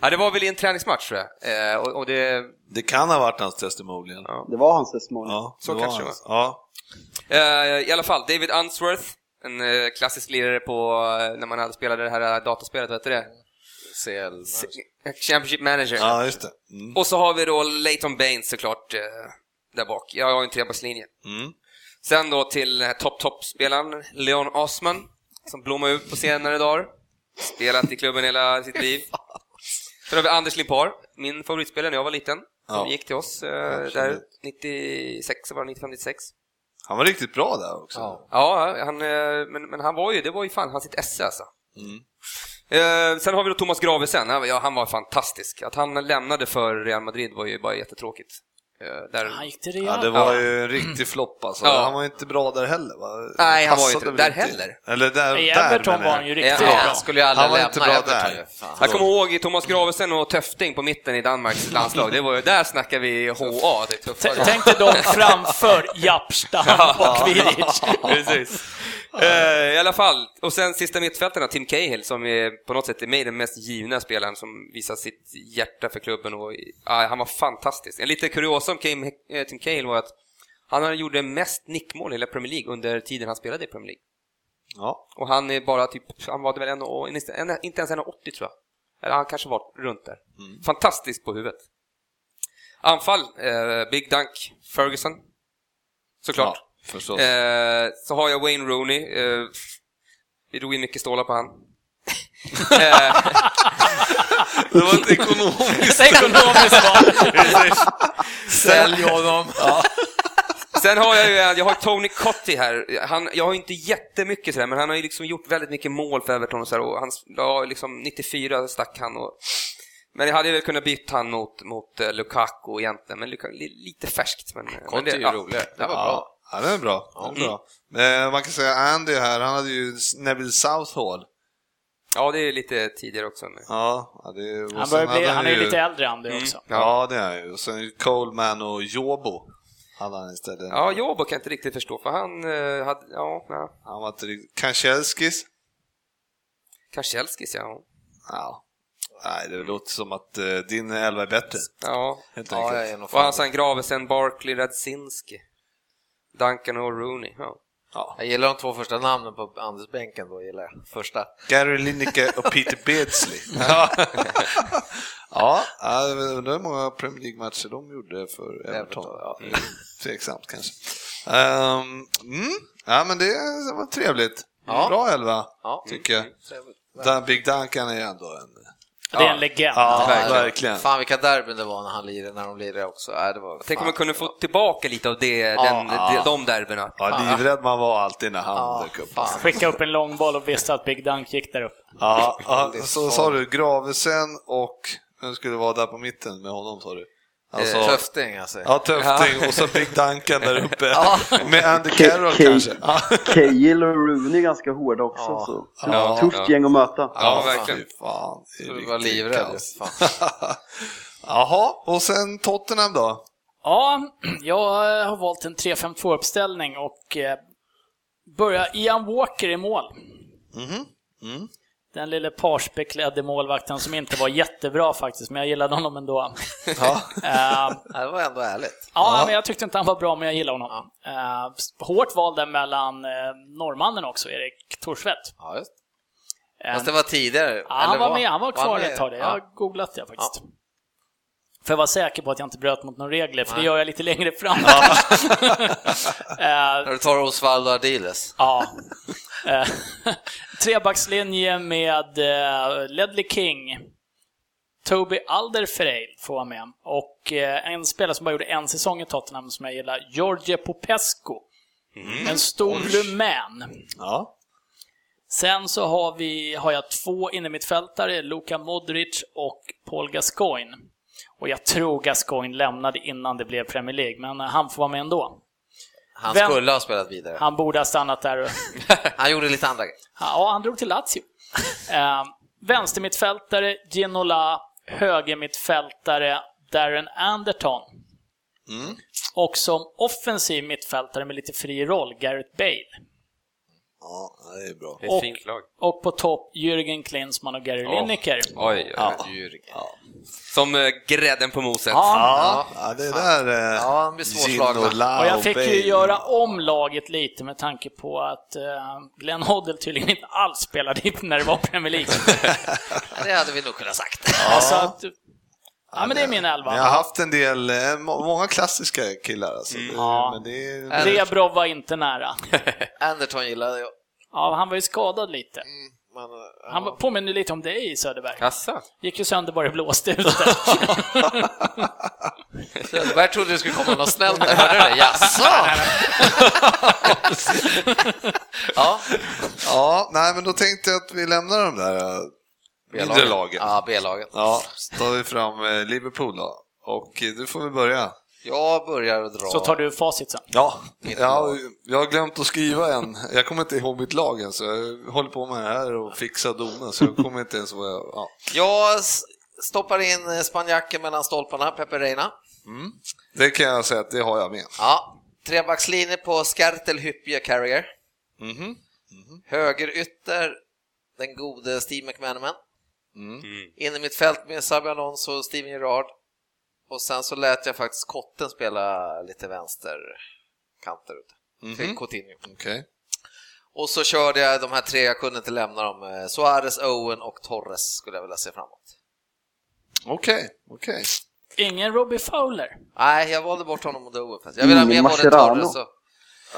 [SPEAKER 6] Ja, det var väl i en träningsmatch tror jag. Eh, och, och det,
[SPEAKER 2] Det kan ha varit hans testimonial. Ja,
[SPEAKER 4] Det var hans testimonial.
[SPEAKER 6] Så
[SPEAKER 2] det var
[SPEAKER 6] kanske det
[SPEAKER 2] hans. Ja.
[SPEAKER 6] Eh, I alla fall, David Unsworth, en eh, klassisk lirare på eh, när man hade spelat det här eh, dataspelet, vad heter det?
[SPEAKER 5] CL.
[SPEAKER 6] Championship Manager.
[SPEAKER 2] ja, just det. Mm.
[SPEAKER 6] Och så har vi då Leighton Baines såklart eh, där bak. Jag har ju en trebackslinje.
[SPEAKER 2] Mm.
[SPEAKER 6] Sen då till eh, topp-topp-spelaren Leon Osman, som blommar ut på senare dagar. Spelat i klubben hela sitt liv. Sen har vi Anders Limpar, min favoritspelare när jag var liten. Som
[SPEAKER 2] Ja.
[SPEAKER 6] gick till oss eh,
[SPEAKER 2] Absolut.
[SPEAKER 6] där 96, var det 95, 96?
[SPEAKER 2] Han var riktigt bra där också.
[SPEAKER 6] Ja, han, eh, men, men han var ju, det var ju fan hans sitt esse alltså.
[SPEAKER 2] Mm.
[SPEAKER 6] Eh, sen har vi då Thomas Gravesen, han, ja, han var fantastisk. Att han lämnade för Real Madrid var ju bara jättetråkigt. Eh, där...
[SPEAKER 3] Han gick till Real.
[SPEAKER 2] Ja, det var ju en riktig flopp alltså.
[SPEAKER 6] Ja.
[SPEAKER 2] Han var inte bra där heller va?
[SPEAKER 6] Nej, han var ju
[SPEAKER 2] Passade
[SPEAKER 6] inte där
[SPEAKER 2] väl
[SPEAKER 6] heller.
[SPEAKER 2] Eller där,
[SPEAKER 3] I
[SPEAKER 2] där
[SPEAKER 3] Everton
[SPEAKER 2] menar
[SPEAKER 3] var
[SPEAKER 2] jag.
[SPEAKER 3] han ju
[SPEAKER 6] Ja,
[SPEAKER 3] riktigt
[SPEAKER 6] Eh, ja.
[SPEAKER 3] bra.
[SPEAKER 5] Han skulle ju aldrig
[SPEAKER 2] Han var
[SPEAKER 5] lämna
[SPEAKER 2] inte bra
[SPEAKER 5] Everton
[SPEAKER 2] där.
[SPEAKER 5] ju. Fan.
[SPEAKER 6] jag kommer ihåg Thomas Gravesen och Töfting på mitten i Danmarks landslag. Det var ju, där snackar vi HA, det är tuffa.
[SPEAKER 3] T- Tänk dig de framför Japstam (laughs) och Vidic.
[SPEAKER 6] (laughs) Precis. Eh, I alla fall, och sen sista mittfältarna, Tim Cahill, som är på något sätt är mig den mest givna spelaren som visar sitt hjärta för klubben. Och, ah, han var fantastisk. En lite kuriosa om Kim, eh, Tim Cahill var att han gjorde mest nickmål i hela Premier League under tiden han spelade i Premier League.
[SPEAKER 2] Ja.
[SPEAKER 6] Och han är bara typ, han var väl en, och- en, en, inte ens 1,80 tror jag. Eller han kanske var runt där. Fantastisk på huvudet. Anfall, eh, Big Dunk, Ferguson.
[SPEAKER 2] (laughs)
[SPEAKER 6] Såklart.
[SPEAKER 2] ja, förstås.
[SPEAKER 6] Eh, så har jag Wayne Rooney. Eh, vi drog in mycket stålar på han. Eh,
[SPEAKER 2] Det var ett ekonomiskt...
[SPEAKER 3] Ekonomiskt val.
[SPEAKER 5] Sälj honom!
[SPEAKER 6] sen har jag ju en- jag har Tony Cotti här. Han, jag har inte jättemycket sådär, men han har ju liksom gjort väldigt mycket mål för Everton och sådär. Och han la liksom 94 stack han. Och, men jag hade väl kunnat byta han mot, mot eh, Lukaku egentligen, men Lukaku, li, lite färskt. Men, men
[SPEAKER 5] Conte är ju
[SPEAKER 6] ja.
[SPEAKER 5] roligare. Det var bra.
[SPEAKER 2] Ja, ja, det är bra. Det är bra. Eh, man kan säga Andy här, han hade ju Neville Southall.
[SPEAKER 6] Ja, det är lite tidigare också. Men.
[SPEAKER 2] Ja, ja, Mm. det, och
[SPEAKER 3] Han,
[SPEAKER 2] sen
[SPEAKER 3] börjar bli,
[SPEAKER 2] hade
[SPEAKER 3] han är ju lite äldre än du också.
[SPEAKER 2] Ja, det är han ju. Och sen Coleman och Jobo hade han istället.
[SPEAKER 6] Ja, Jobo kan jag inte riktigt förstå, för han eh, hade, ja, nej.
[SPEAKER 2] Han var inte riktigt... Kanchelskis?
[SPEAKER 6] Karselskis, ja.
[SPEAKER 2] Ja. Nej, det låter som att eh, din elva är bättre.
[SPEAKER 6] Ja,
[SPEAKER 2] Helt
[SPEAKER 5] Ja, jag
[SPEAKER 2] enkelt.
[SPEAKER 5] är nog
[SPEAKER 6] Och han
[SPEAKER 5] fan.
[SPEAKER 6] sen Gravesen, Barkley, Radzinski, Duncan och Rooney. Ja.
[SPEAKER 5] Jag gillar de två första namnen på Anders-bänken då, gillar jag. Första.
[SPEAKER 2] Gary Lineker och Peter Beardsley. ja, jag undrar hur många Premier League-matcher de gjorde för Everton. Ja, det är Tveksamt kanske. Ehm, mm, ja, men det var trevligt.
[SPEAKER 5] Ja.
[SPEAKER 2] Bra elva,
[SPEAKER 5] Ja.
[SPEAKER 2] tycker jag. Dan Big Duncan är ändå en...
[SPEAKER 3] Det är en legend.
[SPEAKER 2] Ja, verkligen.
[SPEAKER 5] Fan vilka derbyn det var när han lirade, när de lirade också. Äh, det var,
[SPEAKER 6] Tänk om
[SPEAKER 5] fan.
[SPEAKER 6] man kunde få tillbaka lite av det, den, de, de derbyna.
[SPEAKER 2] Ja, livrädd man var alltid när han
[SPEAKER 5] Ja,
[SPEAKER 2] dök upp.
[SPEAKER 5] fan.
[SPEAKER 3] Skicka upp en lång boll och visste att Big Dunk gick där upp.
[SPEAKER 2] Ja, ja, så sa du Gravesen och vem skulle vara där på mitten med honom sa du?
[SPEAKER 5] Eh, Töfting alltså.
[SPEAKER 2] Ja, Töfting och så Big Duncan där uppe. Med Andy Carroll
[SPEAKER 4] Ke-
[SPEAKER 2] kanske. Ja,
[SPEAKER 4] Cahill och Rooney är ganska hårda också. Så.
[SPEAKER 6] Ja.
[SPEAKER 4] Tufft gäng att möta.
[SPEAKER 6] Ja,
[SPEAKER 2] fan,
[SPEAKER 6] verkligen.
[SPEAKER 2] fy Fan, det är
[SPEAKER 5] Du var
[SPEAKER 2] riktigt
[SPEAKER 5] livrädd. alltså.
[SPEAKER 2] kaos.
[SPEAKER 5] Fan.
[SPEAKER 2] (laughs) Jaha, och sen Tottenham då?
[SPEAKER 3] Ja, (clears throat) jag eh, har valt en 3-5-2-uppställning och eh, börjar Ian Walker i mål.
[SPEAKER 5] Mhm, mm.
[SPEAKER 3] Den lille parsbeklädde målvakten som inte var jättebra faktiskt, men jag gillade honom ändå. Eh,
[SPEAKER 5] (laughs) Ja, Det var ändå ärligt.
[SPEAKER 3] Ja, men jag tyckte inte han var bra, men jag gillar honom. Eh, hårt val där mellan eh, norrmannen också, Erik Thorsvedt.
[SPEAKER 5] Ja, just.
[SPEAKER 3] Eh,
[SPEAKER 5] Fast det var tidigare.
[SPEAKER 3] ja, han
[SPEAKER 5] eller
[SPEAKER 3] var med, han var kvar
[SPEAKER 5] med?
[SPEAKER 3] ett tag. där. Jag
[SPEAKER 5] Ja.
[SPEAKER 3] har googlat det faktiskt. För jag var säker på att jag inte bröt mot några regler, för det gör jag lite längre fram. Eh,
[SPEAKER 5] När du tar Osvaldo Ardiles.
[SPEAKER 3] Ja. Eh, (laughs) Trebackslinje med eh, Ledley King, Toby Alderfereil får vara med och eh, en spelare som bara gjorde en säsong i Tottenham som jag gillar, George Popescu. En stor rumän.
[SPEAKER 2] Ja.
[SPEAKER 3] Sen så har, vi, har jag två innermittfältare, Luka Modric och Paul Gascoigne. Och jag tror Gascoigne lämnade innan det blev Premier League, men eh, han får vara med ändå.
[SPEAKER 5] Han
[SPEAKER 3] Vem-
[SPEAKER 5] skulle ha spelat vidare. (laughs) Han,
[SPEAKER 3] Han borde ha stannat där och
[SPEAKER 5] gjorde lite andra grejer.
[SPEAKER 3] Ja, han drog till Lazio. Eh, vänstermittfältare Ginola, högermittfältare Darren Anderton. Och som offensiv mittfältare med lite fri roll, Gareth Bale.
[SPEAKER 2] Ja, det är bra.
[SPEAKER 6] Det är ett
[SPEAKER 3] Och-
[SPEAKER 6] fint lag.
[SPEAKER 3] Och på topp, Jürgen Klinsmann och Gary Lineker.
[SPEAKER 6] Oj, oj, oj. Som eh, grädden på moset.
[SPEAKER 2] Ja, ja det där... eh,
[SPEAKER 5] Ja, han blir svårslagen.
[SPEAKER 2] Ginola
[SPEAKER 3] Och jag fick
[SPEAKER 2] Bale.
[SPEAKER 3] ju göra om laget lite med tanke på att eh, Glenn Hoddle tydligen inte alls spelade in när det var Premier League.
[SPEAKER 5] Det hade vi nog kunnat sagt. (laughs)
[SPEAKER 3] Alltså att, ja, men det är min elva.
[SPEAKER 2] Men jag har haft en del, eh, må- många klassiska killar alltså. Det-
[SPEAKER 3] Mm. Ja.
[SPEAKER 2] Men det är...
[SPEAKER 3] Rebrov var inte nära.
[SPEAKER 5] Anderton gillade jag.
[SPEAKER 3] Ja, han var ju skadad lite.
[SPEAKER 5] Men, ja.
[SPEAKER 3] Han påminner lite om dig i Söderberg.
[SPEAKER 6] Kassa.
[SPEAKER 3] Gick ju sönder bara det
[SPEAKER 2] (laughs)
[SPEAKER 3] blåste ut.
[SPEAKER 5] Söderberg trodde det skulle komma något snällt där, hörde du
[SPEAKER 3] (laughs)
[SPEAKER 5] det? Jaså? (laughs) ja,
[SPEAKER 2] Ja, nej men då tänkte jag att vi lämnar de där eh, mindre lagen.
[SPEAKER 5] Ja, B-lagen.
[SPEAKER 2] Ja, så tar vi fram eh, Liverpool då. Och eh, du får vi börja.
[SPEAKER 5] Jag börjar dra.
[SPEAKER 3] Så tar du facit sen.
[SPEAKER 2] Ja, jag, jag har glömt att skriva en. Jag kommer inte ihåg mitt lag än, så jag håller på med det här och fixar domen, så jag kommer inte ens vad jag... Ja.
[SPEAKER 5] Jag s- stoppar in eh, spanjacken mellan stolparna, Pepe Reina.
[SPEAKER 2] Det kan jag säga att det har jag med.
[SPEAKER 5] Ja, trebackslinje på Skartel Hyppie Carrier. Högerytter, den gode Steve McManaman. In i mitt fält med Xabi Alonso och Steven Gerrard. Och sen så lät jag faktiskt Kotten spela lite vänsterkant där ute. Fick Coutinho.
[SPEAKER 2] Okej.
[SPEAKER 5] Och så körde jag de här tre, jag kunde inte lämna dem. eh, Suarez, Owen och Torres skulle jag vilja se framåt.
[SPEAKER 2] Okej, okej.
[SPEAKER 3] Ingen Robbie Fowler.
[SPEAKER 5] Nej, jag valde bort honom mot Owen. faktiskt. Jag vill ha med
[SPEAKER 4] Mm,
[SPEAKER 5] både
[SPEAKER 4] Mascherano.
[SPEAKER 5] Torres och...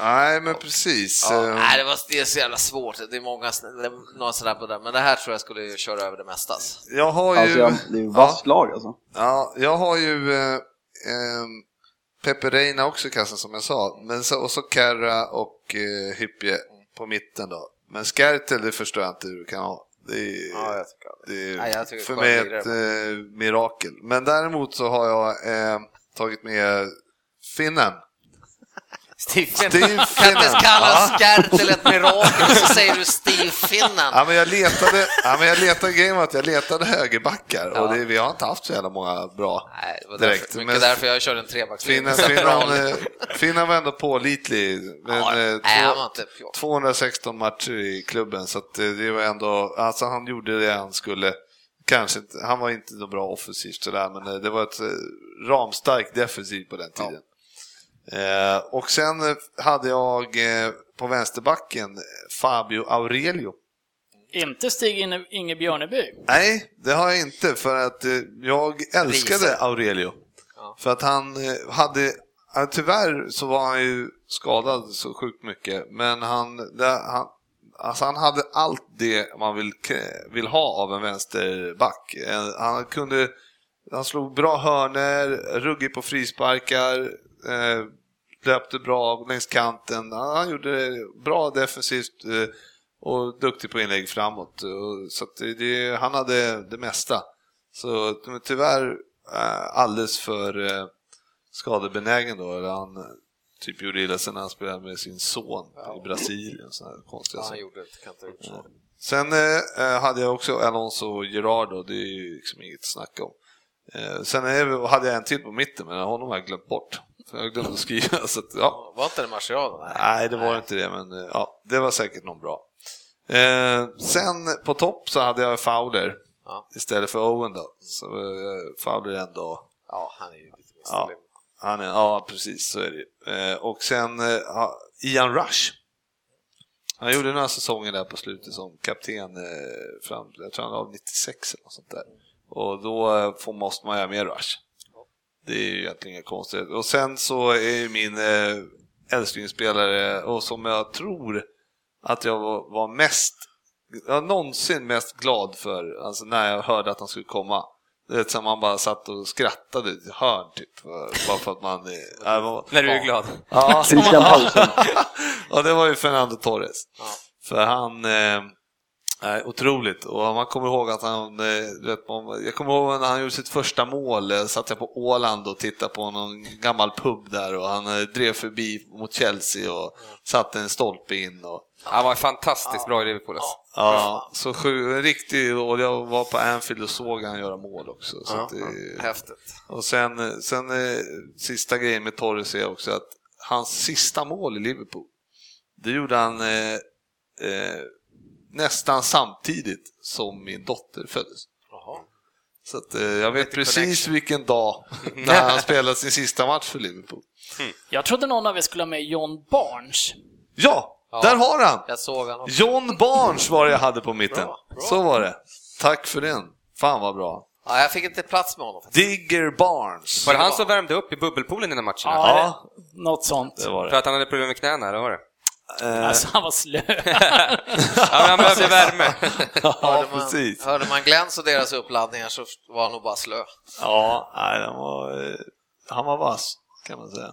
[SPEAKER 2] Nej, men precis.
[SPEAKER 5] Ja,
[SPEAKER 2] eh,
[SPEAKER 5] nej, det, var, det är så jävla svårt. Det är många sn- några sådana på den, men det här tror jag skulle ju köra över det mesta. alltså.
[SPEAKER 2] Eh, Jag har ju...
[SPEAKER 4] Alltså, jag, det är ju
[SPEAKER 2] ja,
[SPEAKER 4] vasst lag alltså.
[SPEAKER 2] ja, jag har ju eh, ehm, Pepe Reina också i kassan som jag sa, men så, och så Kerra och eh, Hyppie på mitten då. Men Skertel, det förstår jag inte hur du kan ha. Det är,
[SPEAKER 5] Ja, jag tycker
[SPEAKER 2] det är
[SPEAKER 5] Nej, jag tycker
[SPEAKER 2] för
[SPEAKER 5] skönt
[SPEAKER 2] mig
[SPEAKER 5] ligger
[SPEAKER 2] ett eh, mirakel. Men däremot så har jag eh, tagit med finnen. Steve
[SPEAKER 5] Stiffen. Kan inte ens
[SPEAKER 2] Finnan.
[SPEAKER 5] kalla Skertel ett mirakel, så säger du Stifinnan.
[SPEAKER 2] Ja, men jag
[SPEAKER 5] (laughs)
[SPEAKER 2] letade, ja, men jag letade, grejen var att jag letade högerbackar och det, vi har inte haft så jävla många bra
[SPEAKER 5] Nej, det var
[SPEAKER 2] direkt.
[SPEAKER 5] därför, mycket
[SPEAKER 2] Men
[SPEAKER 5] därför jag körde en trebackslinje.
[SPEAKER 2] Finland, Finland, eh, Finland var ändå pålitlig. Men,
[SPEAKER 5] Ja,
[SPEAKER 2] eh,
[SPEAKER 5] nej,
[SPEAKER 2] två-
[SPEAKER 5] han var inte pjåk.
[SPEAKER 2] 216 matcher i klubben, så att eh, det var ändå, alltså han gjorde det han skulle. Kanske inte, han var inte så bra offensivt sådär, men eh, det var ett eh, ramstarkt defensiv på den tiden. Eh, och sen eh, hade jag eh, på vänsterbacken, eh, Fabio Aurelio.
[SPEAKER 3] Inte Stig Inge- Inge Björneby.
[SPEAKER 2] Nej, det har jag inte för att eh, jag älskade Aurelio. För att han eh, hade, ja, tyvärr så var han ju skadad så sjukt mycket, men han, det, han, alltså han hade allt det man vill, k- vill ha av en vänsterback. Eh, Han kunde, han slog bra hörner, ruggig på frisparkar, eh, löpte bra längs kanten. Han, han gjorde det bra defensivt eh, och duktig på inlägg framåt. Och, så att det, det, han hade det mesta. Så men tyvärr eh, alldeles för eh, skadebenägen då. Eller han eh, typ gjorde illa sig när han spelade med sin son i Brasilien. Sådana här konstiga
[SPEAKER 5] Ja, han
[SPEAKER 2] saker.
[SPEAKER 5] gjorde det, kan inte ha gjort så.
[SPEAKER 2] Sen eh, eh, hade jag också Alonso och Gerardo, det är ju liksom inget att snacka om. Eh, sen är, hade jag en till på mitten, men honom har jag glömt bort. För jag glömde att skriva, (laughs) så att, ja.
[SPEAKER 5] Var inte det Martial? då? Nej.
[SPEAKER 2] Nej, det var inte det, men eh, ja, det var säkert någon bra. Eh, sen på topp så hade jag Fowler
[SPEAKER 5] Ja.
[SPEAKER 2] istället för Owen då. Så eh, Fowler en dag.
[SPEAKER 5] Ja, han är ju lite
[SPEAKER 2] Ja,
[SPEAKER 5] misslyckad.
[SPEAKER 2] han är, ja, precis så är det ju. eh, Och sen eh, ja, Ian Rush. Han gjorde några säsonger där på slutet som kapten, eh, fram, jag tror han var 96 eller något sånt där. Och då eh, får, måste man göra mer Rush. Det är ju egentligen inget konstigt. Och sen så är ju min eh, älsklingsspelare, och som jag tror att jag var, var mest, jag var någonsin mest glad för, alltså när jag hörde att han skulle komma. Det är som man bara satt och skrattade i ett hörn typ, för- bara för att man... eh, ja, man-
[SPEAKER 6] När du är glad.
[SPEAKER 2] (laughs) Ja,
[SPEAKER 4] Christian Paulsen.
[SPEAKER 2] ja, det var ju Fernando Torres. För han... Eh, är otroligt. Och man kommer ihåg att han... eh, du Vet, man, jag kommer ihåg när han gjorde sitt första mål, eh, satt jag på Åland och tittade på någon gammal pub där och han eh, drev förbi mot Chelsea och satte en stolpe in. Och,
[SPEAKER 6] Han var fantastiskt bra i Liverpool. alltså.
[SPEAKER 2] ja, så sju, en riktig... Och jag var på Anfield och såg han göra mål också. Så att det,
[SPEAKER 5] Häftigt.
[SPEAKER 2] och sen, sen eh, sista grejen med Torres är också att hans sista mål i Liverpool, det gjorde han eh, eh, nästan samtidigt som min dotter föddes. Så att, eh, jag vet precis vilken dag när
[SPEAKER 6] (laughs)
[SPEAKER 2] han spelade sin sista match för Liverpool.
[SPEAKER 3] Jag trodde någon av er skulle ha med John Barnes.
[SPEAKER 2] Ja, där har han!
[SPEAKER 5] Jag såg honom.
[SPEAKER 2] John Barnes var det jag hade på mitten. Så var det. Tack för den. Fan vad bra.
[SPEAKER 5] Ja, jag fick inte plats med honom.
[SPEAKER 2] Digger Barnes.
[SPEAKER 6] Var det han som värmde upp i bubbelpoolen innan matcherna?
[SPEAKER 2] Ja,
[SPEAKER 3] Något sånt.
[SPEAKER 2] det var
[SPEAKER 6] För
[SPEAKER 2] det.
[SPEAKER 6] att han hade problem med knäna, eller var (laughs) det?
[SPEAKER 3] Alltså, han
[SPEAKER 2] (laughs)
[SPEAKER 3] var slö.
[SPEAKER 6] Ja, men han behövde värme.
[SPEAKER 2] Ja,
[SPEAKER 5] Hörde man,
[SPEAKER 2] precis.
[SPEAKER 5] hörde man Glens och deras uppladdningar så var han nog bara slö.
[SPEAKER 2] Ja, nej, den var, eh, han var vass kan man säga.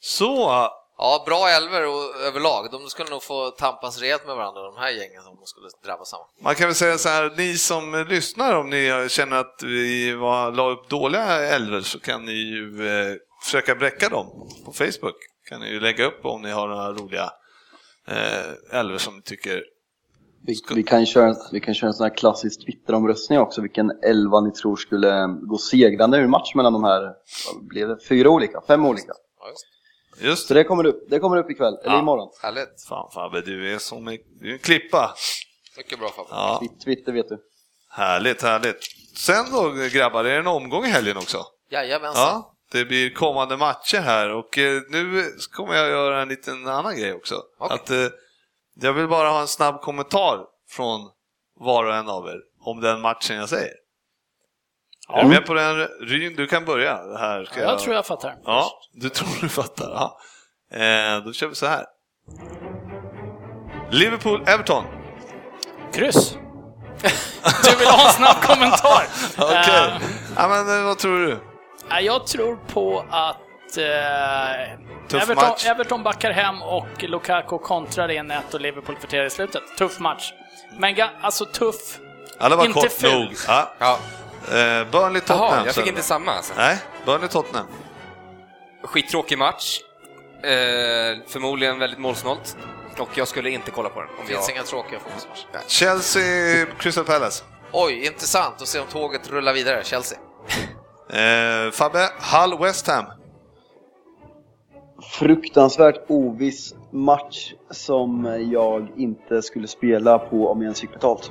[SPEAKER 2] Så,
[SPEAKER 5] Ja, bra elver och överlag. De skulle nog få tampas rejält med varandra, de här gängen, om de skulle drabbas samman.
[SPEAKER 2] man kan väl säga så här, ni som eh, lyssnar om ni känner att vi var, la upp dåliga älvor så kan ni ju eh, försöka bräcka dem på Facebook. kan ni ju lägga upp om ni har några roliga eh, älvor som ni tycker
[SPEAKER 4] Vi, vi, kan ju köra, vi kan köra en sån här klassisk Twitter-omröstning också, vilken elva ni tror skulle eh, gå segrande ur match mellan de här, vad blev det, fyra olika, fem olika.
[SPEAKER 5] Ja, just det.
[SPEAKER 2] Just
[SPEAKER 4] Så det kommer upp, det kommer upp ikväll, eller
[SPEAKER 2] Ja.
[SPEAKER 4] imorgon.
[SPEAKER 5] Härligt.
[SPEAKER 2] Fan Fabbe, du är som en, du är en klippa.
[SPEAKER 5] Mycket bra Fabbe.
[SPEAKER 2] Ja,
[SPEAKER 4] Ditt Twitter vet du.
[SPEAKER 2] härligt, härligt. Sen då grabbar, är det en omgång i helgen också?
[SPEAKER 5] Jajamensan.
[SPEAKER 2] Ja, det blir kommande matcher här och eh, nu kommer jag göra en liten annan grej också.
[SPEAKER 5] Okej.
[SPEAKER 2] Att, eh, jag vill bara ha en snabb kommentar från var och en av er om den matchen jag säger. Är du med på den? Ryn, du kan börja. Det Här ska
[SPEAKER 3] Jag tror jag fattar.
[SPEAKER 2] Ja, du tror du fattar. Ja. Eh, då kör vi så här. Liverpool-Everton.
[SPEAKER 3] Kryss. (laughs) Du vill ha en snabb kommentar?
[SPEAKER 2] Okej.
[SPEAKER 3] Eh,
[SPEAKER 2] Ja, men eh, vad tror du?
[SPEAKER 3] nej, jag tror på att eh,
[SPEAKER 2] Tuff
[SPEAKER 3] Everton,
[SPEAKER 2] match.
[SPEAKER 3] Everton backar hem och Lukaku kontrar in ett och Liverpool kvarterar i slutet. Tuff match. Men ga, alltså tuff.
[SPEAKER 2] Ja, det var
[SPEAKER 3] Inte
[SPEAKER 2] kort
[SPEAKER 3] ful.
[SPEAKER 2] nog. Ja.
[SPEAKER 6] Ja.
[SPEAKER 2] Eh, Burnley-Tottenham.
[SPEAKER 6] Jaha, jag
[SPEAKER 2] sen
[SPEAKER 6] fick inte
[SPEAKER 2] då.
[SPEAKER 6] samma alltså.
[SPEAKER 2] Nej, Burnley-Tottenham.
[SPEAKER 6] Skittråkig match. Eh, förmodligen väldigt målsnålt. Och jag skulle inte kolla på den. Om
[SPEAKER 5] Det finns
[SPEAKER 6] jag...
[SPEAKER 5] inga tråkiga fotbollsmatcher.
[SPEAKER 2] Chelsea, Crystal Palace.
[SPEAKER 5] Oj, intressant att se om tåget rullar vidare, Chelsea.
[SPEAKER 2] Eh, Fabbe, Hull, West Ham.
[SPEAKER 4] Fruktansvärt oviss match som jag inte skulle spela på om jag ens fick betalt.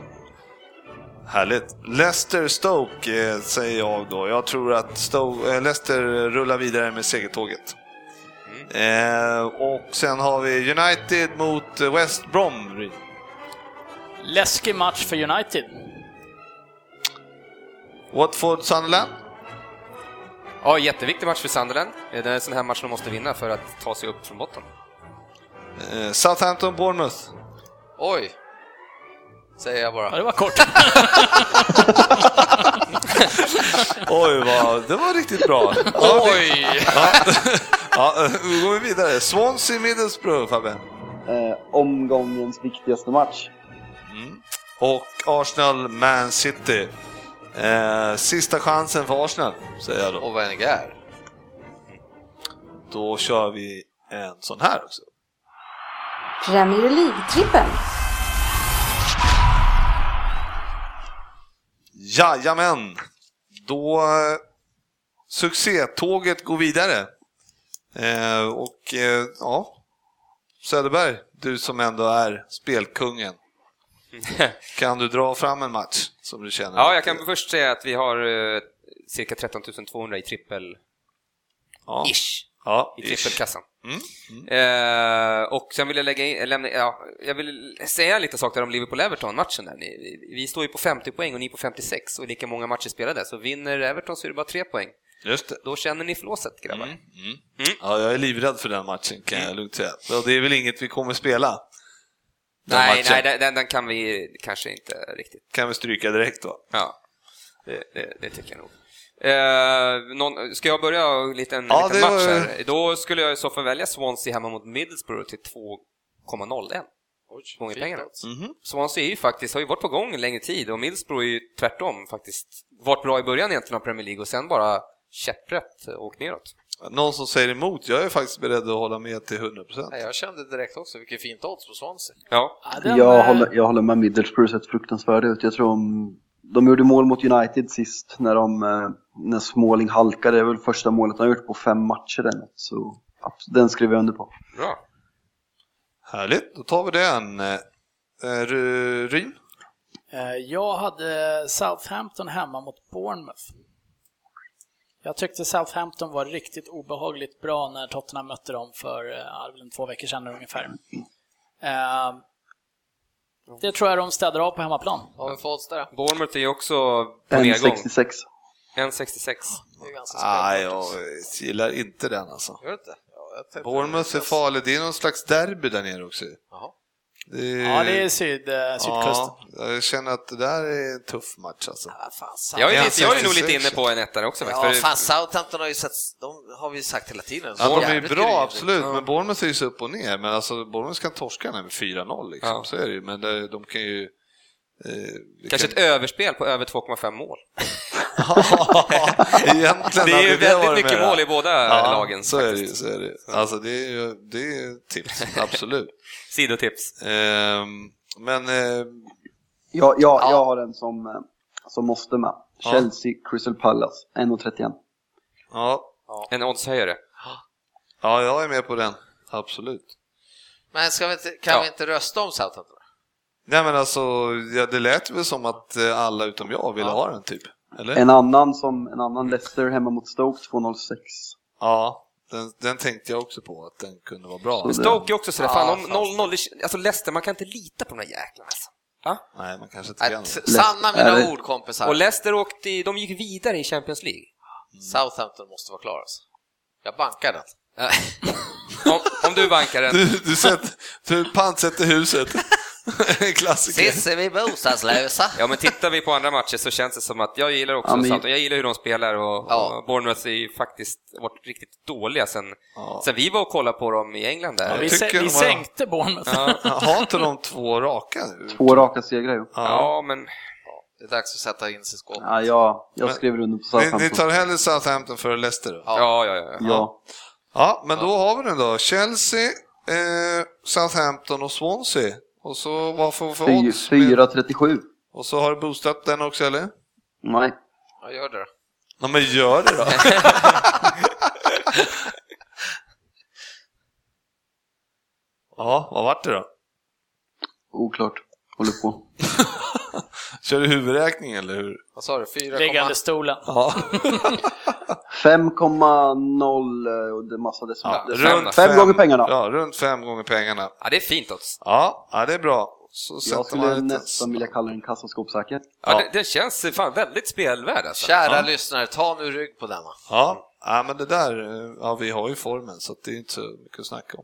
[SPEAKER 2] Härligt. Leicester, Stoke eh, säger jag då. Jag tror att Stoke, eh, Leicester rullar vidare med segertåget. Eh, och sen har vi United mot eh, West Bromwich.
[SPEAKER 3] Läskig match för United.
[SPEAKER 2] Watford Sunderland.
[SPEAKER 6] Ja, jätteviktig match för Sunderland. Eh, Det är en sån här match de måste vinna för att ta sig upp från botten.
[SPEAKER 2] Eh, Southampton Bournemouth.
[SPEAKER 5] Oj! Säger jag
[SPEAKER 3] Ja,
[SPEAKER 5] bara.
[SPEAKER 3] det
[SPEAKER 2] (laughs)
[SPEAKER 3] var kort.
[SPEAKER 2] Oj, vad, det var riktigt bra. Ja, (laughs) vi-
[SPEAKER 5] Oj!
[SPEAKER 2] Ja, nu går vi vidare. Swansea Middlesbrough, Fabbe.
[SPEAKER 4] Eh, omgångens viktigaste match.
[SPEAKER 2] Och Arsenal Man City. Eh, sista chansen för Arsenal, säger jag då.
[SPEAKER 5] Och vad är det här?
[SPEAKER 2] Då kör vi en sån här också.
[SPEAKER 1] Premier League-trippen.
[SPEAKER 2] Jajamän! Då eh, succétåget går vidare. Eh, och eh, ja, Söderberg, du som ändå är spelkungen.
[SPEAKER 6] (laughs)
[SPEAKER 2] Kan du dra fram en match som du känner?
[SPEAKER 6] Ja, jag kan först säga att vi har eh, cirka 13 200 i trippel...
[SPEAKER 2] Ja.
[SPEAKER 6] Ish.
[SPEAKER 2] Ja,
[SPEAKER 6] I
[SPEAKER 2] ish.
[SPEAKER 6] trippelkassan.
[SPEAKER 2] Mm.
[SPEAKER 6] Eh, och sen vill jag lägga in, lämna, ja, jag vill säga lite saker om Liverpool-Everton-matchen. där. Ni- Vi, vi står ju på 50 poäng och ni på 56 och lika många matcher spelade, så vinner Everton så är det bara tre poäng.
[SPEAKER 2] Just det.
[SPEAKER 6] Då känner ni flåset, grabbar.
[SPEAKER 5] Mm.
[SPEAKER 3] Mm.
[SPEAKER 2] Ja, jag är livrädd för den matchen kan jag lugnt säga. Och det är väl inget vi kommer spela. Den
[SPEAKER 6] Nej,
[SPEAKER 2] matchen
[SPEAKER 6] nej, den- den, den kan vi kanske inte riktigt.
[SPEAKER 2] kan vi stryka direkt då.
[SPEAKER 6] Ja, det, det, det tycker jag nog. Eh, någon, ska jag börja och lite en
[SPEAKER 2] Ja,
[SPEAKER 6] liten
[SPEAKER 2] det
[SPEAKER 6] match
[SPEAKER 2] var-
[SPEAKER 6] här? Då skulle jag i så fall välja Swansea hemma mot Middlesbrough till 2,01. Gånger pengarna.
[SPEAKER 2] Mm.
[SPEAKER 6] Swansea är ju faktiskt, har ju varit på gång en längre tid och Middlesbrough är ju tvärtom faktiskt varit bra i början egentligen av Premier League och sen bara käpprätt åkt neråt.
[SPEAKER 2] Någon som säger emot, jag är faktiskt beredd att hålla med till 100%.
[SPEAKER 5] Nej, Jag kände direkt också, vilket fint odds på Swansea.
[SPEAKER 6] Ja,
[SPEAKER 3] Ja, den,
[SPEAKER 4] Jag
[SPEAKER 3] eh,
[SPEAKER 4] håller, jag håller med Middlesbrough sett fruktansvärda ut. Jag tror de, de gjorde mål mot United sist när, de, eh, när Småling halkade. Det är väl första målet han har gjort på fem matcher eller något. Så abs- den skriver jag under på.
[SPEAKER 6] bra.
[SPEAKER 2] Härligt, då tar vi den. Eh, Ry- Ryn?
[SPEAKER 3] eh, Jag hade Southampton hemma mot Bournemouth. Jag tyckte Southampton var riktigt obehagligt bra när Tottenham mötte dem för eh, ja, det var väl två veckor sedan ungefär. Eh, Det tror jag de städar av på hemmaplan.
[SPEAKER 5] Har vi fått odds där?
[SPEAKER 6] Bournemouth är ju också på nedgång.
[SPEAKER 4] 1,66.
[SPEAKER 6] 1,66.
[SPEAKER 5] Det är ganska
[SPEAKER 2] Ah,
[SPEAKER 5] spännande.
[SPEAKER 2] jag gillar inte den alltså.
[SPEAKER 5] Gör du inte? Ja, jag tänkte-
[SPEAKER 2] Bournemouth är farlig, det är någon slags derby där nere också.
[SPEAKER 5] Jaha.
[SPEAKER 2] Det är...
[SPEAKER 3] Ja, det är syd, eh, sydkusten.
[SPEAKER 2] Ja, jag känner att det där är en tuff match alltså.
[SPEAKER 5] Ah, fan, Southampton.
[SPEAKER 6] Jag är, lite, jag är nog lite
[SPEAKER 2] 1,66.
[SPEAKER 6] inne på en etta också
[SPEAKER 5] Ja,
[SPEAKER 6] faktiskt. för-
[SPEAKER 5] fan Southampton har ju sett, de har vi sagt hela tiden.
[SPEAKER 2] Ja, de är
[SPEAKER 5] Jävligt
[SPEAKER 2] bra,
[SPEAKER 5] grym.
[SPEAKER 2] absolut, men Bournemouth är ju så upp och ner. Men alltså, Bournemouth kan torska den här med 4-0, liksom.
[SPEAKER 6] Ja.
[SPEAKER 2] så är det ju. Men det, de kan ju... Eh, vi
[SPEAKER 6] Kanske ett
[SPEAKER 2] kan,
[SPEAKER 6] överspel på över 2,5 mål.
[SPEAKER 2] (laughs) egentligen
[SPEAKER 6] (laughs) Det är
[SPEAKER 2] hade
[SPEAKER 6] ju
[SPEAKER 2] varit
[SPEAKER 6] väldigt mycket
[SPEAKER 2] mera.
[SPEAKER 6] mål i båda
[SPEAKER 2] Ja,
[SPEAKER 6] lagen.
[SPEAKER 2] Så är det ju.
[SPEAKER 6] faktiskt.
[SPEAKER 2] Så är det. ju. Alltså, det är ju det är ju ett tips,
[SPEAKER 6] (laughs)
[SPEAKER 2] absolut.
[SPEAKER 6] Sidotips.
[SPEAKER 2] Ehm, men eh,
[SPEAKER 4] Jag, jag, jag har en som, eh, som måste med. Chelsea, Crystal Palace, 1,31.
[SPEAKER 2] ja,
[SPEAKER 6] En oddshöjare.
[SPEAKER 2] ja, jag är med på den, absolut.
[SPEAKER 5] Men ska vi inte, kan
[SPEAKER 6] Ja.
[SPEAKER 5] vi inte rösta om Southampton?
[SPEAKER 2] Nej men alltså, ja, det lät väl som att eh, alla utom jag ville ha den typ, eller?
[SPEAKER 4] En annan som, en annan Leicester hemma mot Stoke, 2,06.
[SPEAKER 2] Ja, den, den tänkte jag också på, att den kunde vara bra.
[SPEAKER 4] Men
[SPEAKER 6] Stoke är också sådär,
[SPEAKER 5] Ja,
[SPEAKER 6] fan om
[SPEAKER 5] fan.
[SPEAKER 6] 0-0, det- alltså Leicester, man kan inte lita på de där jäklarna alltså.
[SPEAKER 2] Nej, man kanske
[SPEAKER 6] Äh,
[SPEAKER 2] inte
[SPEAKER 5] Nej,
[SPEAKER 2] kan.
[SPEAKER 5] Äh, t- sanna mina
[SPEAKER 4] Nej.
[SPEAKER 5] ord kompisar.
[SPEAKER 6] Och Leicester åkte, i- de gick vidare i Champions League.
[SPEAKER 5] Southampton måste vara klar alltså. Jag bankar den.
[SPEAKER 6] Om, om du bankar den.
[SPEAKER 2] (laughs) Du, du, sett, du pantsätter huset. (laughs) En Klassiker.
[SPEAKER 5] Sitter vi bostadslösa?
[SPEAKER 6] Ja men tittar vi på andra matcher så känns det som att jag gillar också
[SPEAKER 4] Ja, men-
[SPEAKER 6] Southampton, jag gillar hur de spelar och,
[SPEAKER 5] Ja.
[SPEAKER 6] och Bournemouth är ju faktiskt varit riktigt dåliga sen,
[SPEAKER 2] Ja.
[SPEAKER 6] sen vi var och kollade på dem i England
[SPEAKER 2] Ja,
[SPEAKER 6] där.
[SPEAKER 3] Vi,
[SPEAKER 2] tycker
[SPEAKER 3] sä-
[SPEAKER 2] de
[SPEAKER 3] vi
[SPEAKER 2] var-
[SPEAKER 3] sänkte Bournemouth. (laughs)
[SPEAKER 2] Ja, Har inte de två raka nu?
[SPEAKER 4] Två raka segrar ju.
[SPEAKER 2] Ja.
[SPEAKER 6] Ja men,
[SPEAKER 5] Det är dags att sätta in sig i skåpet.
[SPEAKER 4] Ja, jag, jag
[SPEAKER 2] Men-
[SPEAKER 4] skriver under på
[SPEAKER 2] Ni, ni
[SPEAKER 4] Southampton.
[SPEAKER 2] tar hellre Southampton före Leicester då?
[SPEAKER 5] Ja.
[SPEAKER 6] ja ja ja.
[SPEAKER 4] Ja.
[SPEAKER 2] Ja, men då har vi den då. Chelsea, eh, Southampton och Swansea. Och så vad får vi för
[SPEAKER 4] Fy-
[SPEAKER 2] odds?
[SPEAKER 4] 4,37.
[SPEAKER 2] Och så har du boostat den också eller?
[SPEAKER 4] Nej.
[SPEAKER 5] Ja, gör det då.
[SPEAKER 2] Ja men gör det då! (laughs) ja, vad vart det då?
[SPEAKER 4] Oklart. Håller på.
[SPEAKER 2] Kör du huvudräkning eller hur?
[SPEAKER 5] Vad sa du? 4,
[SPEAKER 3] Liggande stolen.
[SPEAKER 2] Ja.
[SPEAKER 4] 5,0 och det massa
[SPEAKER 6] Ja,
[SPEAKER 4] decimeter.
[SPEAKER 6] runt
[SPEAKER 4] fem,
[SPEAKER 2] fem-
[SPEAKER 4] gånger pengarna.
[SPEAKER 2] Ja, runt fem gånger pengarna.
[SPEAKER 6] Ja, det är fint odds.
[SPEAKER 2] Ja, ja det är bra. Så sätter
[SPEAKER 4] jag
[SPEAKER 2] man
[SPEAKER 4] skulle
[SPEAKER 2] lite-
[SPEAKER 4] nästan vilja kalla den kassaskåpssäker.
[SPEAKER 6] Ja,
[SPEAKER 2] Ja.
[SPEAKER 6] Det, det känns fan väldigt spelvärd alltså.
[SPEAKER 5] Kära lyssnare, ta nu rygg på denna.
[SPEAKER 2] Ja, ja, men det där, eh, ja vi har ju formen så att det är inte så mycket att snacka om.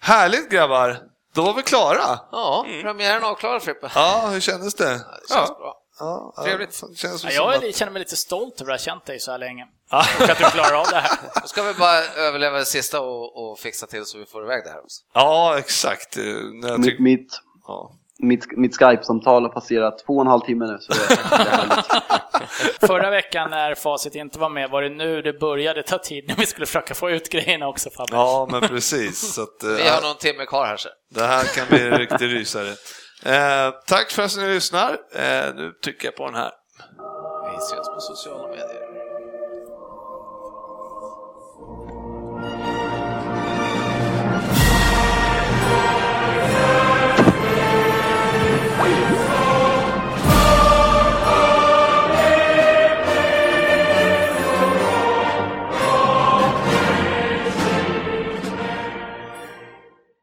[SPEAKER 2] Härligt grabbar, då var vi klara.
[SPEAKER 5] Ja, premiären avklarad Frippe.
[SPEAKER 2] Ja, hur kändes det?
[SPEAKER 5] Känns bra.
[SPEAKER 2] Ja, ja,
[SPEAKER 6] Trevligt.
[SPEAKER 2] det Känns
[SPEAKER 3] Ja,
[SPEAKER 2] som
[SPEAKER 3] jag
[SPEAKER 2] att...
[SPEAKER 3] är, känner mig lite stolt över att ha känt dig så här länge. Och att du klarar av det här.
[SPEAKER 5] Då ska vi bara överleva det sista och, och fixa till så vi får iväg det här också.
[SPEAKER 2] ja exakt. eh, När jag
[SPEAKER 4] Mitt,
[SPEAKER 2] tyck...
[SPEAKER 4] mitt,
[SPEAKER 2] ja.
[SPEAKER 4] mitt, mitt Skype-samtal har passerat två och en halv timme nu. Så det,
[SPEAKER 2] (laughs)
[SPEAKER 4] det är härligt.
[SPEAKER 3] Förra veckan när Facit inte var med, var det nu det började ta tid när vi skulle försöka få ut grejerna också Fabbe?
[SPEAKER 2] ja, men precis. Så att, eh,
[SPEAKER 5] Vi har någon timme kvar här sen.
[SPEAKER 2] Det här kan bli en riktig rysare. Eh, tack för att ni lyssnar. Eh, nu tycker jag på den här.
[SPEAKER 5] Vi ses på sociala medier.